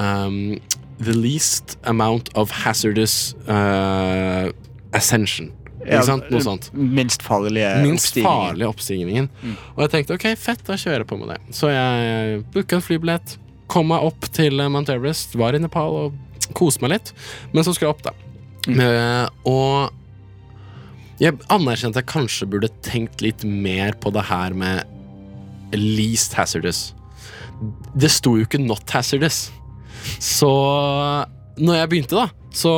[SPEAKER 4] um, The least amount of hazardous eh, ascension. Ikke sant? Noe sånt
[SPEAKER 2] eh, Minst farlige
[SPEAKER 4] minst
[SPEAKER 2] oppstigninger.
[SPEAKER 4] farlige oppstigningen. Og jeg tenkte ok, fett, da kjører jeg på med det. Så jeg booka en flybillett, kom meg opp til eh, Mount Everest, var i Nepal og koste meg litt. Men så skulle jeg opp, da. Eh, og jeg anerkjente at jeg kanskje burde tenkt litt mer på det her med least hazardous. Det sto jo ikke not hazardous. Så når jeg begynte, da, så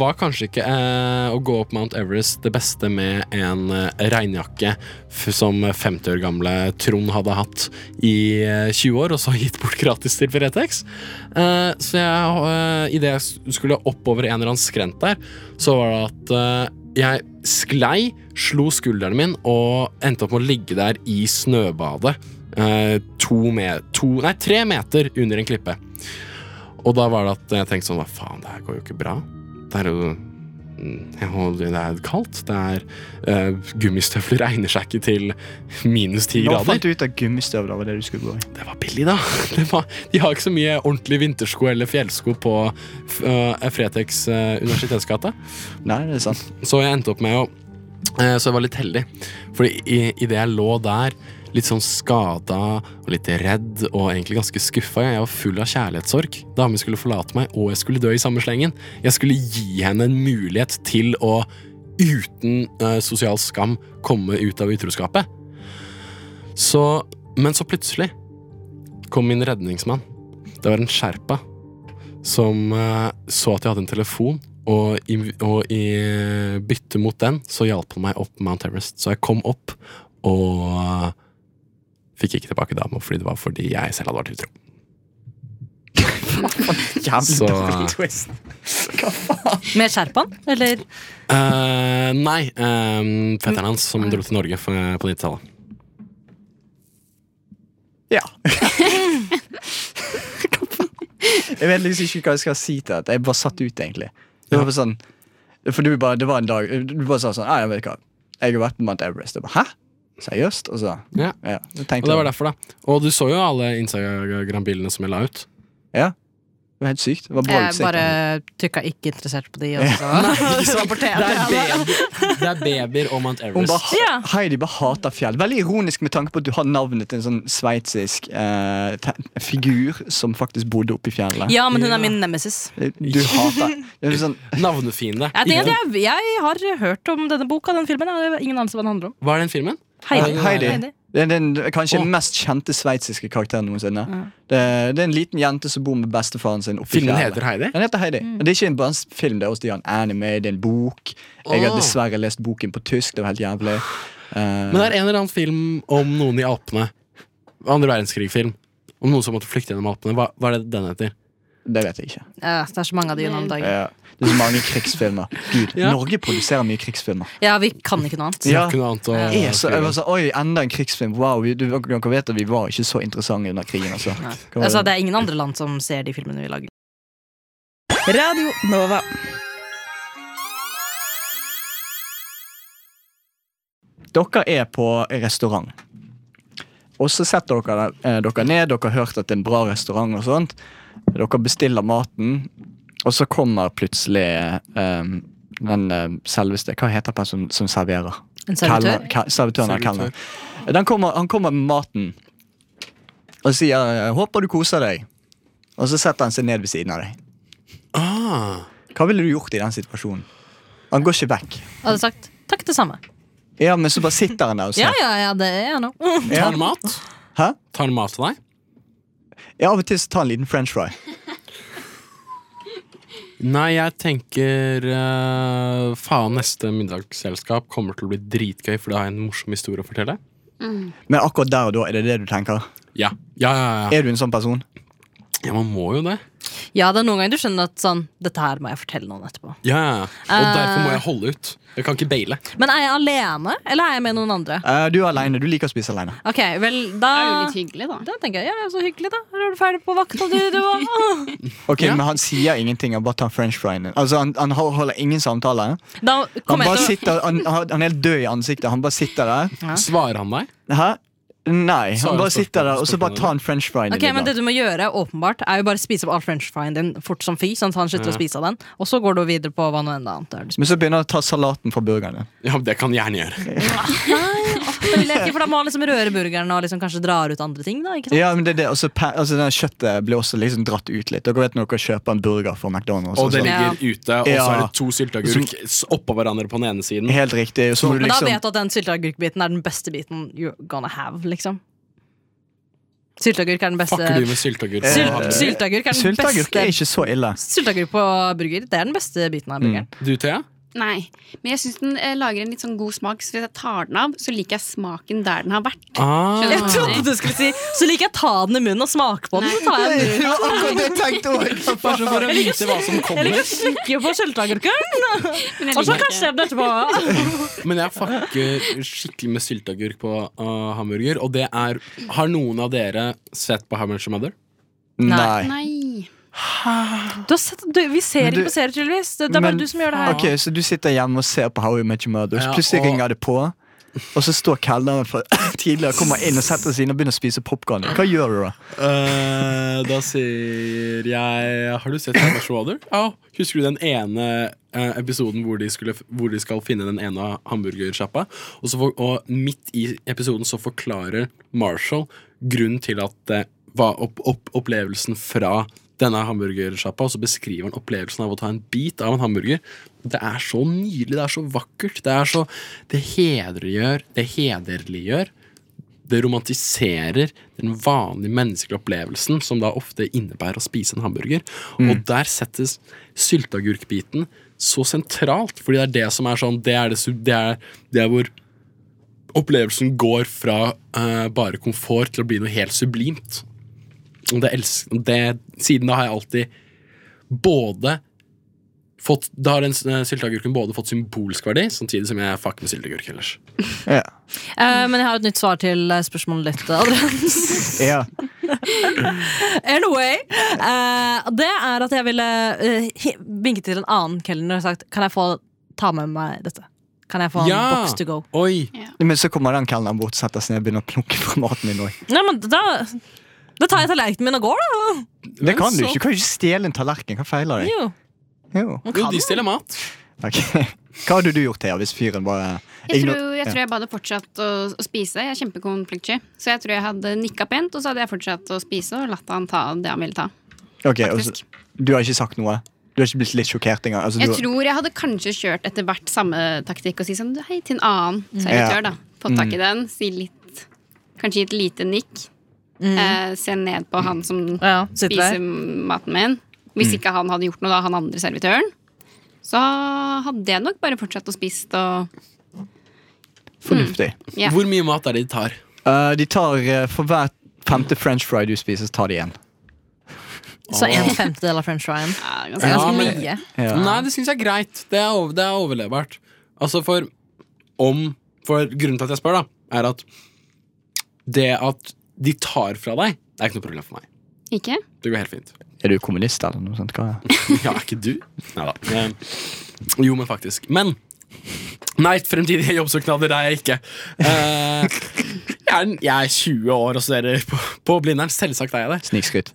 [SPEAKER 4] var kanskje ikke eh, å gå opp Mount Everest det beste med en eh, regnjakke f som 50 år gamle Trond hadde hatt i eh, 20 år, og så gitt bort gratis til Fretex. Eh, så jeg, eh, idet jeg s- skulle oppover en eller annen skrent der, så var det at eh, jeg sklei, slo skulderen min og endte opp med å ligge der i snøbadet. Eh, to me to, nei, tre meter under en klippe. Og da var det at jeg tenkte sånn Hva faen, det her går jo ikke bra. Det er jo mm, jeg holder- det er kaldt. Det er eh, Gummistøvler egner seg ikke til minus ti
[SPEAKER 2] Nå
[SPEAKER 4] grader.
[SPEAKER 2] fant du ut at gummistøvler var det du skulle gå i.
[SPEAKER 4] Det var billig, da. Det var, de har ikke så mye ordentlige vintersko eller fjellsko på eh, Fretex eh, universitetsgate.
[SPEAKER 2] Nei, det er sant.
[SPEAKER 4] Så jeg endte opp med å eh, Så jeg var litt heldig. Fordi i- idet jeg lå der, litt sånn skada og litt redd og egentlig ganske skuffa, jeg var full av kjærlighetssorg. Damen skulle forlate meg, og jeg skulle dø i samme slengen. Jeg skulle gi henne en mulighet til å, uten eh, sosial skam, komme ut av utroskapet. Så Men så plutselig kom min redningsmann. Det var en sherpa som eh, så at jeg hadde en telefon, og i, og i bytte mot den så hjalp han meg opp Mount Everest. Så jeg kom opp, og eh, fikk ikke tilbake dama fordi det var fordi jeg selv hadde vært utro.
[SPEAKER 2] Jævlig
[SPEAKER 4] Så-
[SPEAKER 2] dårlig twist. Hva faen?
[SPEAKER 5] Med skjerpa'n, eller?
[SPEAKER 4] Eh, nei, eh, fetteren hans som dro til Norge for, på 90-tallet.
[SPEAKER 2] Ja. Hva faen? jeg vet liksom ikke hva jeg skal si til dette. Jeg bare satt ut, egentlig. Det var bare sånn For du bare, det var en dag Du bare sa sånn Nei, jeg vet hva. Jeg har vært på Mount Everest. Jeg bare, Hæ? Seriøst? Og så
[SPEAKER 4] Ja.
[SPEAKER 2] ja, så
[SPEAKER 4] Og
[SPEAKER 2] tenkte
[SPEAKER 4] det
[SPEAKER 2] jeg
[SPEAKER 4] var derfor, da. Og du så jo alle Instagram-bildene som jeg la ut.
[SPEAKER 2] Ja. Det var helt sykt. Det var bra
[SPEAKER 5] Jeg
[SPEAKER 2] utsikt.
[SPEAKER 5] bare trykka ikke interessert på de, og så
[SPEAKER 4] Det
[SPEAKER 5] rapporterte
[SPEAKER 4] er,
[SPEAKER 5] jeg.
[SPEAKER 4] baby, det er babyer og Mount
[SPEAKER 2] Hun
[SPEAKER 4] Everest.
[SPEAKER 2] bare, Heidi bare hater fjell. Veldig ironisk med tanke på at du har navnet til en sånn sveitsisk eh, te- figur som faktisk bodde oppe i fjellet.
[SPEAKER 5] Ja, men hun er min nemesis.
[SPEAKER 2] Du hater det er sånn,
[SPEAKER 4] Navnefiende.
[SPEAKER 5] Jeg, tenker at jeg, jeg har hørt om denne boka, den filmen. Jeg har ingen anelse hva den handler om.
[SPEAKER 4] Hva er den filmen?
[SPEAKER 5] Heidi.
[SPEAKER 2] Heidi.
[SPEAKER 5] Heidi.
[SPEAKER 2] Det er den kanskje
[SPEAKER 4] Åh.
[SPEAKER 2] den mest kjente sveitsiske karakteren noensinne. Det, det er en liten jente som bor med bestefaren sin oppe i
[SPEAKER 4] Filmen
[SPEAKER 2] fjellet.
[SPEAKER 4] heter Heidi.
[SPEAKER 2] Den heter Heidi. Og Det er ikke en bare en film, det er også det er en anime, det er en bok. Jeg har
[SPEAKER 4] Åh.
[SPEAKER 2] dessverre lest boken på tysk, det var helt jævlig. Eh,
[SPEAKER 4] Men det er en eller annen film om noen i Alpene. Andre verdenskrig-film. Om noen som måtte flykte gjennom Alpene. Hva, hva er det den heter?
[SPEAKER 2] det vet jeg ikke.
[SPEAKER 5] Ja, det er så mange av de gjennom dagen.
[SPEAKER 2] Eh, det er så mange krigsfilmer. Gud,
[SPEAKER 4] Ja.
[SPEAKER 2] Norge produserer mye krigsfilmer.
[SPEAKER 5] Ja, vi kan ikke noe annet.
[SPEAKER 4] Det er
[SPEAKER 2] Ja.
[SPEAKER 4] ikke noe annet å
[SPEAKER 2] Jeg er så, jeg var
[SPEAKER 4] skrive.
[SPEAKER 2] sånn, Oi, enda en krigsfilm. Wow, vi, du, dere vet at vi var ikke så interessante under krigen. Altså. Hva var det?
[SPEAKER 5] Altså, det er ingen andre land som ser de filmene vi lager.
[SPEAKER 7] Radio Nova.
[SPEAKER 2] Dere er på restaurant. Og så setter dere eh, dere ned, dere har hørt at det er en bra restaurant. og sånt Dere bestiller maten, og så kommer plutselig eh, den eh, selveste Hva heter han som, som serverer?
[SPEAKER 5] En servitør?
[SPEAKER 2] Kelner- ke- Servitøren eller
[SPEAKER 4] Servitør.
[SPEAKER 2] kelneren. Den kommer- Han kommer med maten og sier eh, 'håper du koser deg', og så setter han seg ned ved siden av deg.
[SPEAKER 4] Ah.
[SPEAKER 2] Hva ville du gjort i den situasjonen? Han går ikke vekk.
[SPEAKER 5] Hadde sagt takk, det samme.
[SPEAKER 2] Ja, men så bare sitter han der og ser.
[SPEAKER 5] Ja, ja, ja, det er jeg nå.
[SPEAKER 4] Tar han mat?
[SPEAKER 2] Hæ?
[SPEAKER 4] Tar han mat til deg?
[SPEAKER 2] Ja, Av og til så tar han en liten french fry.
[SPEAKER 4] Nei, jeg tenker eh, faen, neste middagsselskap kommer til å bli dritgøy, for da har jeg en morsom historie å fortelle.
[SPEAKER 2] Men akkurat der og da, er det det du tenker?
[SPEAKER 4] Ja, ja, ja, ja.
[SPEAKER 2] Er du en sånn person?
[SPEAKER 4] ja man må jo det.
[SPEAKER 5] Ja, det er noen ganger du skjønner at sånn, dette her må jeg fortelle noen etterpå.
[SPEAKER 4] Ja, ja, ja. Og derfor
[SPEAKER 2] Ah.
[SPEAKER 4] må jeg holde ut. Jeg kan ikke baile.
[SPEAKER 5] Men er jeg alene, eller er jeg med noen andre?
[SPEAKER 2] Eh, du er aleine. Du liker å spise aleine.
[SPEAKER 5] Ok, vel, da
[SPEAKER 6] Det er jo litt hyggelig, da.
[SPEAKER 5] Da tenker jeg, ja, ja, så hyggelig, da. Er du ferdig på vakta, du? du og-
[SPEAKER 2] Ok,
[SPEAKER 4] Ja.
[SPEAKER 2] Men han sier ingenting. Han bare tar french fryen. Altså, han, han hol- holder ingen samtale.
[SPEAKER 5] Da
[SPEAKER 2] Han,
[SPEAKER 5] kommer
[SPEAKER 2] bare
[SPEAKER 5] jeg til
[SPEAKER 2] sitter, han, han han er helt død i ansiktet. Han bare sitter der.
[SPEAKER 4] Svarer han deg?
[SPEAKER 2] Hæ? Nei.
[SPEAKER 4] Så er
[SPEAKER 2] Han
[SPEAKER 4] det
[SPEAKER 2] bare
[SPEAKER 4] spørsmål-
[SPEAKER 2] sitter der, og så bare
[SPEAKER 4] spørsmålet.
[SPEAKER 2] tar han french fryen.
[SPEAKER 5] å Ok, men Det du må gjøre, åpenbart, er jo bare spise opp all french fryen din fort som fy. Sånn at han slutter å
[SPEAKER 4] Ja.
[SPEAKER 5] spise av den. Og så går du videre på hva nå enn annet. det er du spiser.
[SPEAKER 2] men så begynner han å ta salaten fra burgerne.
[SPEAKER 4] Ja, det kan jeg gjerne gjøre.
[SPEAKER 5] Men det er ikke, For da må han liksom røre burgeren og liksom kanskje drar ut andre ting. da, ikke sant?
[SPEAKER 2] Ja, men det er det, og så pa- altså, det Kjøttet blir også liksom dratt ut litt. Dere vet når dere kjøper en burger fra McDonald's.
[SPEAKER 4] Og det
[SPEAKER 2] sånn.
[SPEAKER 4] ligger ute, og så er
[SPEAKER 2] Ja.
[SPEAKER 4] det to sylteagurk s- oppå hverandre på den ene siden.
[SPEAKER 2] Helt riktig. og Så må du
[SPEAKER 5] Men da
[SPEAKER 2] liksom
[SPEAKER 5] vet du at den sylteagurkbiten er den beste biten you're gonna have. liksom Sylteagurk er den beste
[SPEAKER 4] Fucker du med sylteagurk?
[SPEAKER 5] Sylt- Sylteagurk er den
[SPEAKER 2] Sylteagurk er
[SPEAKER 5] beste
[SPEAKER 2] ikke Mm. så ille.
[SPEAKER 5] Sylteagurk på burger, det er den beste biten av burgeren.
[SPEAKER 4] Du, Thea?
[SPEAKER 6] Nei, men jeg syns den eh, lager en litt sånn god smak. Så hvis jeg tar den av, så liker jeg smaken der den har vært.
[SPEAKER 4] Ah.
[SPEAKER 5] Jeg trodde du skulle si Så liker jeg å ta den i munnen og smake på den. Så tar jeg
[SPEAKER 2] Det
[SPEAKER 5] den
[SPEAKER 2] var akkurat det jeg tenkte
[SPEAKER 4] Bare så for å vite hva som
[SPEAKER 5] Jeg
[SPEAKER 4] kommer.
[SPEAKER 5] liker å slikke på sylteagurken,
[SPEAKER 6] Men jeg
[SPEAKER 5] og så
[SPEAKER 6] liker
[SPEAKER 5] kanskje
[SPEAKER 6] ikke.
[SPEAKER 5] jeg den etterpå.
[SPEAKER 4] Men jeg fucker skikkelig med sylteagurk på ah, hamburger. Og det er Har noen av dere sett på How Much Mother?
[SPEAKER 2] Nei.
[SPEAKER 6] Nei.
[SPEAKER 5] Du har sett, du, vi ser
[SPEAKER 2] Men du-
[SPEAKER 5] ikke på serier, tydeligvis. Det, det er bare
[SPEAKER 2] Men-
[SPEAKER 5] du som gjør det her.
[SPEAKER 2] Ok, Så du sitter hjemme og ser på How You Met Your Mother, så
[SPEAKER 4] Ja,
[SPEAKER 2] plutselig
[SPEAKER 4] og-
[SPEAKER 2] ringer det på. Og så står kelneren for tidligere og kommer inn og setter seg inn og begynner å spise popkorn. Hva gjør du da?
[SPEAKER 4] Eh, da sier jeg Har du sett How Much Mother? Ja. Husker du den ene eh, episoden hvor de, skulle, hvor de skal finne den ene hamburgersjappa? Og, så for- og midt i episoden så forklarer Marshall grunnen til at det var opp, opp, opplevelsen fra denne hamburgersjappa, og så beskriver han opplevelsen av å ta en bit av en hamburger. Det er så nydelig, det er så vakkert. Det er så Det hedregjør, det hederliggjør det romantiserer den vanlige menneskelige opplevelsen som da ofte innebærer å spise en hamburger. Og der settes sylteagurkbiten så sentralt, fordi det er det som er sånn Det er, det, su- det er, det er hvor opplevelsen går fra eh, bare komfort til å bli noe helt sublimt. Og det elsker det, Siden da har jeg alltid både fått Da har den eh, sylteagurken både fått symbolsk verdi, samtidig som jeg fucker med sylteagurk ellers.
[SPEAKER 2] Ja.
[SPEAKER 5] Eh, men jeg har et nytt svar til eh, spørsmålet ditt. Adrian.
[SPEAKER 2] Ja.
[SPEAKER 5] Anyway, eh, det er at jeg ville eh, hi- vinket til en annen kelner og sagt Kan jeg få ta med meg dette? Kan jeg få en box to go?
[SPEAKER 4] Oi!
[SPEAKER 2] Men så kommer den kelneren bort, setter seg ned og begynner å plukke fra maten din òg.
[SPEAKER 5] Nei, men da, da tar jeg tallerkenen min og går, da.
[SPEAKER 2] Det kan du
[SPEAKER 4] så-
[SPEAKER 2] ikke. Du kan ikke stjele en tallerken. Hva feiler deg?
[SPEAKER 5] Jo.
[SPEAKER 2] Jo.
[SPEAKER 4] Jo, de stiller mat.
[SPEAKER 2] Ok. Hva hadde du gjort, Thea, hvis fyren bare
[SPEAKER 6] Jeg
[SPEAKER 2] igno-
[SPEAKER 6] tror, jeg tror jeg bare hadde fortsatt å, å spise. Jeg er kjempekonfliktsky. Så jeg tror jeg hadde nikka pent, og så hadde jeg fortsatt å spise og latt han ta det han ville ta.
[SPEAKER 2] Ok, og så- Du har ikke sagt noe? Du har ikke blitt litt sjokkert engang? Altså,
[SPEAKER 6] Jeg
[SPEAKER 2] du,
[SPEAKER 6] tror jeg hadde kanskje kjørt etter hvert samme taktikk og si sånn hei til en annen servitør, da. Fått tak i den, si litt Kanskje gi et lite nikk. Eh, se ned på han som
[SPEAKER 5] Ja, sitter
[SPEAKER 6] spiser
[SPEAKER 5] der.
[SPEAKER 6] maten min. Hvis ikke han hadde gjort noe, da, han andre servitøren, så hadde jeg nok bare fortsatt å spise og
[SPEAKER 2] fornuftig.
[SPEAKER 6] Ja.
[SPEAKER 4] Hvor mye mat er det de tar?
[SPEAKER 5] Mm.
[SPEAKER 2] Eh, de tar eh, For hver femte french fry du spiser, så tar de en.
[SPEAKER 5] Så en femtedel av french fryen.
[SPEAKER 6] ja,
[SPEAKER 5] Det er
[SPEAKER 6] ganske
[SPEAKER 4] Ja,
[SPEAKER 5] ganske
[SPEAKER 4] men-
[SPEAKER 5] mye.
[SPEAKER 2] Ja.
[SPEAKER 4] Nei, det syns jeg er greit. Det er, over, det er overlevbart. Altså, for om For grunnen til at jeg spør, da, er at det at de tar fra deg, det er ikke noe problem for meg.
[SPEAKER 6] Ikke?
[SPEAKER 4] Det går helt fint.
[SPEAKER 2] Er du kommunist eller noe sånt? Hva?
[SPEAKER 4] Ja, er ikke du? Nei da. Ehm, Jo, men faktisk. Men Nei, fremtidige jobbsøknader er jeg ikke. Eh, jeg, er, jeg er 20 år og studerer på, på Blindern. Selvsagt er jeg det.
[SPEAKER 2] Snikskryt.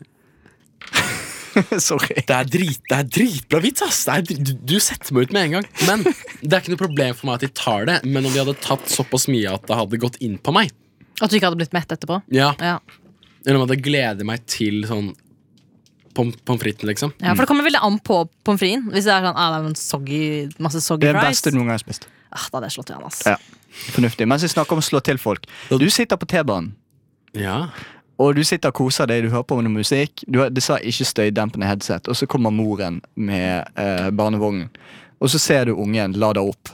[SPEAKER 2] Sorry.
[SPEAKER 4] Det er, drit, det er dritbra vits, ass! Det er, dri- du, du setter meg ut med en gang. Men det er ikke noe problem for meg at de tar det. Men om de hadde tatt såpass mye at det hadde gått inn på meg
[SPEAKER 5] At du ikke hadde blitt mett etterpå.
[SPEAKER 4] Ja,
[SPEAKER 5] Ja.
[SPEAKER 4] Eller om jeg hadde gledet meg til sånn pom- pommes frites, liksom.
[SPEAKER 5] ja, For det kommer veldig an på pommes fritesen. Hvis det er sånn, ah, det er en soggy, masse soggy
[SPEAKER 2] Det beste
[SPEAKER 5] fries,
[SPEAKER 2] du noen gang har spist.
[SPEAKER 5] ah, da hadde jeg slått i han. ass.
[SPEAKER 2] Ja. Fornuftig. Mens vi snakker om å slå til folk. Du sitter på T-banen,
[SPEAKER 4] Ja
[SPEAKER 2] og du sitter og koser deg, du hører på noe musikk. Du har dessverre ikke støydempende headset, og så kommer moren med eh, barnevognen. Og så ser du ungen lade opp.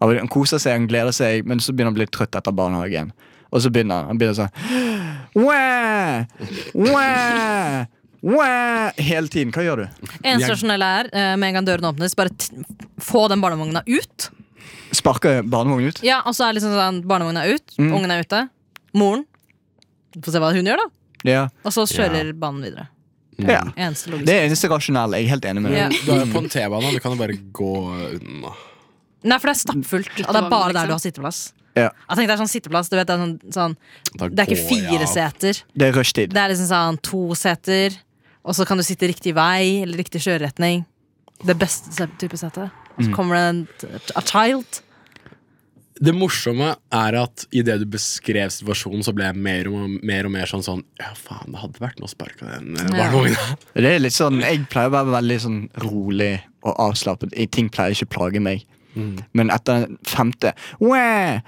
[SPEAKER 2] Han han koser seg, han gleder seg, men så begynner han å bli trøtt etter barnehagen. Og så begynner han. Han begynner sånn Wæ! Wæ! Wæ! Hele tiden. Hva gjør du?
[SPEAKER 5] Eneste
[SPEAKER 4] Jeg-
[SPEAKER 5] rasjonelle er, eh, med en gang døren åpnes, bare t få den barnevogna ut.
[SPEAKER 2] Sparker barnevognen ut?
[SPEAKER 5] Ja, og så er det liksom sånn, Barnevogna er ut,
[SPEAKER 2] Mm.
[SPEAKER 5] ungen er ute. Moren Få se hva hun gjør, da.
[SPEAKER 2] Ja.
[SPEAKER 5] Og så kjører banen videre.
[SPEAKER 2] ja.
[SPEAKER 5] Eneste
[SPEAKER 2] Det
[SPEAKER 5] logisk.
[SPEAKER 2] er eneste rasjonelle. Jeg er helt enig med deg.
[SPEAKER 5] Ja.
[SPEAKER 4] Du er jo på en T-bane, du kan jo bare gå unna.
[SPEAKER 5] Nei, for det er stappfullt, og det er bare der du har sitteplass.
[SPEAKER 2] Ja.
[SPEAKER 5] Jeg tenker Det er sånn sitteplass, du vet, det er, sånn, sånn,
[SPEAKER 4] Da
[SPEAKER 5] det er
[SPEAKER 4] går
[SPEAKER 5] ikke
[SPEAKER 4] jeg
[SPEAKER 5] fire
[SPEAKER 4] av.
[SPEAKER 5] seter.
[SPEAKER 2] Det er rushtid.
[SPEAKER 5] Det er liksom sånn to seter, og så kan du sitte riktig vei eller riktig kjøreretning. Det beste se- type sete. Og
[SPEAKER 2] Mm.
[SPEAKER 5] så kommer det en t- a child.
[SPEAKER 4] Det morsomme er at idet du beskrev situasjonen, så ble jeg mer og mer, og mer sånn sånn Ja, faen, det hadde vært noe å sparke den eh,
[SPEAKER 5] Ja.
[SPEAKER 4] barnevogna.
[SPEAKER 2] Det er litt sånn, Jeg pleier å være veldig sånn rolig og avslappet. I- Ting pleier ikke å plage meg. Men etter den femte «Wæ!»,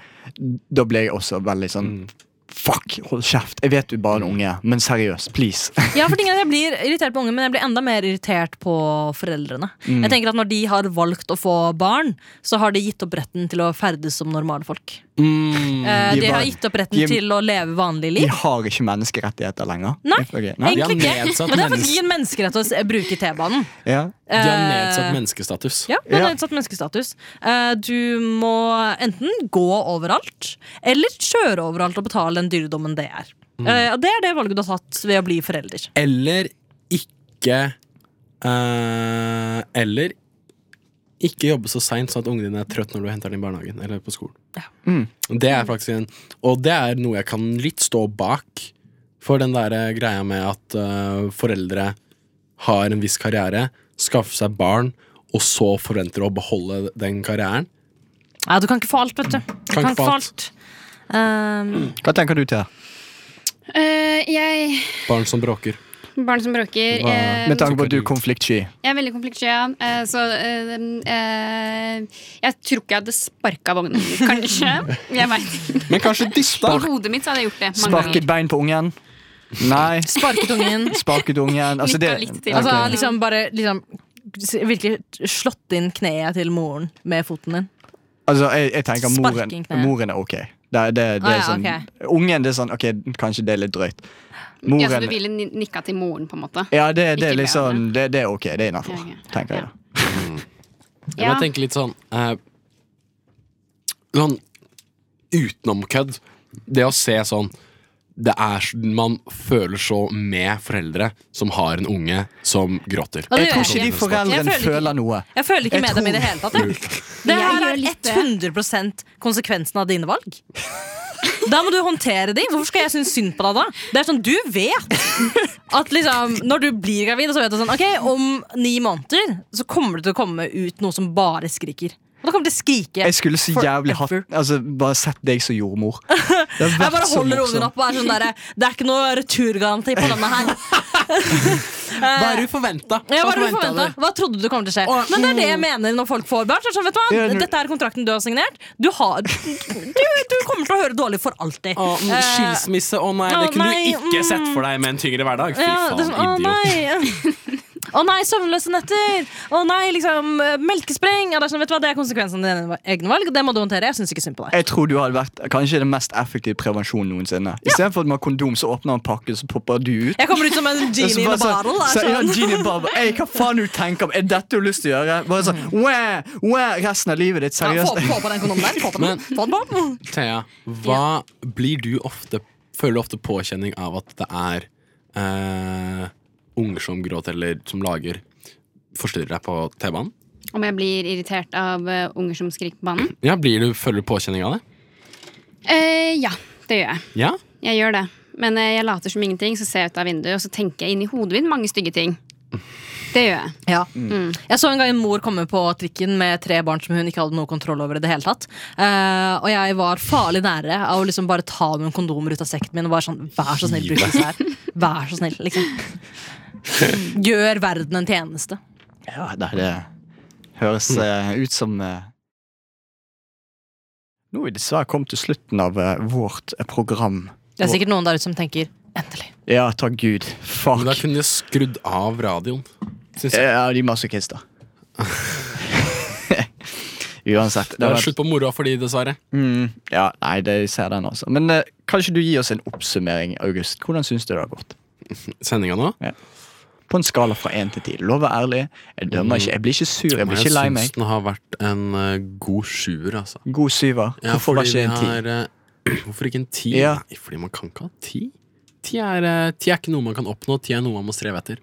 [SPEAKER 2] Da ble jeg også veldig sånn Fuck, hold kjeft! Jeg vet du er bare en unge, men seriøst, please.
[SPEAKER 5] Ja, for tingene, Jeg blir irritert på ungen, men jeg blir enda mer irritert på foreldrene.
[SPEAKER 4] Mm.
[SPEAKER 5] Jeg tenker at Når de har valgt å få barn, så har de gitt opp retten til å ferdes som normale folk.
[SPEAKER 4] Mm.
[SPEAKER 5] Eh,
[SPEAKER 2] De
[SPEAKER 5] de
[SPEAKER 2] er
[SPEAKER 5] har
[SPEAKER 2] bare-
[SPEAKER 5] gitt opp retten
[SPEAKER 2] de er-
[SPEAKER 5] til å leve vanlige
[SPEAKER 2] Vi
[SPEAKER 5] liv.
[SPEAKER 2] har ikke menneskerettigheter lenger.
[SPEAKER 5] Nei,
[SPEAKER 2] Ok,
[SPEAKER 4] de har
[SPEAKER 5] Egentlig ikke.
[SPEAKER 4] nedsatt
[SPEAKER 5] Men det er faktisk
[SPEAKER 4] menneske-
[SPEAKER 5] ikke en menneskerett å s- bruke T-banen.
[SPEAKER 2] Ja.
[SPEAKER 4] De har
[SPEAKER 5] Eh,
[SPEAKER 4] nedsatt menneskestatus.
[SPEAKER 5] Ja, det er
[SPEAKER 2] Ja.
[SPEAKER 5] nedsatt menneskestatus. Eh, Du må enten gå overalt, eller kjøre overalt og betale den dyredommen det er.
[SPEAKER 4] Mm.
[SPEAKER 5] Eh, Og det er det valget du har tatt ved å bli forelder.
[SPEAKER 4] Eller ikke eh, Eller ikke jobbe så seint sånn at ungen din er trøtt når du henter den i barnehagen eller på skolen.
[SPEAKER 5] Ja.
[SPEAKER 2] Mm.
[SPEAKER 4] Det er faktisk en, og det er noe jeg kan litt stå bak, for den der greia med at eh, foreldre har en viss karriere, skaffer seg barn, og så forventer å beholde den karrieren.
[SPEAKER 5] Nei, du kan ikke få alt, vet du. Du
[SPEAKER 4] Kan ikke
[SPEAKER 5] kan ikke
[SPEAKER 4] få
[SPEAKER 5] få
[SPEAKER 4] alt.
[SPEAKER 5] alt. Um,
[SPEAKER 2] Hva tenker du til?
[SPEAKER 6] Eh, jeg
[SPEAKER 4] Barn som bråker.
[SPEAKER 6] Barn som bråker. eh,
[SPEAKER 2] Med tanke på at du er
[SPEAKER 4] tenker du?
[SPEAKER 2] konfliktsky.
[SPEAKER 6] jeg er veldig konfliktsky, ja. Eh, så eh, eh, jeg tror ikke jeg hadde sparka vognen, kanskje. Jeg vet.
[SPEAKER 4] Men kanskje
[SPEAKER 6] I
[SPEAKER 4] dista.
[SPEAKER 6] hodet mitt så hadde jeg gjort det. mange ganger.
[SPEAKER 2] Sparket bein på ungen? Nei.
[SPEAKER 5] Sparket ungen.
[SPEAKER 2] Sparket ungen altså, det,
[SPEAKER 6] Nikket litt til.
[SPEAKER 5] Altså
[SPEAKER 2] Ok.
[SPEAKER 5] liksom bare liksom, s- Virkelig slått inn kneet til moren med foten din.
[SPEAKER 2] Altså, jeg, jeg tenker moren,
[SPEAKER 5] Sparking, nei.
[SPEAKER 2] moren er ok. Det, er- det, det
[SPEAKER 5] Ah,
[SPEAKER 2] er
[SPEAKER 5] ja,
[SPEAKER 2] sånn, Ungen det er sånn ok, kanskje det er litt drøyt.
[SPEAKER 6] Ja, så du
[SPEAKER 2] Moren
[SPEAKER 6] ville ni- nikka til moren, på en måte?
[SPEAKER 2] Ja, det, det er
[SPEAKER 6] Ikke
[SPEAKER 2] litt
[SPEAKER 6] bedre.
[SPEAKER 2] sånn Det, det er ok. Det er innafor,
[SPEAKER 6] Ja, ok.
[SPEAKER 2] tenker jeg.
[SPEAKER 6] Ja.
[SPEAKER 2] da.
[SPEAKER 4] Ja. Men jeg tenker litt sånn eh, Sånn utenomkødd. Det å se sånn det er, så- Man føler så med foreldre som har en unge som gråter.
[SPEAKER 5] Og det
[SPEAKER 2] Jeg tror ikke
[SPEAKER 5] gjør
[SPEAKER 2] de
[SPEAKER 5] jeg ikke. Jeg
[SPEAKER 2] foreldrene
[SPEAKER 5] føler ikke-
[SPEAKER 2] føler noe.
[SPEAKER 5] Jeg føler ikke
[SPEAKER 2] Jeg
[SPEAKER 5] med dem i
[SPEAKER 2] tror-
[SPEAKER 5] det hele tatt. jeg. Det
[SPEAKER 6] Jeg
[SPEAKER 5] her
[SPEAKER 6] gjør
[SPEAKER 5] er
[SPEAKER 6] litt det.
[SPEAKER 5] 100 konsekvensen av dine valg. Da må du håndtere de. Hvorfor skal jeg synes synd på deg da? Det er sånn, Du vet at liksom, når du blir gravid, så vet du sånn Ok, om ni måneder så kommer det til å komme ut noe som bare skriker. Og da kommer det til å skrike.
[SPEAKER 2] Jeg skulle så jævlig hatt
[SPEAKER 5] Forever.
[SPEAKER 2] Altså, Bare sett deg som jordmor. Det har
[SPEAKER 5] Jeg bare
[SPEAKER 2] vært så
[SPEAKER 5] holder ungen
[SPEAKER 2] morsomt.
[SPEAKER 5] opp og er sånn derre Det er ikke noe returgaranti på denne her.
[SPEAKER 4] Eh,
[SPEAKER 5] Eh,
[SPEAKER 4] Hva er du forventa?
[SPEAKER 5] Ja, hva, er det du forventet? hva trodde du kommer til å skje? Men det er det jeg mener når folk får barn. Så er det sånn, vet du
[SPEAKER 2] Ja,
[SPEAKER 5] hva?
[SPEAKER 2] du-
[SPEAKER 5] Dette er kontrakten du har signert. Du, har, du, du kommer til å høre dårlig for alltid. Eh,
[SPEAKER 4] mm, skilsmisse, å nei,
[SPEAKER 5] å
[SPEAKER 4] det kunne
[SPEAKER 5] nei,
[SPEAKER 4] du ikke
[SPEAKER 5] mm.
[SPEAKER 4] sett for deg med en tyngre hverdag. Fy
[SPEAKER 5] ja, det er
[SPEAKER 4] faen,
[SPEAKER 5] sånn, å
[SPEAKER 4] idiot.
[SPEAKER 5] nei! Å nei, søvnløse netter! Å nei, liksom, eh, melkespreng! Ja, det, er sånn, vet du hva? det er konsekvensen av dine egne valg. Det må du håndtere. Jeg syns ikke synd på deg.
[SPEAKER 2] Jeg tror du hadde vært kanskje den mest effektive prevensjonen noensinne. Istedenfor at man har kondom, så åpner man pakken, så popper du ut.
[SPEAKER 5] Jeg kommer ut som en
[SPEAKER 2] Og så
[SPEAKER 5] genie in
[SPEAKER 2] bare
[SPEAKER 5] a
[SPEAKER 2] sånn-
[SPEAKER 5] bottle.
[SPEAKER 2] så-
[SPEAKER 5] er
[SPEAKER 2] ja,
[SPEAKER 5] sånn.
[SPEAKER 2] Genie Barber. Ey, hva faen du tenker om? Er dette du har lyst til å gjøre? Bare sånn, wah, wah, resten av livet ditt,
[SPEAKER 5] Ja, få,
[SPEAKER 2] seriøst.
[SPEAKER 5] få på den kondomen der. Få på
[SPEAKER 4] Men-
[SPEAKER 5] den. Få den på.
[SPEAKER 4] Thea, hva blir du ofte Føler du ofte påkjenning av at det er eh, unger som gråter, eller som lager Forstyrrer deg på T-banen?
[SPEAKER 6] Om jeg blir irritert av eh, unger som skriker på banen?
[SPEAKER 4] Ja, blir du, Føler du påkjenning av det?
[SPEAKER 6] Eh, ja, det gjør jeg.
[SPEAKER 4] Ja?
[SPEAKER 6] Jeg gjør det. Men eh, jeg later som ingenting, så ser jeg ut av vinduet og så tenker jeg inni hodet mitt mange stygge ting. Det gjør jeg.
[SPEAKER 5] Ja.
[SPEAKER 6] Mm.
[SPEAKER 5] Jeg så en gang en mor komme på trikken med tre barn som hun ikke hadde noe kontroll over. i det hele tatt Eh, Og jeg var farlig nære av å liksom bare ta noen kondomer ut av sekten min og bare sånn Vær så snill, bruk disse her. Vær så snill, liksom. Gjør verden en tjeneste.
[SPEAKER 2] Ja, det, det høres
[SPEAKER 4] Mm.
[SPEAKER 2] eh, ut som eh, Nå er vi dessverre kommet til slutten av eh, vårt eh, program.
[SPEAKER 5] Det er sikkert noen der ute som tenker endelig.
[SPEAKER 2] Ja, takk Gud.
[SPEAKER 4] Men da
[SPEAKER 2] Fuck. Eh,
[SPEAKER 4] kunne de skrudd av radioen. Synes jeg.
[SPEAKER 2] Ja, de er masochister. Uansett.
[SPEAKER 4] Det
[SPEAKER 2] var-
[SPEAKER 4] er slutt på moroa for de, dessverre.
[SPEAKER 2] Mm, ja, nei, det, jeg ser den, altså. Men eh, kan ikke du gi oss en oppsummering, August? Hvordan syns du det har gått?
[SPEAKER 4] Sendinga nå.
[SPEAKER 2] På en skala fra én til ti. Lov å være ærlig. Jeg Mm. dømmer ikke. Jeg blir ikke sur. Jeg blir
[SPEAKER 4] Jeg
[SPEAKER 2] ikke lei
[SPEAKER 4] syns
[SPEAKER 2] meg.
[SPEAKER 4] den har vært en eh, god sjuer, altså.
[SPEAKER 2] God syver.
[SPEAKER 4] Ja,
[SPEAKER 2] Hvorfor var
[SPEAKER 4] fordi
[SPEAKER 2] ikke
[SPEAKER 4] det
[SPEAKER 2] en ti?
[SPEAKER 4] er, eh, hvorfor ikke en ti?
[SPEAKER 2] Ja.
[SPEAKER 4] Nei, fordi man kan ikke ha ti. Ti er, eh, ti er ikke noe man kan oppnå, ti er noe man må streve etter.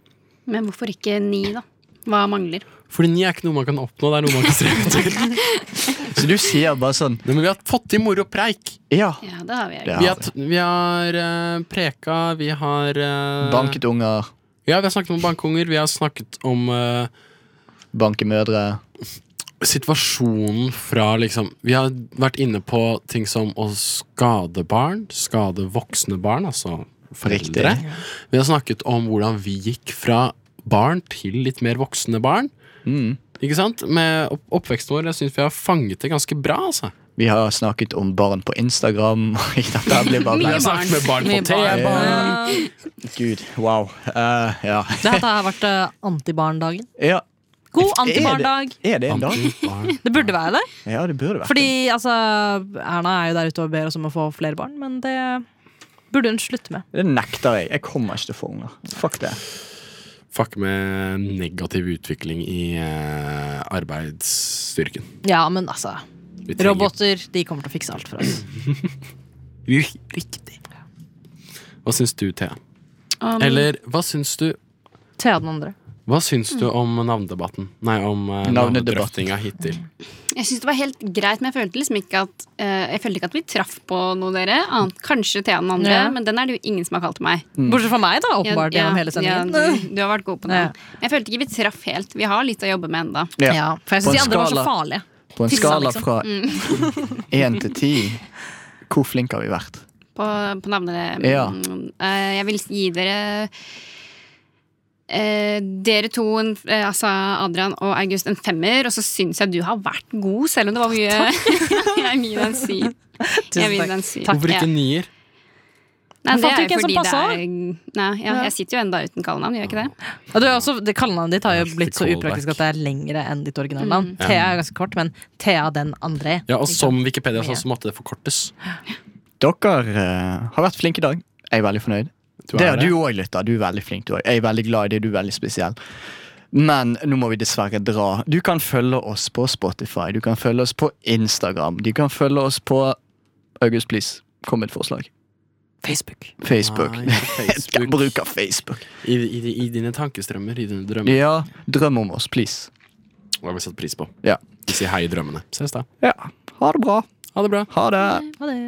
[SPEAKER 6] Men hvorfor ikke ni, da? Hva mangler?
[SPEAKER 4] Fordi ni er ikke noe man kan oppnå, det er noe man kan streve etter.
[SPEAKER 2] Så du sier bare sånn
[SPEAKER 4] Nei, men vi har fått til moro preik!
[SPEAKER 2] Ja.
[SPEAKER 6] Ja, det har vi.
[SPEAKER 2] Ja. altså.
[SPEAKER 6] Ja.
[SPEAKER 4] Vi har, t- vi har eh, preka, vi har eh,
[SPEAKER 2] Banket unger,
[SPEAKER 4] Ja, vi har snakket om bankunger, vi har snakket om eh,
[SPEAKER 2] banke mødre.
[SPEAKER 4] situasjonen fra liksom Vi har vært inne på ting som å skade barn, skade voksne barn, altså foreldre.
[SPEAKER 2] Riktig.
[SPEAKER 4] Vi har snakket om hvordan vi gikk fra barn til litt mer voksne barn.
[SPEAKER 2] Mm.
[SPEAKER 4] Ikke sant? Med opp oppveksten vår. Jeg syns vi har fanget det ganske bra. altså
[SPEAKER 2] Vi har snakket om barn på Instagram. Dette her blir bare
[SPEAKER 4] Vi
[SPEAKER 2] blæ-
[SPEAKER 4] har snakket med barn på
[SPEAKER 5] Mye barn.
[SPEAKER 4] T-banen.
[SPEAKER 5] Ja.
[SPEAKER 2] Gud, wow. Eh, ja.
[SPEAKER 5] Det her har vært eh, antibarndagen.
[SPEAKER 2] ja.
[SPEAKER 5] God
[SPEAKER 2] Er det-
[SPEAKER 5] antibarndag.
[SPEAKER 2] Er det en dag?
[SPEAKER 4] Barn.
[SPEAKER 5] Det burde være det.
[SPEAKER 2] Ja, det burde vært
[SPEAKER 5] Fordi altså, Erna er jo der ute og ber oss om å få flere barn, men det burde hun slutte med.
[SPEAKER 2] det. Det nekter jeg. Jeg kommer ikke til å få unger. Fuck det.
[SPEAKER 4] Fuck med negativ utvikling i eh, arbeidsstyrken.
[SPEAKER 5] Ja, men altså
[SPEAKER 4] Vi trenger-
[SPEAKER 5] Roboter de kommer til å fikse alt for oss.
[SPEAKER 4] Riktig. Hva syns du, Thea?
[SPEAKER 6] Um,
[SPEAKER 4] Eller hva syns du
[SPEAKER 5] Thea den andre.
[SPEAKER 4] Hva syns du om navnedebatten? Nei, om eh,
[SPEAKER 2] Navnedebatten.
[SPEAKER 4] navnedrøftinga hittil.
[SPEAKER 6] Jeg syns det var helt greit, men jeg følte liksom ikke at eh, Jeg følte ikke at vi traff på noe dere. Annet kanskje Thea den andre,
[SPEAKER 5] Ja.
[SPEAKER 6] men den er det jo ingen som har kalt meg.
[SPEAKER 5] Bortsett fra meg, da, åpenbart,
[SPEAKER 6] Ja,
[SPEAKER 5] gjennom hele
[SPEAKER 6] ja,
[SPEAKER 5] sendingen.
[SPEAKER 6] du, du har vært god på det.
[SPEAKER 5] Ja.
[SPEAKER 6] Men Jeg følte ikke vi traff helt. Vi har litt å jobbe med enda
[SPEAKER 5] Ja. for jeg
[SPEAKER 2] På
[SPEAKER 5] syns de
[SPEAKER 2] en
[SPEAKER 5] andre var så
[SPEAKER 2] skala.
[SPEAKER 5] farlige.
[SPEAKER 2] På en
[SPEAKER 5] Tissa,
[SPEAKER 2] skala
[SPEAKER 5] liksom. Mm.
[SPEAKER 2] fra én til ti, hvor flinke har vi vært?
[SPEAKER 6] på, på navnet.
[SPEAKER 2] Ja.
[SPEAKER 6] Mm, eh, jeg vil gi dere eh, dere to, en, eh, altså Adrian og August, en femmer. Og så syns jeg du har vært god, selv om det var mye. jeg gir deg en syv. Jeg vil gi deg en syv.
[SPEAKER 4] Hvorfor ikke
[SPEAKER 6] Ja.
[SPEAKER 4] nier?
[SPEAKER 5] Men
[SPEAKER 6] Nei, det
[SPEAKER 5] fant
[SPEAKER 6] er
[SPEAKER 5] du ikke en
[SPEAKER 6] jo
[SPEAKER 5] som
[SPEAKER 6] fordi det
[SPEAKER 5] passet?
[SPEAKER 6] er Nei, ja, jeg sitter jo enda uten kallenavn, gjør jeg ikke det?
[SPEAKER 5] Ja, du er også, det Kallenavnet ditt har jo
[SPEAKER 4] Heftig
[SPEAKER 5] blitt så
[SPEAKER 4] callback.
[SPEAKER 5] upraktisk at det er lengre enn ditt originalnavn.
[SPEAKER 6] Mm.
[SPEAKER 4] Ja.
[SPEAKER 5] Thea er ganske kort, men Thea den andre.
[SPEAKER 4] Ja, og som Wikipedia
[SPEAKER 5] Mye.
[SPEAKER 4] sa, så måtte det forkortes.
[SPEAKER 2] Dere eh, har vært flinke i dag. Jeg er veldig fornøyd.
[SPEAKER 4] Du
[SPEAKER 2] det
[SPEAKER 4] er
[SPEAKER 2] har
[SPEAKER 4] det.
[SPEAKER 2] du òg, lytter. Du er veldig flink. du også. Jeg er veldig glad i deg. Du er veldig spesiell. Men nå må vi dessverre dra. Du kan følge oss på Spotify, du kan følge oss på Instagram, du kan følge oss på August, please, kom med et forslag.
[SPEAKER 5] Facebook.
[SPEAKER 2] Facebook.
[SPEAKER 4] Nei, ikke
[SPEAKER 2] Jeg
[SPEAKER 4] Facebook.
[SPEAKER 2] bruker Facebook.
[SPEAKER 4] I, i, I dine tankestrømmer, i dine drømmer.
[SPEAKER 2] Ja, drøm om oss, please.
[SPEAKER 4] Det har vi satt pris på.
[SPEAKER 2] Ja.
[SPEAKER 4] Si hei i drømmene. Ses da.
[SPEAKER 2] Ja. Ha det bra.
[SPEAKER 4] Ha det bra.
[SPEAKER 2] Ha det.
[SPEAKER 5] Ha det.